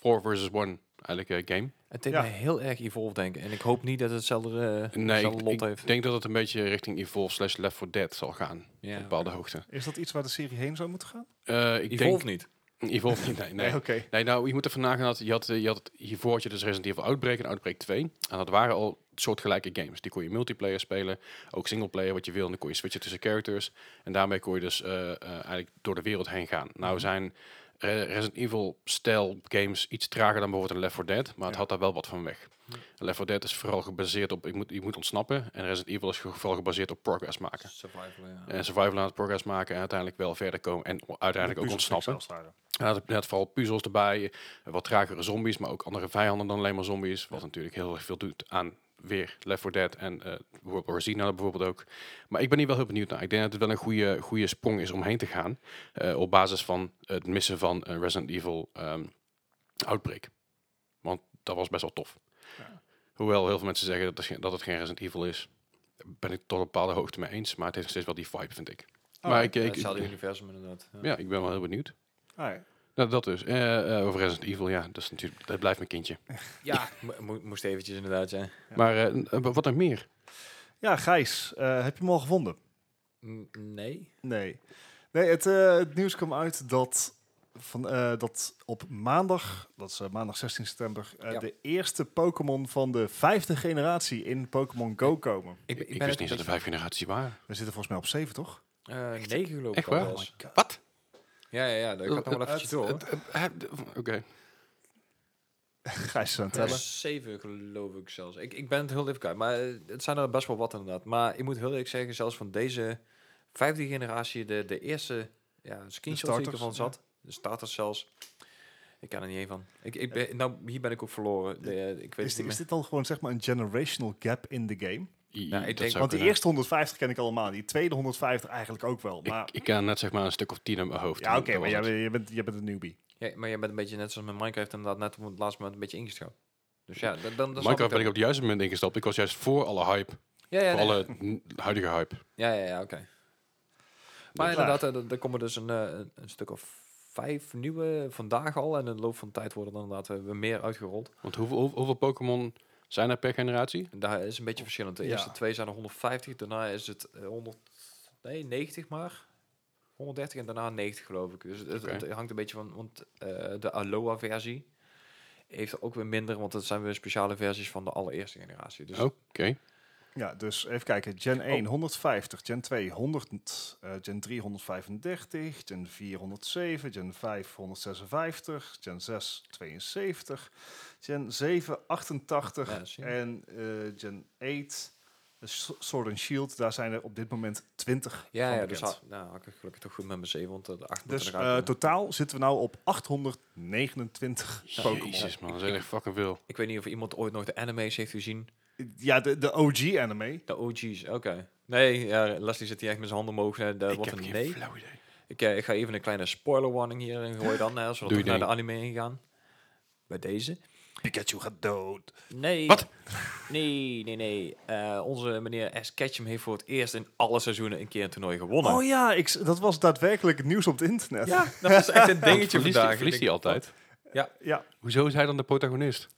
4 versus 1 eigenlijk eh, game.
Het deed
Ja.
mij heel erg Evolve denken. En ik hoop niet dat het hetzelfde, eh,
Nee, ik,
hetzelfde lot
ik
heeft.
denk dat het een beetje richting Evolve slash Left 4 Dead zal gaan. Op
Ja.
een bepaalde hoogte.
Is dat iets waar de serie heen zou moeten gaan?
Eh, ik
Evolve niet.
denk... Evolve niet, <laughs> nee. nee.
oké.
Nee, nou, je moet even nagaan dat je had, eh, je had hiervoor had je dus Resident Evil Outbreak en Outbreak 2. En dat waren al soortgelijke games. Die kon je multiplayer spelen, ook singleplayer wat je wil. En dan kon je switchen tussen characters. En daarmee kon je dus eh, eh, eigenlijk door de wereld heen gaan. Nou zijn eh, Resident Evil-stijl games iets trager dan bijvoorbeeld een Left 4 Dead. Maar het
Ja.
had daar wel wat van weg. Left 4 Dead is vooral gebaseerd op, ik moet, je moet ontsnappen. En Resident Evil is ge- vooral gebaseerd op progress maken.
Survival, ja.
En survival aan het progress maken en uiteindelijk wel verder komen. En uiteindelijk ook ontsnappen. Hij had net vooral puzzels erbij, eh, wat tragere zombies, maar ook andere vijanden dan alleen maar zombies. Wat natuurlijk heel erg veel doet aan weer Left 4 Dead en eh World War Z nou bijvoorbeeld ook. Maar ik ben hier wel heel benieuwd naar. Ik denk dat het wel een goede, goede sprong is om heen te gaan. eh, op basis van het missen van eh, Resident Evil ehm, Outbreak. Want dat was best wel tof.
Ja.
Hoewel heel veel mensen zeggen dat het, geen- dat het geen Resident Evil is. Ben ik tot een bepaalde hoogte mee eens. Maar het heeft nog steeds wel die vibe, vind ik. maar ik, eh,
Ja,
ik,
hetzelfde universum inderdaad. Ja.
ja, ik ben wel heel benieuwd.
Alright.
Nou, dat dus. Eh, eh, over Resident Evil, ja, dat, is natuurlijk, dat blijft mijn kindje.
Ja, mo- mo- moest eventjes inderdaad, ja.
Maar eh, n- eh, wat nog meer?
Ja, Gijs, eh, heb je hem al gevonden?
N- Nee.
Nee. Nee, het, eh, het nieuws kwam uit dat, van, eh, dat op maandag, dat is eh, maandag 16 september, eh,
Ja.
de eerste Pokémon van de vijfde generatie in Pokémon Go komen.
Ik,
ben-
ik
ben
wist
het
niet dat er
een
vijf generaties waren.
We zitten volgens mij op zeven, toch?
beetje- eh, negen geloof ik
Echt
al
waar? Oh
wel eens.
Wat?
Ja, ja, ja. Ik had nog wel eventjes door. hoor.
Oké.
Gijs is aan het
Ja,
tellen.
Zeven geloof ik zelfs. Ik, ik ben het heel even kwijt, maar eh, het zijn er best wel wat inderdaad. Maar ik moet heel eerlijk zeggen, zelfs van deze vijfde generatie, de, de eerste ja, screenshot die ik
starters,
ervan
ja.
zat, de starters zelfs, ik ken er niet één van. Ik, ik ben, nou, hier ben ik ook verloren. De, eh, ik weet
Is,
het
is
niet meer.
dit dan gewoon zeg maar een generational gap in de game?
I-
Nou, ik
dat
denk-
zou
Want die
kunnen.
eerste 150 ken ik allemaal, die tweede 150 eigenlijk ook wel. Maar,
Ik, ik ken net zeg maar een stuk of tien in mijn hoofd.
ja, oké,
Dat
maar
was
jij,
het.
bent- jij bent, jij bent een newbie.
Ja, maar jij bent een beetje net zoals met Minecraft inderdaad net op het laatste moment een beetje ingeschouwd. Dus ja, dan, dan, dan snap
Minecraft ben ik
dat.
op het juiste moment ingestapt. Ik was juist voor alle hype.
Ja, ja,
voor
nee.
alle n- huidige hype.
Ja, ja, ja, oké. Maar
is
inderdaad, eh, er er komen dus een, eh, een- een stuk of vijf nieuwe vandaag al. En in de loop van de tijd worden er inderdaad eh, weer meer uitgerold.
Want hoeveel, hoe- hoeveel Pokémon zijn er per generatie?
En daar is een beetje verschillend. De
Oh, Ja.
eerste twee zijn er 150, daarna is het eh, 100, nee, 90 maar. 130 en daarna 90 geloof ik. Dus het, het-
Oké.
het hangt een beetje van, want eh, de Aloha versie heeft er ook weer minder, want dat zijn weer speciale versies van de allereerste generatie. Dus
Oké.
Ja, dus even kijken. Gen
Oh.
1 150, Gen 2 100, eh, Gen 3 135, Gen 4 107, Gen 5 156, Gen 6 72, Gen 7 88
Ja, zie je.
en eh, Gen 8 S- Sword and Shield. Daar zijn er op dit moment 20
ja,
van
ja, dus
bekend.
ha- nou, had ik gelukkig toch goed met mijn 7, want eh, de 8
Dus
moeten
eh,
eruit.
totaal zitten we nou op 829 Pokémon.
Jezus man, dat is echt fucking veel.
ik weet niet of iemand ooit nog de anime's heeft gezien.
Ja, de, de OG-anime.
De OG's, oké. Nee, ja, Leslie zit hier echt met zijn handen omhoog. eh, Daar
ik
wordt
heb
een
geen
nee.
flauw idee.
Ik, eh, ik ga even een kleine spoiler warning hierin gooien dan, hè,
Doe
zodat we
je
naar de
ding.
anime heen gaan. Bij deze.
Pikachu gaat dood. <laughs>
Nee.
Wat?
Nee, nee, nee. Eh, onze meneer S. Ketchum heeft voor het eerst in alle seizoenen een keer een toernooi gewonnen.
Oh ja, ik, s- dat was daadwerkelijk het nieuws op het internet.
ja. dat
<laughs>
was echt een
Verliest
dingetje
hij-
vandaag.
Verliest hij altijd?
ja.
Hoezo is hij dan de protagonist?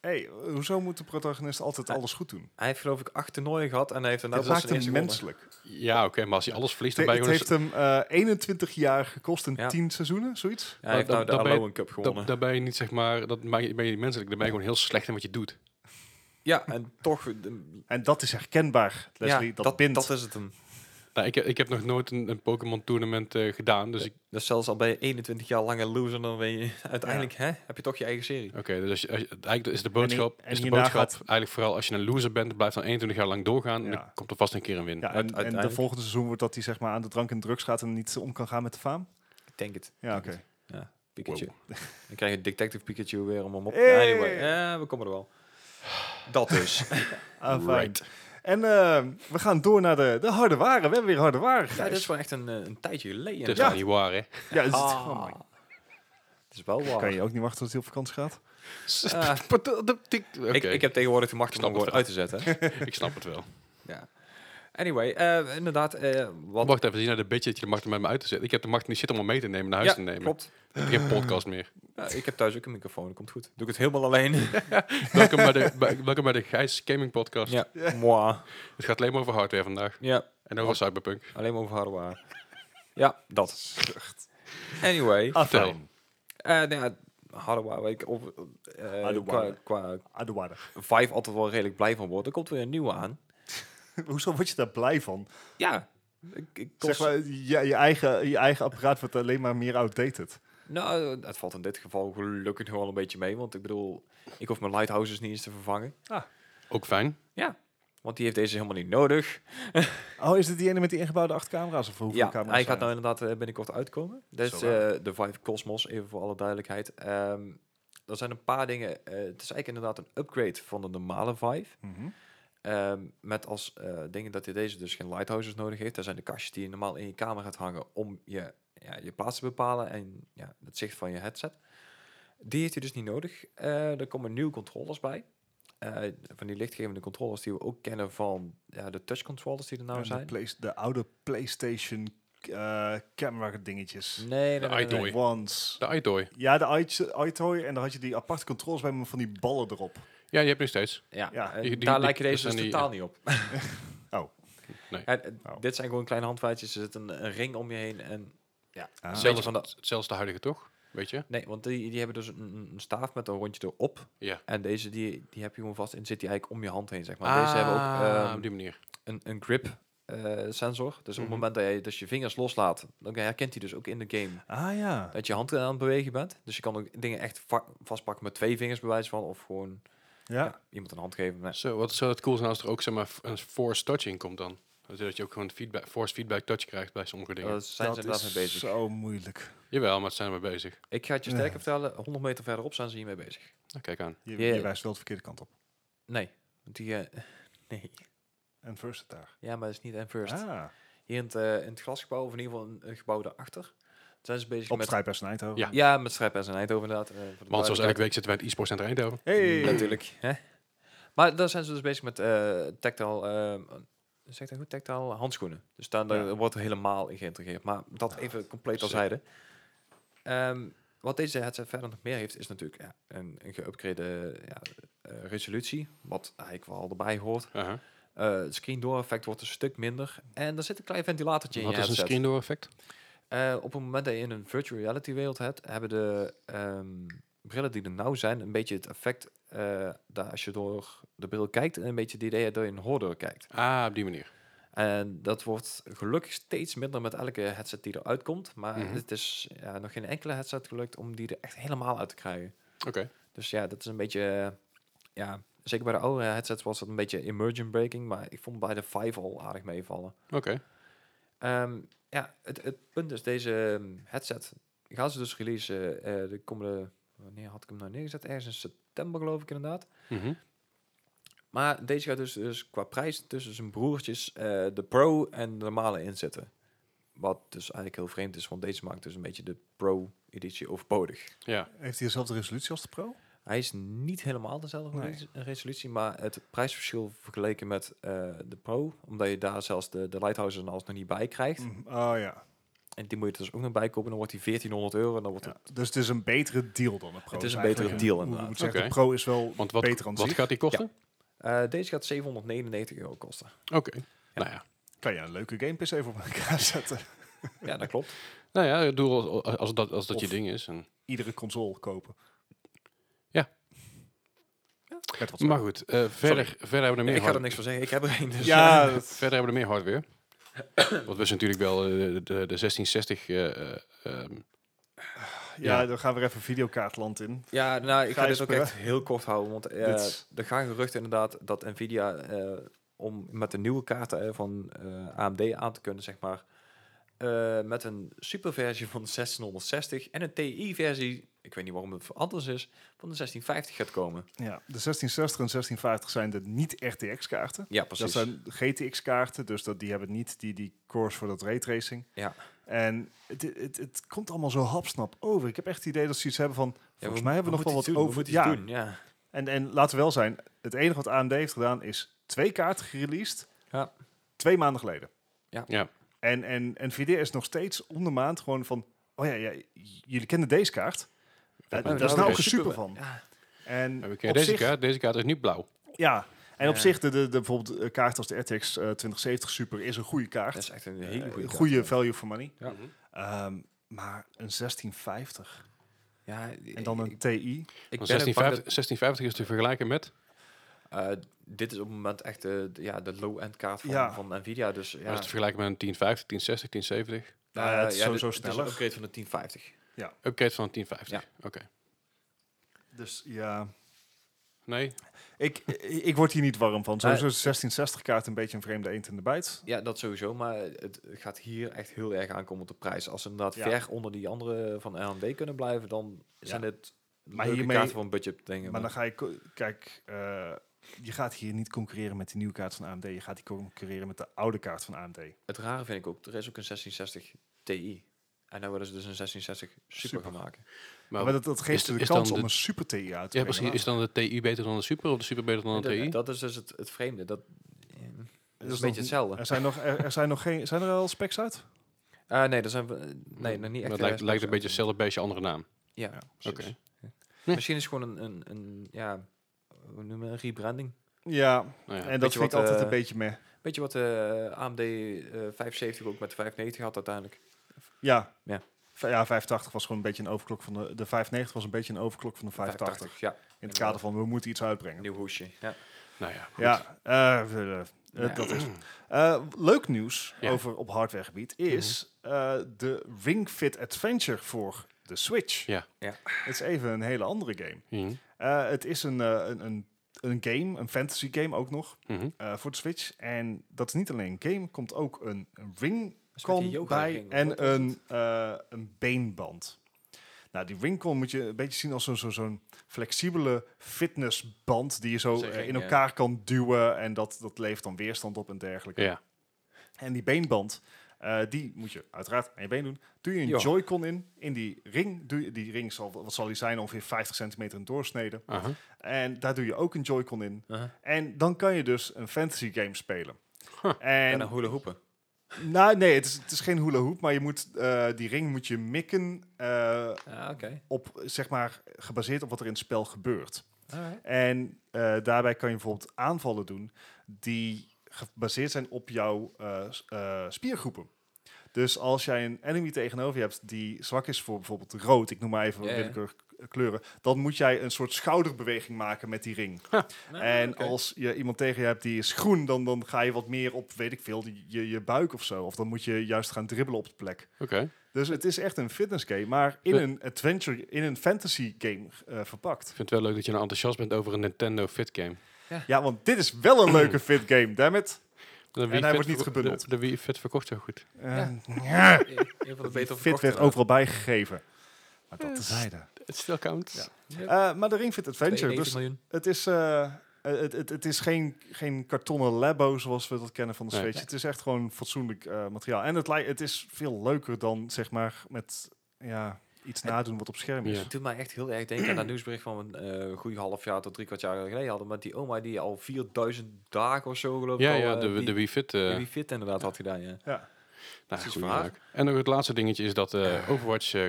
hey, hoezo moet de protagonist altijd alles goed doen?
Hij heeft geloof ik acht toernooien gehad en hij heeft een
Dat maakt hem menselijk.
Ja, oké, maar als hij alles verliest, dan
Het,
ben je
het
gewoon...
heeft hem eh, 21 jaar gekost en
Ja.
10 seizoenen, zoiets.
hij heeft
dat-
nou de
dat ben je-
Alolan Cup gewonnen.
Dat, daar ben je niet, zeg maar, dat ben je, ben je niet menselijk, dan ben je gewoon heel slecht in wat je doet.
ja, en toch... de-
En dat is herkenbaar, Leslie.
ja,
dat,
dat,
bindt.
dat is het hem.
Nou, ik, heb- ik heb nog nooit een, een Pokémon tournament eh, gedaan, dus ik...
Dus zelfs al ben je 21 jaar lang een loser, dan ben je <laughs> uiteindelijk... Hè, heb je toch je eigen serie.
Oké, dus als je, als je- eigenlijk is de boodschap,
En hi- en
is de
hierna
boodschap
gaat-
eigenlijk vooral als je een loser bent, blijf dan 21 jaar lang doorgaan en
Ja.
dan komt er vast een keer een win.
ja, en, en de
uiteindelijk-
volgende seizoen wordt dat hij zeg maar, aan de drank en drugs gaat en niet om kan gaan met de faam.
Ik denk het.
Ja,
Ik
oké.
denk het. Ja, Pikachu. <laughs> Dan krijg je Detective Pikachu weer om hem op.
Hey!
Anyway, ja, we komen er wel. Dat dus.
Ah, fijn.
Right.
En eh, we gaan door naar de, de harde waren. We hebben weer harde waren.
ja,
Gijs.
dit is wel echt een, eh, een tijdje geleden.
Het is
Ja.
nou niet waar,
<laughs>
hè?
Ja, is het-
Ah.
oh my-
Het is wel waar.
Kan je ook niet wachten tot hij op vakantie gaat?
Ah.
Oké,
ik, ik heb tegenwoordig de macht om
snap
hem gewoon uit te zetten. hè.
<laughs> ik snap het wel.
ja. Anyway, eh, inderdaad. eh wat
Wacht even, zie nou de beetje dat je de macht om met me uit te zetten. Ik heb de macht om die shit allemaal mee te nemen, naar huis te
ja,
nemen.
klopt.
Ik heb geen podcast meer.
Ja, ik heb thuis ook een microfoon, dat komt goed. Doe ik het helemaal alleen.
Welkom bij de, bij, welkom bij de Gijs Gaming Podcast.
ja, moi.
Het gaat alleen maar over hardware vandaag.
Ja,
En over Cyberpunk.
alleen maar over hardware. Ja, dat. Anyway,
Ah,
Vertel.
fijn.
eh nou ja, hardware, weet ik, of, eh, qua,
Hardware.
qua
Ah, de waarde.
Vive altijd wel redelijk blij van worden. Er komt weer een nieuwe aan.
Hoezo word je daar blij van?
Ja. Ik, ik kost-
Zeg maar, je, je, eigen, je eigen apparaat wordt alleen maar meer outdated.
Nou, het valt in dit geval gelukkig nog wel een beetje mee. Want ik bedoel, ik hoef mijn lighthouses niet eens te vervangen.
Ook fijn.
Ja. Want die heeft deze helemaal niet nodig.
Oh, is dit die ene met die ingebouwde acht camera's? Of hoeveel
Ja,
camera's
hij
zijn
gaat nou
er?
inderdaad eh, binnenkort uitkomen. Dat is
Zo waar.
eh, de Vive Cosmos, even voor alle duidelijkheid. Ehm er zijn een paar dingen. eh, het is eigenlijk inderdaad een upgrade van de normale Vive.
Mhm.
Ehm, met als eh, dingen dat je deze dus geen lighthouses nodig heeft. Dat zijn de kastjes die je normaal in je kamer gaat hangen om je, ja, je plaats te bepalen en ja, het zicht van je headset. Die heeft je dus niet nodig. Eh, er komen nieuwe controllers bij. Eh, van die lichtgevende controllers die we ook kennen van ja, de touch controllers die er nou
En de,
zijn.
play- de oude PlayStation eh, camera dingetjes.
Nee, nee,
De
nee, nee, nee.
Oei.
Ones.
De iDoy.
Ja, de iToy- iToy. En dan had je die aparte controls bij me van die ballen erop.
Ja, die heb je nog steeds.
Ja,
Ja.
en
Die- die-
daar
die-
lijken deze
dat
dus
zijn die-
totaal niet op.
Oh.
<laughs> Nee.
En, eh,
Oh.
Dit zijn gewoon kleine handvaatjes. Er zit een, een ring om je heen. En, ja,
Ah.
een beetje
Zelfs,
van de,
zelfs de huidige, toch? Weet je?
nee, want die, die hebben dus een, een- een staaf met een rondje erop.
Ja.
En deze die, die heb je gewoon vast en zit die eigenlijk om je hand heen, zeg maar. deze hebben ook
Ah,
ehm,
op die manier.
een, een grip eh, sensor. Dus op
Mhm.
het moment dat je dus je vingers loslaat, dan herkent hij dus ook in de game
Ah ja.
dat je hand aan het bewegen bent. Dus je kan ook dingen echt va- vastpakken met twee vingers bij wijze van. Of gewoon
Ja.
ja, iemand een hand geven. Nee.
Zo, wat zou het cool zijn als er ook zeg maar, f- een force touch in komt dan? Zodat je ook gewoon feedback, force feedback touch krijgt bij sommige dingen.
Daar zijn ze
dat
inderdaad
is
mee bezig.
zo moeilijk.
Jawel, maar het zijn we bezig.
Ik ga het je sterker vertellen, 100 meter verderop zijn ze hiermee bezig.
Nou, kijk aan.
Je,
Ja.
je wijst wel de verkeerde kant op.
Nee, want die... eh, nee.
En first het daar.
Ja, maar dat is niet en first.
Ah,
Hier in het, eh, in het glasgebouw, of in ieder geval een, een gebouw daarachter, zijn ze bezig
op
met...
strijd bij Snijthoven.
Ja.
Ja, met strijpen en zijn Eindhoven inderdaad. eh, voor de
Want zoals
duidelijkheid.
elke week zitten wij in het e-sport center Eindhoven.
Hey.
Natuurlijk. Hè? Maar daar zijn ze dus bezig met eh tactile, ehm, zeg ik dat goed? tactile handschoenen. Dus daar, daar
Ja.
wordt er helemaal in geïntegreerd. Maar dat even compleet
sick.
terzijde. Ehm wat deze headset verder nog meer heeft, is natuurlijk ja, een, een geüpgrade ja, eh, resolutie. Wat eigenlijk wel erbij hoort.
Uh -huh.
Eh, het screen door effect wordt een stuk minder. En er zit een klein ventilatortje in
Wat
je
is een
headset.
screen door effect?
Eh, op het moment dat je in een virtual reality wereld hebt, hebben de ehm, brillen die er nou zijn een beetje het effect eh, dat als je door de bril kijkt, een beetje het idee dat je een hoorder kijkt.
Ah, op die manier.
En dat wordt gelukkig steeds minder met elke headset die eruit komt, maar
Mhm.
het is ja, nog geen enkele headset gelukt om die er echt helemaal uit te krijgen.
Oké.
Dus ja, dat is een beetje, eh, ja, zeker bij de oude headsets was dat een beetje emergent breaking, maar ik vond bij de 5 al aardig meevallen.
Oké.
Ehm, ja, het, het punt is, deze ehm, headset gaan ze dus releasen eh, de komende... Wanneer had ik hem nou neergezet? Ergens in september, geloof ik inderdaad.
Mhm.
Maar deze gaat dus, dus qua prijs tussen zijn broertjes eh, de Pro en de normale inzetten. Wat dus eigenlijk heel vreemd is, want deze maakt dus een beetje de Pro-editie overbodig.
Ja.
Heeft hij dezelfde resolutie als de Pro?
Hij is niet helemaal dezelfde
Nee.
res- resolutie, maar het prijsverschil vergeleken met eh, de Pro, omdat je daar zelfs de, de lighthouses en alles nog niet bij krijgt,
Mm, Oh ja.
En die moet je er dus ook nog bij kopen. Dan wordt die 1400 euro. En dan wordt
Ja, dus het is een betere deal dan een Pro. Dus
Het is een
eigenlijk.
betere
Hoe-
deal,
hoe
inderdaad.
moet zeggen,
Oké.
De Pro is wel
Want wat,
beter aan
wat
zich.
gaat die kosten?
het- eh, deze gaat 799 euro kosten.
Oké. Nou ja,
Kan je een leuke game PC voor elkaar <laughs> zetten?
Ja, dat klopt.
nou ja, ik bedoel, als, als- als dat, als dat je
Of-
ding is. En,
Iedere console kopen.
Ja.
Met wat
maar goed, eh, verder, verder hebben we er meer
ik ga er
hard-
niks van zeggen. Ik heb er één. Dus
Ja,
<laughs>
eh,
dat-
Verder hebben we er meer hardware. Want we zijn natuurlijk wel eh, de, de, de 1660. eh, eh, ehm,
ja,
Ja.
dan gaan we er even videokaartland in.
ja, nou, ik ga
Gijs,
dit ook
eh,
echt heel kort houden. Want eh,
dit is-
er gaan geruchten inderdaad dat Nvidia... eh, om met de nieuwe kaarten eh, van eh, AMD aan te kunnen, zeg maar... eh, met een superversie van de 1660 en een TI-versie, ik weet niet waarom het anders is, van de 1650 gaat komen.
Ja, de 1660 en 1650 zijn de niet-RTX-kaarten.
Ja,
Dat
precies.
zijn GTX-kaarten, dus dat, die hebben niet die, die cores voor dat raytracing.
Ja.
En het, het, het komt allemaal zo hapsnap over. Ik heb echt het idee dat ze iets hebben van... volgens mij hebben we nog wel wat over.
ja.
Ja,
doen, ja.
En, en laten we wel zijn, het enige wat AMD heeft gedaan is twee kaarten gereleased.
Ja.
Twee maanden geleden.
Ja.
Ja.
En, en, en Nvidia is nog steeds om de maand gewoon van... Oh ja, ja j- jullie kennen deze kaart. Eh,
maar
daar is nou
oké.
een super van.
Ja.
En
we
op
kennen deze
zich-
kaart. Deze kaart is niet blauw.
Ja. En op
Ja.
zich, de, de, de, bijvoorbeeld eh, kaart als de RTX eh, 2070 Super is een goede kaart.
Dat is echt een
Eh,
hele goede
goede value for money.
Ja.
Ehm, maar een 1650
Ja,
en dan een
ik,
TI.
ik
Want
ben ook bang dat,
1650, 1650 is te vergelijken met.
eh, dit is op het moment echt de, de- ja, de low-end kaart van,
Ja.
van Nvidia. Dus ja, Eh,
Dat is te vergelijken met een 1050, 1060, 1070.
Nou ja, het is
ja, dit-
sowieso
Het is een
sneller.
upgrade van de 1050.
Upgrade van een 1050. Oké.
Dus ja,
Nee,
ik, ik ik word hier niet warm van. Sowieso
Eh,
is de 1660 kaart een beetje een vreemde eend in de bijt.
Ja, dat sowieso. Maar het gaat hier echt heel erg aankomen op de prijs. Als ze inderdaad
Ja.
ver onder die andere van AMD kunnen blijven, dan zijn het
Maar
leuke
hiermee-
kaarten van budget dingen.
Maar dan ga je, ko- kijk, eh, je gaat hier niet concurreren met die nieuwe kaart van AMD. Je gaat die concurreren met de oude kaart van AMD.
Het rare vind ik ook, er is ook een 1660 Ti. En nou willen ze dus een 1660 Super,
Super.
gaan maken.
maar,
maar dat, dat geeft
is-
ze de
is
kans
dan
om
de-
een Super TI uit te
ja,
brengen.
precies. Is dan de TI beter dan de Super of de Super beter dan de
Dat-
TI?
Dat is dus het, het vreemde. Dat, eh,
Dat
is een
nog-
beetje hetzelfde.
Er zijn, nog, er, er zijn nog geen, zijn er al specs uit?
Ah, nee, dat zijn we, eh, nee, nog niet
Maar
echt.
het
de
lijkt,
rest
lijkt
van
een beetje hetzelfde beestje, andere naam.
Ja,
Ja,
precies.
oké.
Ja. <laughs>
Nee.
Misschien is het gewoon een, een, een ja, hoe noemen we een rebranding.
Ja,
Nou ja.
en dat
Beetje
vind ik
wat,
altijd
eh,
een beetje meh.
Weet je wat eh, AMD eh, 75 ook met de 590 had uiteindelijk?
Ja.
Ja.
V- Ja, 580 was gewoon een beetje een overklok van de... De 590 was een beetje een overklok van de 580.
ja.
In het kader van, we moeten iets uitbrengen.
Nieuw hoesje. Ja.
nou ja, goed.
Ja, eh, eh, eh,
Ja.
dat is het. Eh, leuk nieuws
Ja. Mhm.
over op hardwaregebied is eh, de Ring Fit Adventure voor de Switch.
Ja.
Ja.
Het is even een hele andere game.
Mhm,
Eh, het is een, eh, een, een, een game, een fantasy game ook nog,
mhm.
eh, voor de Switch. En dat is niet alleen een game, komt ook een, een
Dus met
ringcon
die yoga
bij
ring, wat
en
was
een, eh, een beenband. Nou, die ringcon moet je een beetje zien als zo- zo- zo'n flexibele fitnessband die je zo
Zeker,
eh, in
ja.
elkaar kan duwen en dat, dat levert dan weerstand op en dergelijke.
Ja.
En die beenband, eh, die moet je uiteraard aan je been doen. Doe je een
Ja.
Joy-Con in, in die ring. Doe je, die ring zal, wat zal die zijn, ongeveer 50 centimeter in doorsnede.
aha.
En daar doe je ook een Joy-Con in.
Uh-huh.
En dan kan je dus een fantasy game spelen.
Huh.
En
En,
een hula hoepen.
nou, nee, het is, het is geen hula hoop, maar je moet, eh, die ring moet je mikken eh,
Ah, oké.
op, zeg maar, gebaseerd op wat er in het spel gebeurt.
Alright.
En eh, daarbij kan je bijvoorbeeld aanvallen doen die gebaseerd zijn op jouw eh, s- eh, spiergroepen. Dus als jij een enemy tegenover je hebt die zwak is voor bijvoorbeeld rood, ik noem maar even
Ja, ja.
willekeurig kleuren, dan moet jij een soort schouderbeweging maken met die ring.
Nou, Ah,
en als je iemand tegen je hebt die is groen, dan, dan ga je wat meer op, weet ik veel, je, je buik of zo. Of dan moet je juist gaan dribbelen op de plek.
Oké.
Dus het is echt een fitness game, maar in
Ja.
een adventure, in een fantasy game eh, verpakt.
Ik vind het wel leuk dat je nou enthousiast bent over een Nintendo Fit Game.
Ja, want dit is wel een leuke fit game, dammit.
De Wii
hij
Fit
wordt niet
verko-
gebundeld.
De, de Wii Fit verkocht zo goed.
Eh,
Een van de betere
fit werd
verkochte-
overal bijgegeven. Maar dat tezijde.
Het still counts.
Ja.
Eh maar de Ring Fit Adventure,
92
dus
miljoen.
het is, eh, het, het, het is geen, geen kartonnen labo zoals we dat kennen van de
Nee.
Switch. Het is echt gewoon fatsoenlijk eh, materiaal. En het, lij- het is veel leuker dan, zeg maar, met ja, iets nadoen wat op scherm is.
Ja.
Het doet mij echt heel erg denken aan dat nieuwsbericht van een eh, goede half jaar tot drie kwart jaar geleden hadden. Met die oma die al 4000 dagen of zo geloof ik
Ja,
al,
ja,
eh,
de,
die-
de Wii Fit. eh,
die Fit inderdaad had gedaan, ja.
Ja.
Nou,
Precies
goed
waar.
mogelijk. En nog het laatste dingetje is dat eh, Overwatch eh,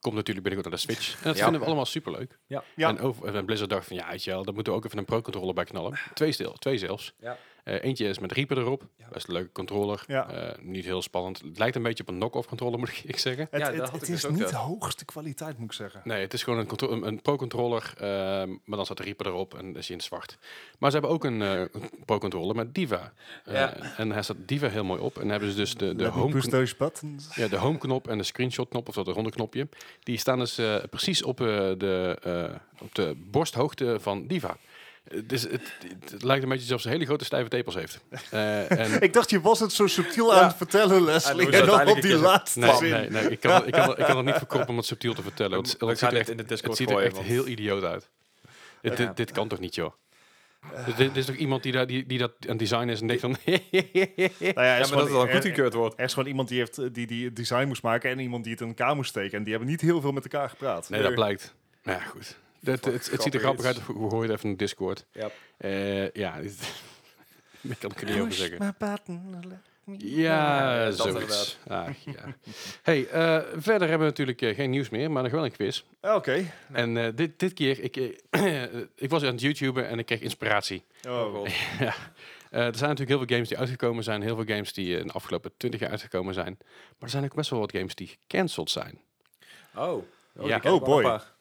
komt natuurlijk binnenkort naar de Switch. En dat
Ja.
vinden we allemaal superleuk.
Ja.
Ja.
En, over, en Blizzard dacht van, ja, weet je wel, daar moeten we ook even een pro-controller bij knallen. Twee, stil, twee zelfs.
Ja.
Eh, eentje is met Reaper erop.
Ja.
Best een leuke controller.
Ja.
Eh, niet heel spannend. Het lijkt een beetje op een knock-off controller, <laughs> moet ik zeggen.
Het,
Ja,
het-
dat had
het
ik dus
is
ook,
niet
ja.
de hoogste kwaliteit, moet ik zeggen.
Nee, het is gewoon een, contro- een, een pro-controller, ehm, maar dan staat de Reaper erop en is hij in het zwart. Maar ze hebben ook een eh, een pro-controller met Diva. Eh,
Ja.
En daar staat Diva heel mooi op. En dan hebben ze dus de, de
Let me
home...
push those buttons.
Ja, de home-knop en de screenshot-knop, of dat ronde knopje, die staan dus eh, precies op, eh, de, eh, op de borsthoogte van Diva. Eh, Dus het, het, het lijkt een beetje alsof ze hele grote stijve tepels heeft. Eh, en,
Ik dacht, je was het zo subtiel aan het vertellen, Leslie.
doen <laughs>
En,
ze
dan
Ah, uiteindelijk
op
een
die
keer zo-
laatste
nee,
zin.
nee, nee, ik kan, ik, kan, ik kan dat niet verkopen om het subtiel te vertellen. want Het,
We
het
gaan
ziet er
dit
echt,
in de
het
Discord
ziet er
gooien,
echt
want-
heel idioot uit. Dit,
Ja.
dit, dit kan toch niet, joh? Dus dit, dit is toch iemand die, daar, die, die dat aan het design is en denkt van... <laughs>
Nou ja,
Ja,
er is
maar dat het
gewoon-
dan
er-
goedgekeurd wordt.
Er is gewoon iemand die, heeft, eh, die, die het design moest maken en iemand die het in elkaar moest steken. En die hebben niet heel veel met elkaar gepraat.
nee, dat blijkt. Nou ja, goed. Dat,
Wat
het, het ziet er
grappig
grappig
iets.
uit. We horen het even in de Discord.
Ja.
Eh, ja, dit- <laughs> ik kan het er niet over zeggen.
my button, let me-
Ja,
dat
zoiets. Ah, ja. hey, eh, verder hebben we natuurlijk eh, geen nieuws meer, maar nog wel een quiz.
Ah, Oké.
En eh, dit, dit keer, ik, eh, <clears throat> ik was aan het YouTuben en ik kreeg inspiratie.
Oh,
god.
ja. Eh, er zijn natuurlijk heel veel games die uitgekomen zijn, heel veel games die eh, in de afgelopen 20 jaar uitgekomen zijn. Maar er zijn ook best wel wat games die gecanceld zijn. <clears throat>
Oh. oh, die
Ja.
ken ik
Oh,
wel een
boy.
paar.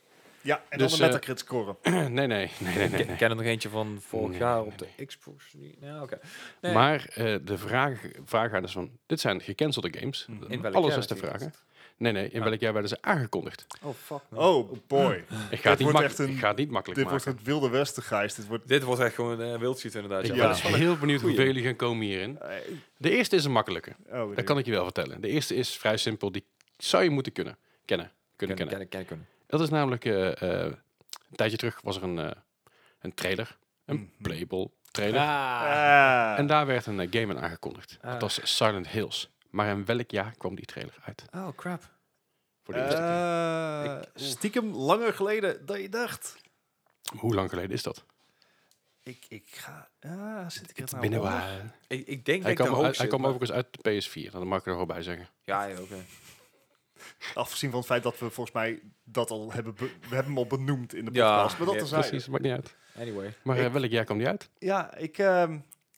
Ja, en
Dus,
dan
eh,
de Metacritic scoren.
nee, nee, nee, nee, nee.
Ik ken er nog eentje van vorig
Nee,
jaar
nee,
oh, op de Xbox. Ja, oké. Nee.
Maar eh, de vraag, vraag gaat dus van, dit zijn gecancelde games.
Hmm.
In welk
Alles
jaar
is te
natuurlijk?
vragen. Nee, nee, in
Ah.
welk jaar werden ze aangekondigd?
Oh, fuck. man.
Oh, boy.
<laughs> Ik ga, het niet,
wordt
mak-
echt een-
ik ga het niet makkelijk
Dit wordt
maken.
het wilde westen, Gijs. Dit wordt...
Dit wordt echt gewoon eh wildschiet inderdaad.
Ik
Ja.
Ja.
ben dus heel benieuwd hoeveel jullie gaan komen hierin.
eh, oh,
De eerste is een makkelijke. Dat
nee.
kan ik je wel vertellen. De eerste is vrij simpel. Die zou je moeten kunnen. Kennen. Kunnen
Ken-
kennen.
ken- ken- ken-
Dat is namelijk... eh, eh, een tijdje terug was er een, eh, een trailer. Een
Mhm.
playable trailer.
Ah.
Ah.
En daar werd een eh, game aan aangekondigd.
Ah.
Dat was Silent Hills. Maar in welk jaar kwam die trailer uit?
Oh, crap.
Voor de eerste keer.
Eh, stiekem langer geleden dan je dacht.
Hoe lang geleden is dat?
Ik, ik ga... Ah, zit ik er nou
Binnen
onder?
waar?
Ik, ik denk
Hij
dat ik
kwam,
de
uit-
hoogste
hij kwam
maar- Ah,
overigens uit de PS4. Nou, Dat mag ik er wel bij zeggen.
Ja, ja, oké.
Afgezien van het feit dat we volgens mij dat al hebben... be- we hebben hem al benoemd in de
Ja,
podcast. maar dat
ja,
terzijde.
Precies, maakt niet uit.
Anyway.
Maar eh,
Ik-
welk jaar kwam die uit?
Ja, ik, ehm,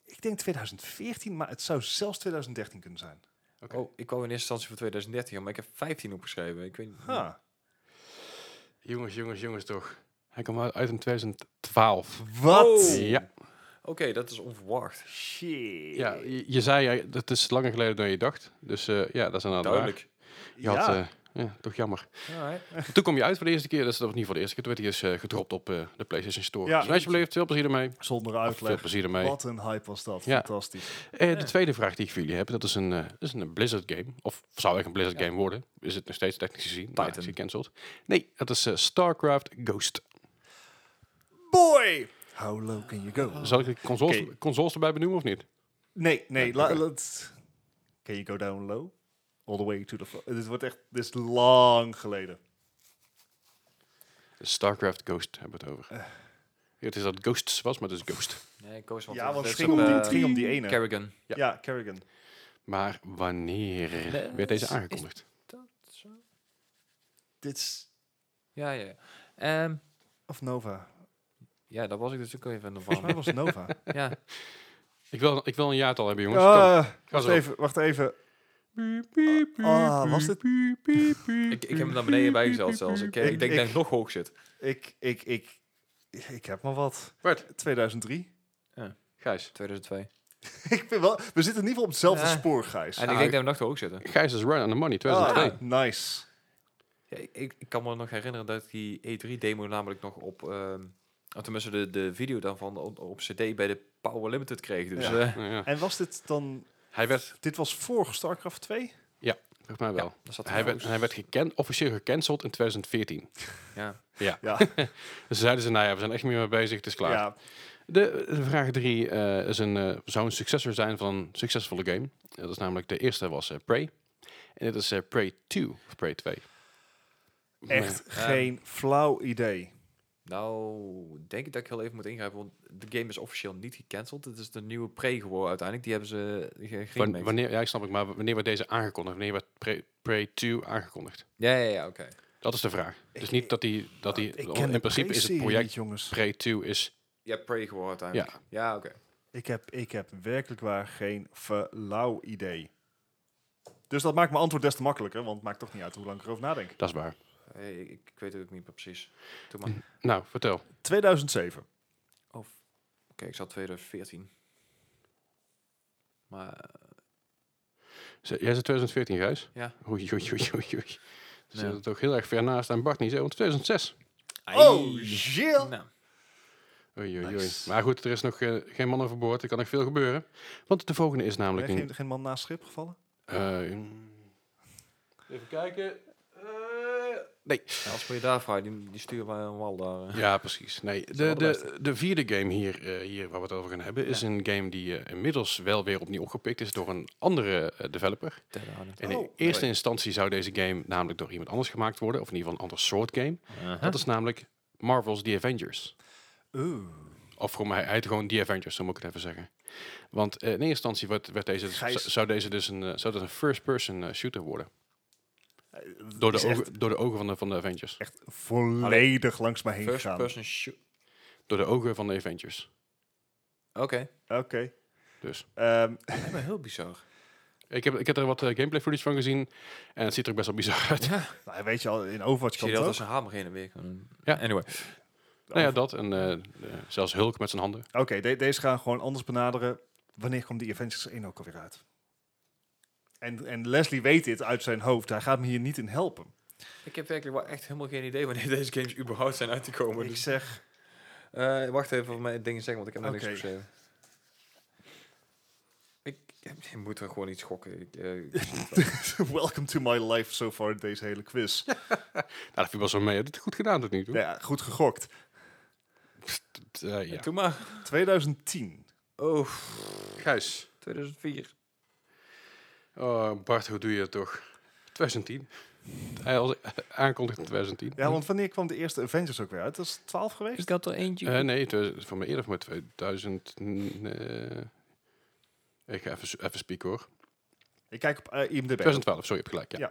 ik denk 2014, maar het zou zelfs 2013 kunnen zijn.
Oké.
Oh, ik kwam in eerste instantie voor 2013, maar ik heb 15 opgeschreven. Ik weet niet.
Huh.
Jongens, jongens, jongens toch. Hij kwam uit uit in 2012.
Wat?
Oh.
Ja,
Oké, dat is onverwacht.
Shit.
ja je, je zei, eh, dat is langer geleden dan je dacht. Dus eh, ja, dat is een
Duidelijk.
Je had, eh, ja, toch jammer.
Alright.
Toen kwam je uit voor de eerste keer. Dat is nog niet voor de eerste keer. Toen werd hij dus eh, gedropt op eh, de PlayStation Store.
Ja.
Dus alsjeblieft, veel plezier ermee.
Zonder
Of Veel
uitleg.
plezier ermee.
Wat een hype was dat.
Ja.
Fantastisch.
Eh, De tweede vraag die ik voor jullie heb, dat is een, eh, dat is een Blizzard game. Of zou echt een Blizzard game worden? Is het nog steeds technisch gezien? Maar het is
Titan.
gecanceld. Nee, dat is eh, StarCraft Ghost.
Boy! How low can you go?
Zal ik de consoles,
Oké.
consoles erbij benoemen of niet?
Nee, nee.
Oké.
la- let's- Can you go down low? All the way to the... flo- Dit wordt echt... Dit is lang geleden.
StarCraft Ghost hebben we het over. Het is dat het Ghosts was, maar het is Ghost.
Nee, ik koos want
ja,
dat
want
is
het ging, om
op,
die,
eh,
het ging om die ene.
Kerrigan.
ja. Kerrigan.
Maar wanneer
Nee,
werd deze
is-
aangekondigd?
Dit is...
Ja, ja. ja. Ehm,
Of Nova.
ja, daar was ik dus ook even van.
Volgens mij was het Nova.
ja.
Ik wil, ik wil een jaartal hebben, <laughs> jongens. Kom.
Ah, wacht
erop.
even, wacht even. Ah, was dit?
Ik, ik heb hem naar beneden bijgezet zelfs. Ik, eh, ik
Ik-
denk
ik-
dat ik nog hoog zit.
Ik, ik, ik, ik heb maar wat.
Bart,
2003.
Gijs.
2002.
ik ben wel, we zitten in ieder geval op hetzelfde
Ja.
spoor, Gijs.
En ik denk dat we nog te hoog zitten.
Gijs is right on the money,
Ah,
2002.
nice.
Ja, ik, ik ik kan me nog herinneren dat die E3-demo namelijk nog op... ehm, of tenminste, de, de video daarvan op, op cd bij de Power Limited kreeg. Dus
Ja.
eh,
Nou ja.
En was dit dan...
Hij werd,
Dit was voor StarCraft 2?
volgens mij wel.
daar zat
Hij werd, hij werd geken, officieel gecanceld in 2014.
Ja.
Ja.
Dus zeiden ze, nou ja, we zijn echt niet meer mee bezig, het is klaar.
ja.
De, de vraag 3 is een, eh, zou een successor zijn van een succesvolle game. Dat is namelijk de eerste was eh, Prey. En dit is eh, Prey 2 of Prey 2.
Echt geen flauw idee.
Nou, denk ik dat ik heel even moet ingrijpen, want de game is officieel niet gecanceld. Het is de nieuwe pre geworden uiteindelijk. Die hebben ze ge-
Wan-
geremaked.
Wanneer, ja, ik snap het, maar w- wanneer werd deze aangekondigd? Wanneer werd Prey- Prey 2 aangekondigd?
Ja, ja, ja, oké.
Dat is de vraag. Dus niet dat die... Dat die oh,
Ik ken
in
de
principe is het
Prey-serie
project
niet, jongens.
Prey 2 is...
Ja, pre geworden uiteindelijk. Ja, oké.
Ik heb, ik heb werkelijk waar geen flauw idee. Dus dat maakt mijn antwoord des te makkelijker, want het maakt toch niet uit hoe lang ik erover nadenk.
Dat is waar.
Hey, ik, ik weet het ook niet meer precies. Doe <laughs> maar. Oké,
Nou, vertel.
2007.
ik zat 2014. Maar eh,
Z- Jij zit 2014, Gijs?
Ja.
Oei, oei, oei, oei, oei. Ze
Ja.
zitten toch heel erg ver naast aan Bart niet, hè? Want 2006.
Oh, shit!
nou,
Oei, oei, oei.
Nice.
Maar goed, er is nog eh, geen man overboord. Er kan nog veel gebeuren. Want de volgende is
Ben
namelijk...
je
een-
geen, geen man naast schip gevallen?
eh, een- even kijken. Eh, nee.
als we je daar vraagt, die, die sturen wij een wal daar. eh.
Ja, precies. Nee, de,
wel de
de, de vierde game hier, eh, hier waar we het over gaan hebben, is een game die eh, inmiddels wel weer opnieuw opgepikt is door een andere eh, developer.
Dead Island.
En in
Oh,
eerste
mooi.
instantie zou deze game namelijk door iemand anders gemaakt worden, of in ieder geval een ander soort game. Dat is namelijk Marvel's The Avengers.
Oeh.
Of voor mij uit gewoon The Avengers, zo moet ik het even zeggen. Want eh, in eerste instantie werd, werd deze,
Gijs.
z- zou deze dus een, eh, zou dat een first-person eh, shooter worden. Door
Eh, Is
de,
echt-
ogen, door de ogen van de, van de Avengers.
Echt volledig langs me heen
First
gegaan. Oké.
person shoot.
Door de ogen van de Avengers.
Oké.
Dus.
Ehm,
Lijkt me heel bizar.
Ik heb, ik heb er wat eh, gameplay footage van gezien. En het ziet er ook best wel bizar uit.
nou, weet je al, in Overwatch
Ik
kan
zie
het
dat
ook.
als een hamer heen en weer. kan.
Ja.
Anyway.
Nou ja, dat. En eh, eh, zelfs Hulk met zijn handen. Nou,
Oké, de- deze gaan we gewoon anders benaderen. Wanneer komt die Avengers 1 ook alweer uit? En, en Leslie weet dit uit zijn hoofd. Hij gaat me hier niet in helpen.
Ik heb werkelijk wel echt helemaal geen idee wanneer <laughs> deze games überhaupt zijn uitgekomen.
Ik
Dus,
zeg
eh, wacht even voor mijn dingen zeggen, want ik heb nog
Oké.
niks geschreven. Ik, ik moet er gewoon iets gokken. Ik, eh, <laughs> ik zie het wel.
Welcome to my life so far, deze hele quiz. Ja,
Nou, dat viel wel zo mee. Dat goed gedaan tot nu toe.
goed gegokt.
Het, eh, ja.
Doe maar.
2010.
Oh,
Gijs.
2004.
Oh, Bart, hoe doe je het toch? 2010. Hij had aankondigd in 2010.
Ja, want wanneer kwam de eerste Avengers ook weer uit? Dat is 12 geweest?
Ik had er eentje.
Eh, nee, het, voor mij eerder voor mij 2000... eh, ik ga even, zo- even spieken hoor.
Ik kijk op eh, IMDb.
2012, sorry, je hebt gelijk. Ja.
Ja.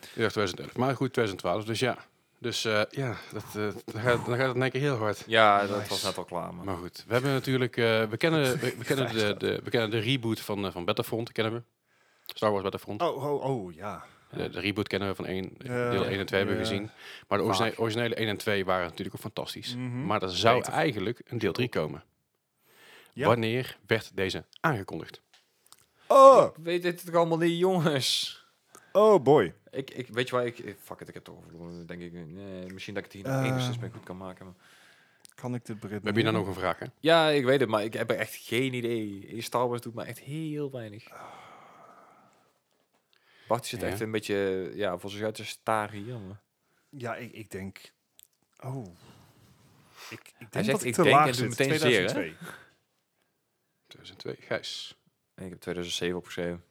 Ik dacht 2011. Maar goed, 2012, dus ja. Dus eh, ja, dat, eh, dan, gaat, dan gaat het in één keer heel hard.
Ja, dat was net al klaar. Maar.
Maar goed, we hebben natuurlijk, eh, we, kennen, we, we kennen de, de, we kennen de reboot van, eh, van Battlefront, kennen we. Star Wars Battlefront.
Oh, oh, oh, ja.
De, de reboot kennen we van één,
Ja.
deel 1 en 2 hebben we
Ja.
gezien. Maar de originele, originele 1 en 2 waren natuurlijk ook fantastisch. Maar er zou
Mhm. Beter.
eigenlijk een deel 3 komen.
Ja.
Wanneer werd deze aangekondigd?
Oh,
Ik weet dit toch allemaal niet, jongens.
oh boy.
Ik, ik, weet je waar ik... eh, Fuck it, ik heb toch overloren. Denk ik, eh, nee, misschien dat ik het hier nog
Eh.
enigszins mee goed kan maken. maar-
Kan ik dit bericht
We hebben hier dan nog een vraag, hè?
Ja, ik weet het, maar ik heb er echt geen idee. Eh, Star Wars doet me echt heel weinig.
Ah.
Bart zit
Ja.
echt een beetje ja, voor zich uit te staren hier. Maar.
Ja, ik, ik denk... Oh. Ik, ik denk
zegt,
dat ik,
ik
te
denk,
laag
en doet
zit.
meteen zeer, hè?
2002.
2002, Gijs.
En Ik heb 2007 opgeschreven.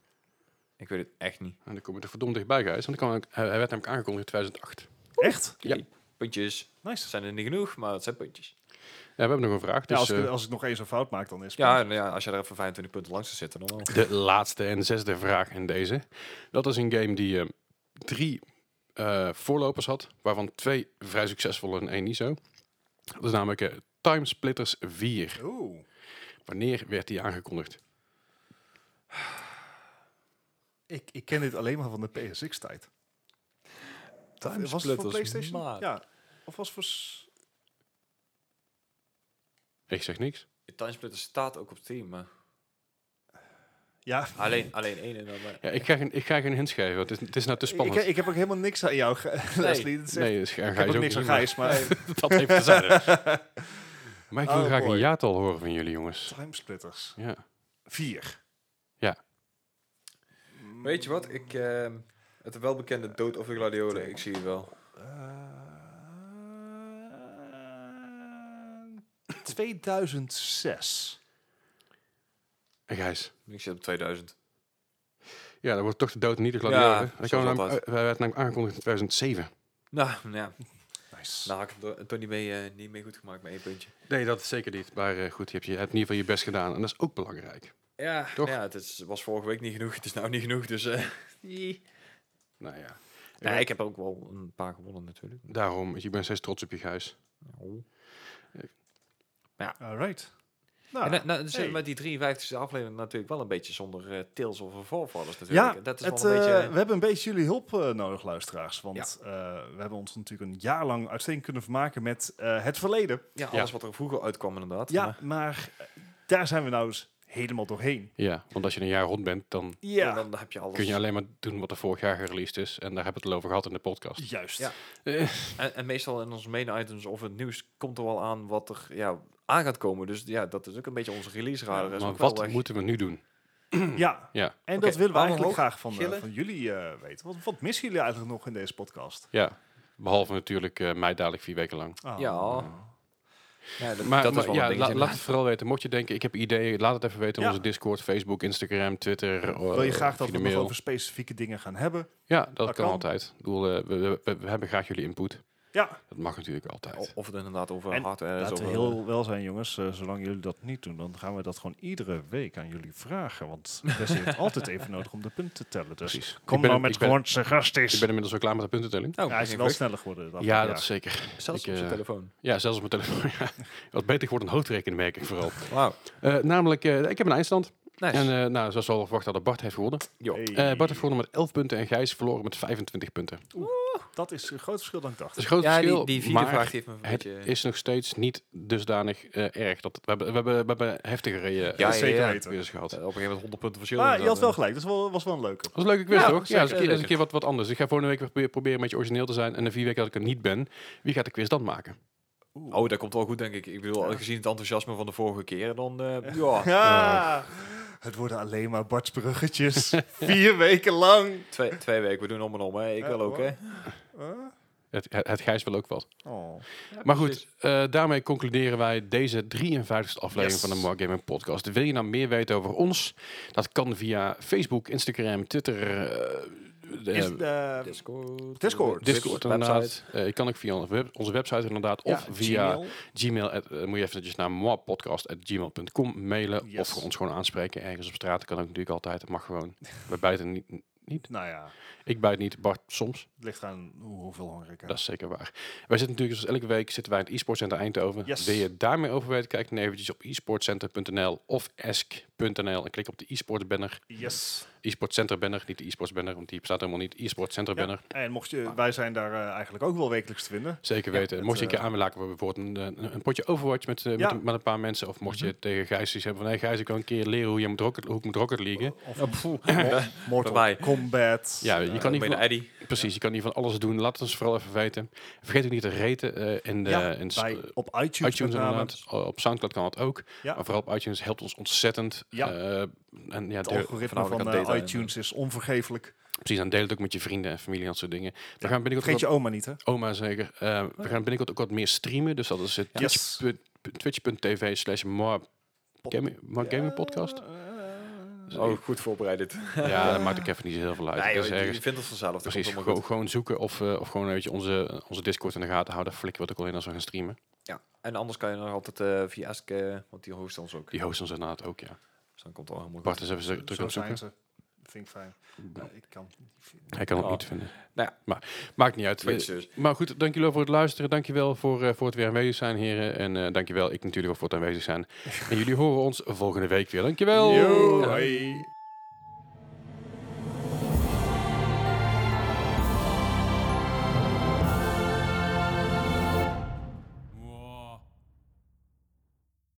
Ik weet het echt niet.
En dan kom je er verdomd dichtbij, Gijs. Want dan kwam, hij hij werd namelijk aangekondigd in 2008.
Echt?
Ja.
Hey, Puntjes.
Nice.
Zijn er niet genoeg, maar het zijn puntjes.
Ja, we hebben nog een vraag.
Ja,
Dus,
als, ik,
eh,
als ik nog eens een fout maak, dan is het
Ja, nou ja, als je er even 25 punten langs zit, dan wel.
De laatste en zesde vraag in deze. Dat is een game die eh, drie eh, voorlopers had, waarvan twee vrij succesvol en één niet zo. Dat is namelijk eh, Time Splitters 4.
Oeh.
Wanneer werd die aangekondigd?
Ik, ik ken dit alleen maar van de PSX-tijd. was het voor
Splitters,
PlayStation?
maat.
Ja. Of was het voor... s-
Ik zeg niks.
Timesplitter staat ook op Steam, maar
Ja.
alleen, alleen één en dan... maar-
Ja, ik, ga geen, ik ga geen hints geven, want het is, het is nou te
Ik,
spannend.
ik heb ook helemaal niks aan jou, <laughs> ge- Leslie. Dat is echt-
nee, dus,
ik heb ook niks aan Gijs, maar...
<laughs>
<laughs>
Dat heeft te zijn. Maar ik wil
Oh,
graag
boy.
een jaartal horen van jullie, jongens.
Timesplitters.
Ja.
Vier.
Weet je wat? Ik, ehm, het welbekende Dood of de Gladiolen, ik zie het wel.
Eh, 2006.
En Gijs.
Ik zit op 2000.
Ja, dan wordt toch de dood niet de
Ja,
gladiolen. Ja,
zoals
hij werd
altijd.
namelijk aangekondigd in 2007.
Nou, nou ja.
Nice.
Nou, had ik het Tony mee, eh, niet meer goed gemaakt met één puntje.
Nee, dat is zeker niet. Maar eh, goed, je hebt, je hebt in ieder geval je best gedaan. En dat is ook belangrijk.
Ja,
Toch?
ja het is, was vorige week niet genoeg. Het is nou niet genoeg, dus... eh, nee.
Nou ja.
Nee, ik heb ook wel een paar gewonnen natuurlijk. oh.
Daarom, ik ben steeds trots op je, Gijs.
Alright.
En
Nou,
dan- dan zitten we
hey.
dus, eh, met die 53e aflevering natuurlijk wel een beetje zonder eh, tails of voorvallers natuurlijk.
Ja,
dat is
het,
wel een
eh,
beetje...
we hebben een beetje jullie hulp eh, nodig, luisteraars. Want eh, we hebben ons natuurlijk een jaar lang uitstekend kunnen vermaken met eh, het verleden.
Ja, alles wat er vroeger uitkwam inderdaad.
Ja,
Maar-
maar eh, daar zijn we nou eens helemaal doorheen.
Ja, want als je een jaar rond bent, dan
en dan heb je alles.
kun je alleen maar doen wat er vorig jaar gereleased is. En daar hebben we het al over gehad in de podcast.
Juist.
Ja.
Eh,
En, en meestal in onze main items of het nieuws komt er wel aan wat er ja, aan gaat komen. Dus ja, dat is ook een beetje onze release radar. Dat is
maar
ook wel
wat
weg.
moeten we nu doen?
Ja,
Ja,
en
Oké,
dat willen we
handen
eigenlijk
omhoog,
graag van, eh,
gillen.
van jullie eh, weten. Wat, wat missen jullie eigenlijk nog in deze podcast?
ja. Behalve natuurlijk eh, mij dadelijk vier weken lang.
Ah.
Ja. ja, dat,
Maar,
dat
maar
is wel
ja,
een
la-
dingetje.
laat het vooral weten. Mocht je denken, ik heb ideeën, laat het even weten in
Ja.
onze Discord, Facebook, Instagram, Twitter. eh,
Wil je graag dat we
de
het nog over specifieke dingen gaan hebben?
Ja, dat,
Dat
kan,
kan.
altijd. Ik bedoel, eh, we, we- we- we hebben graag jullie input.
Ja,
Dat mag natuurlijk altijd.
Oh,
O- Of het inderdaad over
En
hardware is. eh, oh,
laten we
over-
heel wel zijn jongens. Eh, zolang jullie dat niet doen, dan gaan we dat gewoon iedere week aan jullie vragen. Want Wesley heeft altijd even nodig om de punten te tellen. Dus
Precies. Ik
kom
ben-
nou
ik
met
ben-
gewoon
Ik
suggesties.
ben inmiddels al klaar met de puntentelling.
Oh,
Ja, hij is
geen
wel
vlucht.
sneller geworden. dat
ja,
afgelopen
dat is zeker.
Zelfs
Ik,
op zijn
eh,
telefoon.
Ja, zelfs op mijn telefoon. <laughs> Ja. Wat beter wordt een hoofdrekenmerking vooral.
Wauw.
Eh, namelijk, eh, ik heb een eindstand.
Nice.
En eh, nou, zoals we al verwacht hadden, Bart heeft gewonnen.
Jo.
jaar.
Eh,
Hey,
Bart heeft gewonnen met 11 punten en Gijs verloren met 25 punten. Dat
dat is een groot verschil dan ik dacht.
is een groot
ja,
verschil,
die, die vierde
maar
vraag die heeft me een
het
beetje... eh,
is nog steeds niet dusdanig eh, erg. Dat, we, hebben, we, hebben, we hebben heftigere eh
Ja,
ja,
ja,
zeker
ja.
weten.
gehad.
eh, op een gegeven moment 100 punten verschil. eh,
Maar je had
inderdaad.
wel gelijk. Dat was wel, was wel een leuke.
Dat was een leuke quiz,
Ja,
toch? Ja, dat is een keer,
zeker,
dat is een
zeker.
keer wat, wat anders. Ik ga volgende week weer proberen- proberen een beetje origineel te zijn. En de vier weken dat ik er niet ben, wie gaat de quiz dan maken?
Oh, dat komt wel goed, denk ik. Ik bedoel, gezien het enthousiasme van de vorige keer, dan... eh, ja,
Ja. Het worden alleen maar Bart's <laughs> bruggetjes. Vier weken lang.
twee, twee weken. We doen om en om, hè. Ik
Ja,
wil ook, hè.
Het, het, het Gijs wil ook wat.
Oh.
Maar goed, eh, daarmee concluderen wij deze 53e aflevering
Yes.
van de Mark Gaming Podcast. Wil je nou meer weten over ons? Dat kan via Facebook, Instagram, Twitter, eh, de-
Is, eh,
Discord.
Discord.
Discord
website.
inderdaad. Eh, je kan ook via onze, web- onze website inderdaad. Of
ja,
via
Gmail.
Gmail, at- eh, moet je even netjes naar moapodcast.gmail.com mailen.
Yes.
Of voor ons gewoon aanspreken. Ergens op straat kan ook natuurlijk altijd. Het mag gewoon. We bijten niet. <laughs> niet.
Nou ja,
Ik bijt niet, Bart soms.
het ligt aan hoe- hoeveel honger ik heb.
Dat is zeker waar. Wij zitten natuurlijk zoals elke week zitten wij in het e-sport center Eindhoven.
Yes.
Wil je daar meer over weten, kijk dan eventjes op e-sportcenter.nl of esc.nl en klik op de e-sport banner.
Yes.
E-sport center banner, niet de e-sports banner, want die bestaat helemaal niet. E-sport center banner.
Ja, En mocht je, wij zijn daar eh, eigenlijk ook wel wekelijks te vinden.
Zeker weten.
het,
mocht je een keer
eh,
aan willen laken, bijvoorbeeld een, eh, een, een potje Overwatch met, eh,
Ja. Mhm.
met, een, met een paar mensen. Of mocht je tegen Gijs iets hebben van, hey Gijs, ik wil een keer leren hoe, je moet rocket, hoe ik moet rocket league.
Of eh,
Ja,
Mortal
bij mij.
Kombat.
Ja, je kan niet
ben
van,
Eddie.
precies, je kan niet van alles doen. Laat het ons vooral even weten. Vergeet ook niet te reten eh, in de,
Ja,
in s-
bij,
eh,
op iTunes,
iTunes
met name.
inderdaad. O- Op Soundcloud kan dat ook.
Ja.
Maar vooral op iTunes helpt ons ontzettend.
Ja.
Eh, en ja,
Het
deel-
algoritme
voornamelijk
van
aan
eh,
data,
iTunes is onvergeeflijk.
precies, en deel het ook met je vrienden en familie en dat soort dingen. We gaan binnenkort
Vergeet je
wat,
oma niet, hè?
oma zeker. Eh,
Oh.
we gaan binnenkort ook wat meer streamen. Dus dat is eh,
Yes.
twitch- twitch.tv slash Mar- Gaming- Mar Gaming
<laughs>
Podcast.
Eh,
Oh, goed voorbereid dit.
Ja, dat maakt ook even niet zo heel veel uit. Dat
Nee, joh,
is
je-
ergens-
je vindt het vanzelf. Dat
Precies,
komt allemaal
gewoon, gewoon
goed.
zoeken of, eh, of gewoon een beetje onze, onze Discord in de gaten houden. Flikken we het ook al in als we gaan streamen.
Ja. En anders kan je nog altijd eh, via Ask, eh, want die host ons ook.
Die hosten ons inderdaad ook, ja.
Dus dan komt het al helemaal goed.
Bart is even zo- druk
Zo
op
zijn
zoeken.
ze. Vind ik fijn. Eh, ik kan het niet vinden.
Hij kan het
Oh.
niet vinden.
Nou ja.
Maar maakt niet uit.
Twitch
Eh,
dus.
Maar goed, dank jullie wel voor het luisteren. Dank je wel voor, eh, voor het weer aanwezig zijn, heren. En eh dank je wel, ik natuurlijk ook voor het aanwezig zijn. en jullie horen ons volgende week weer. Dank je wel.
Yo, hoi.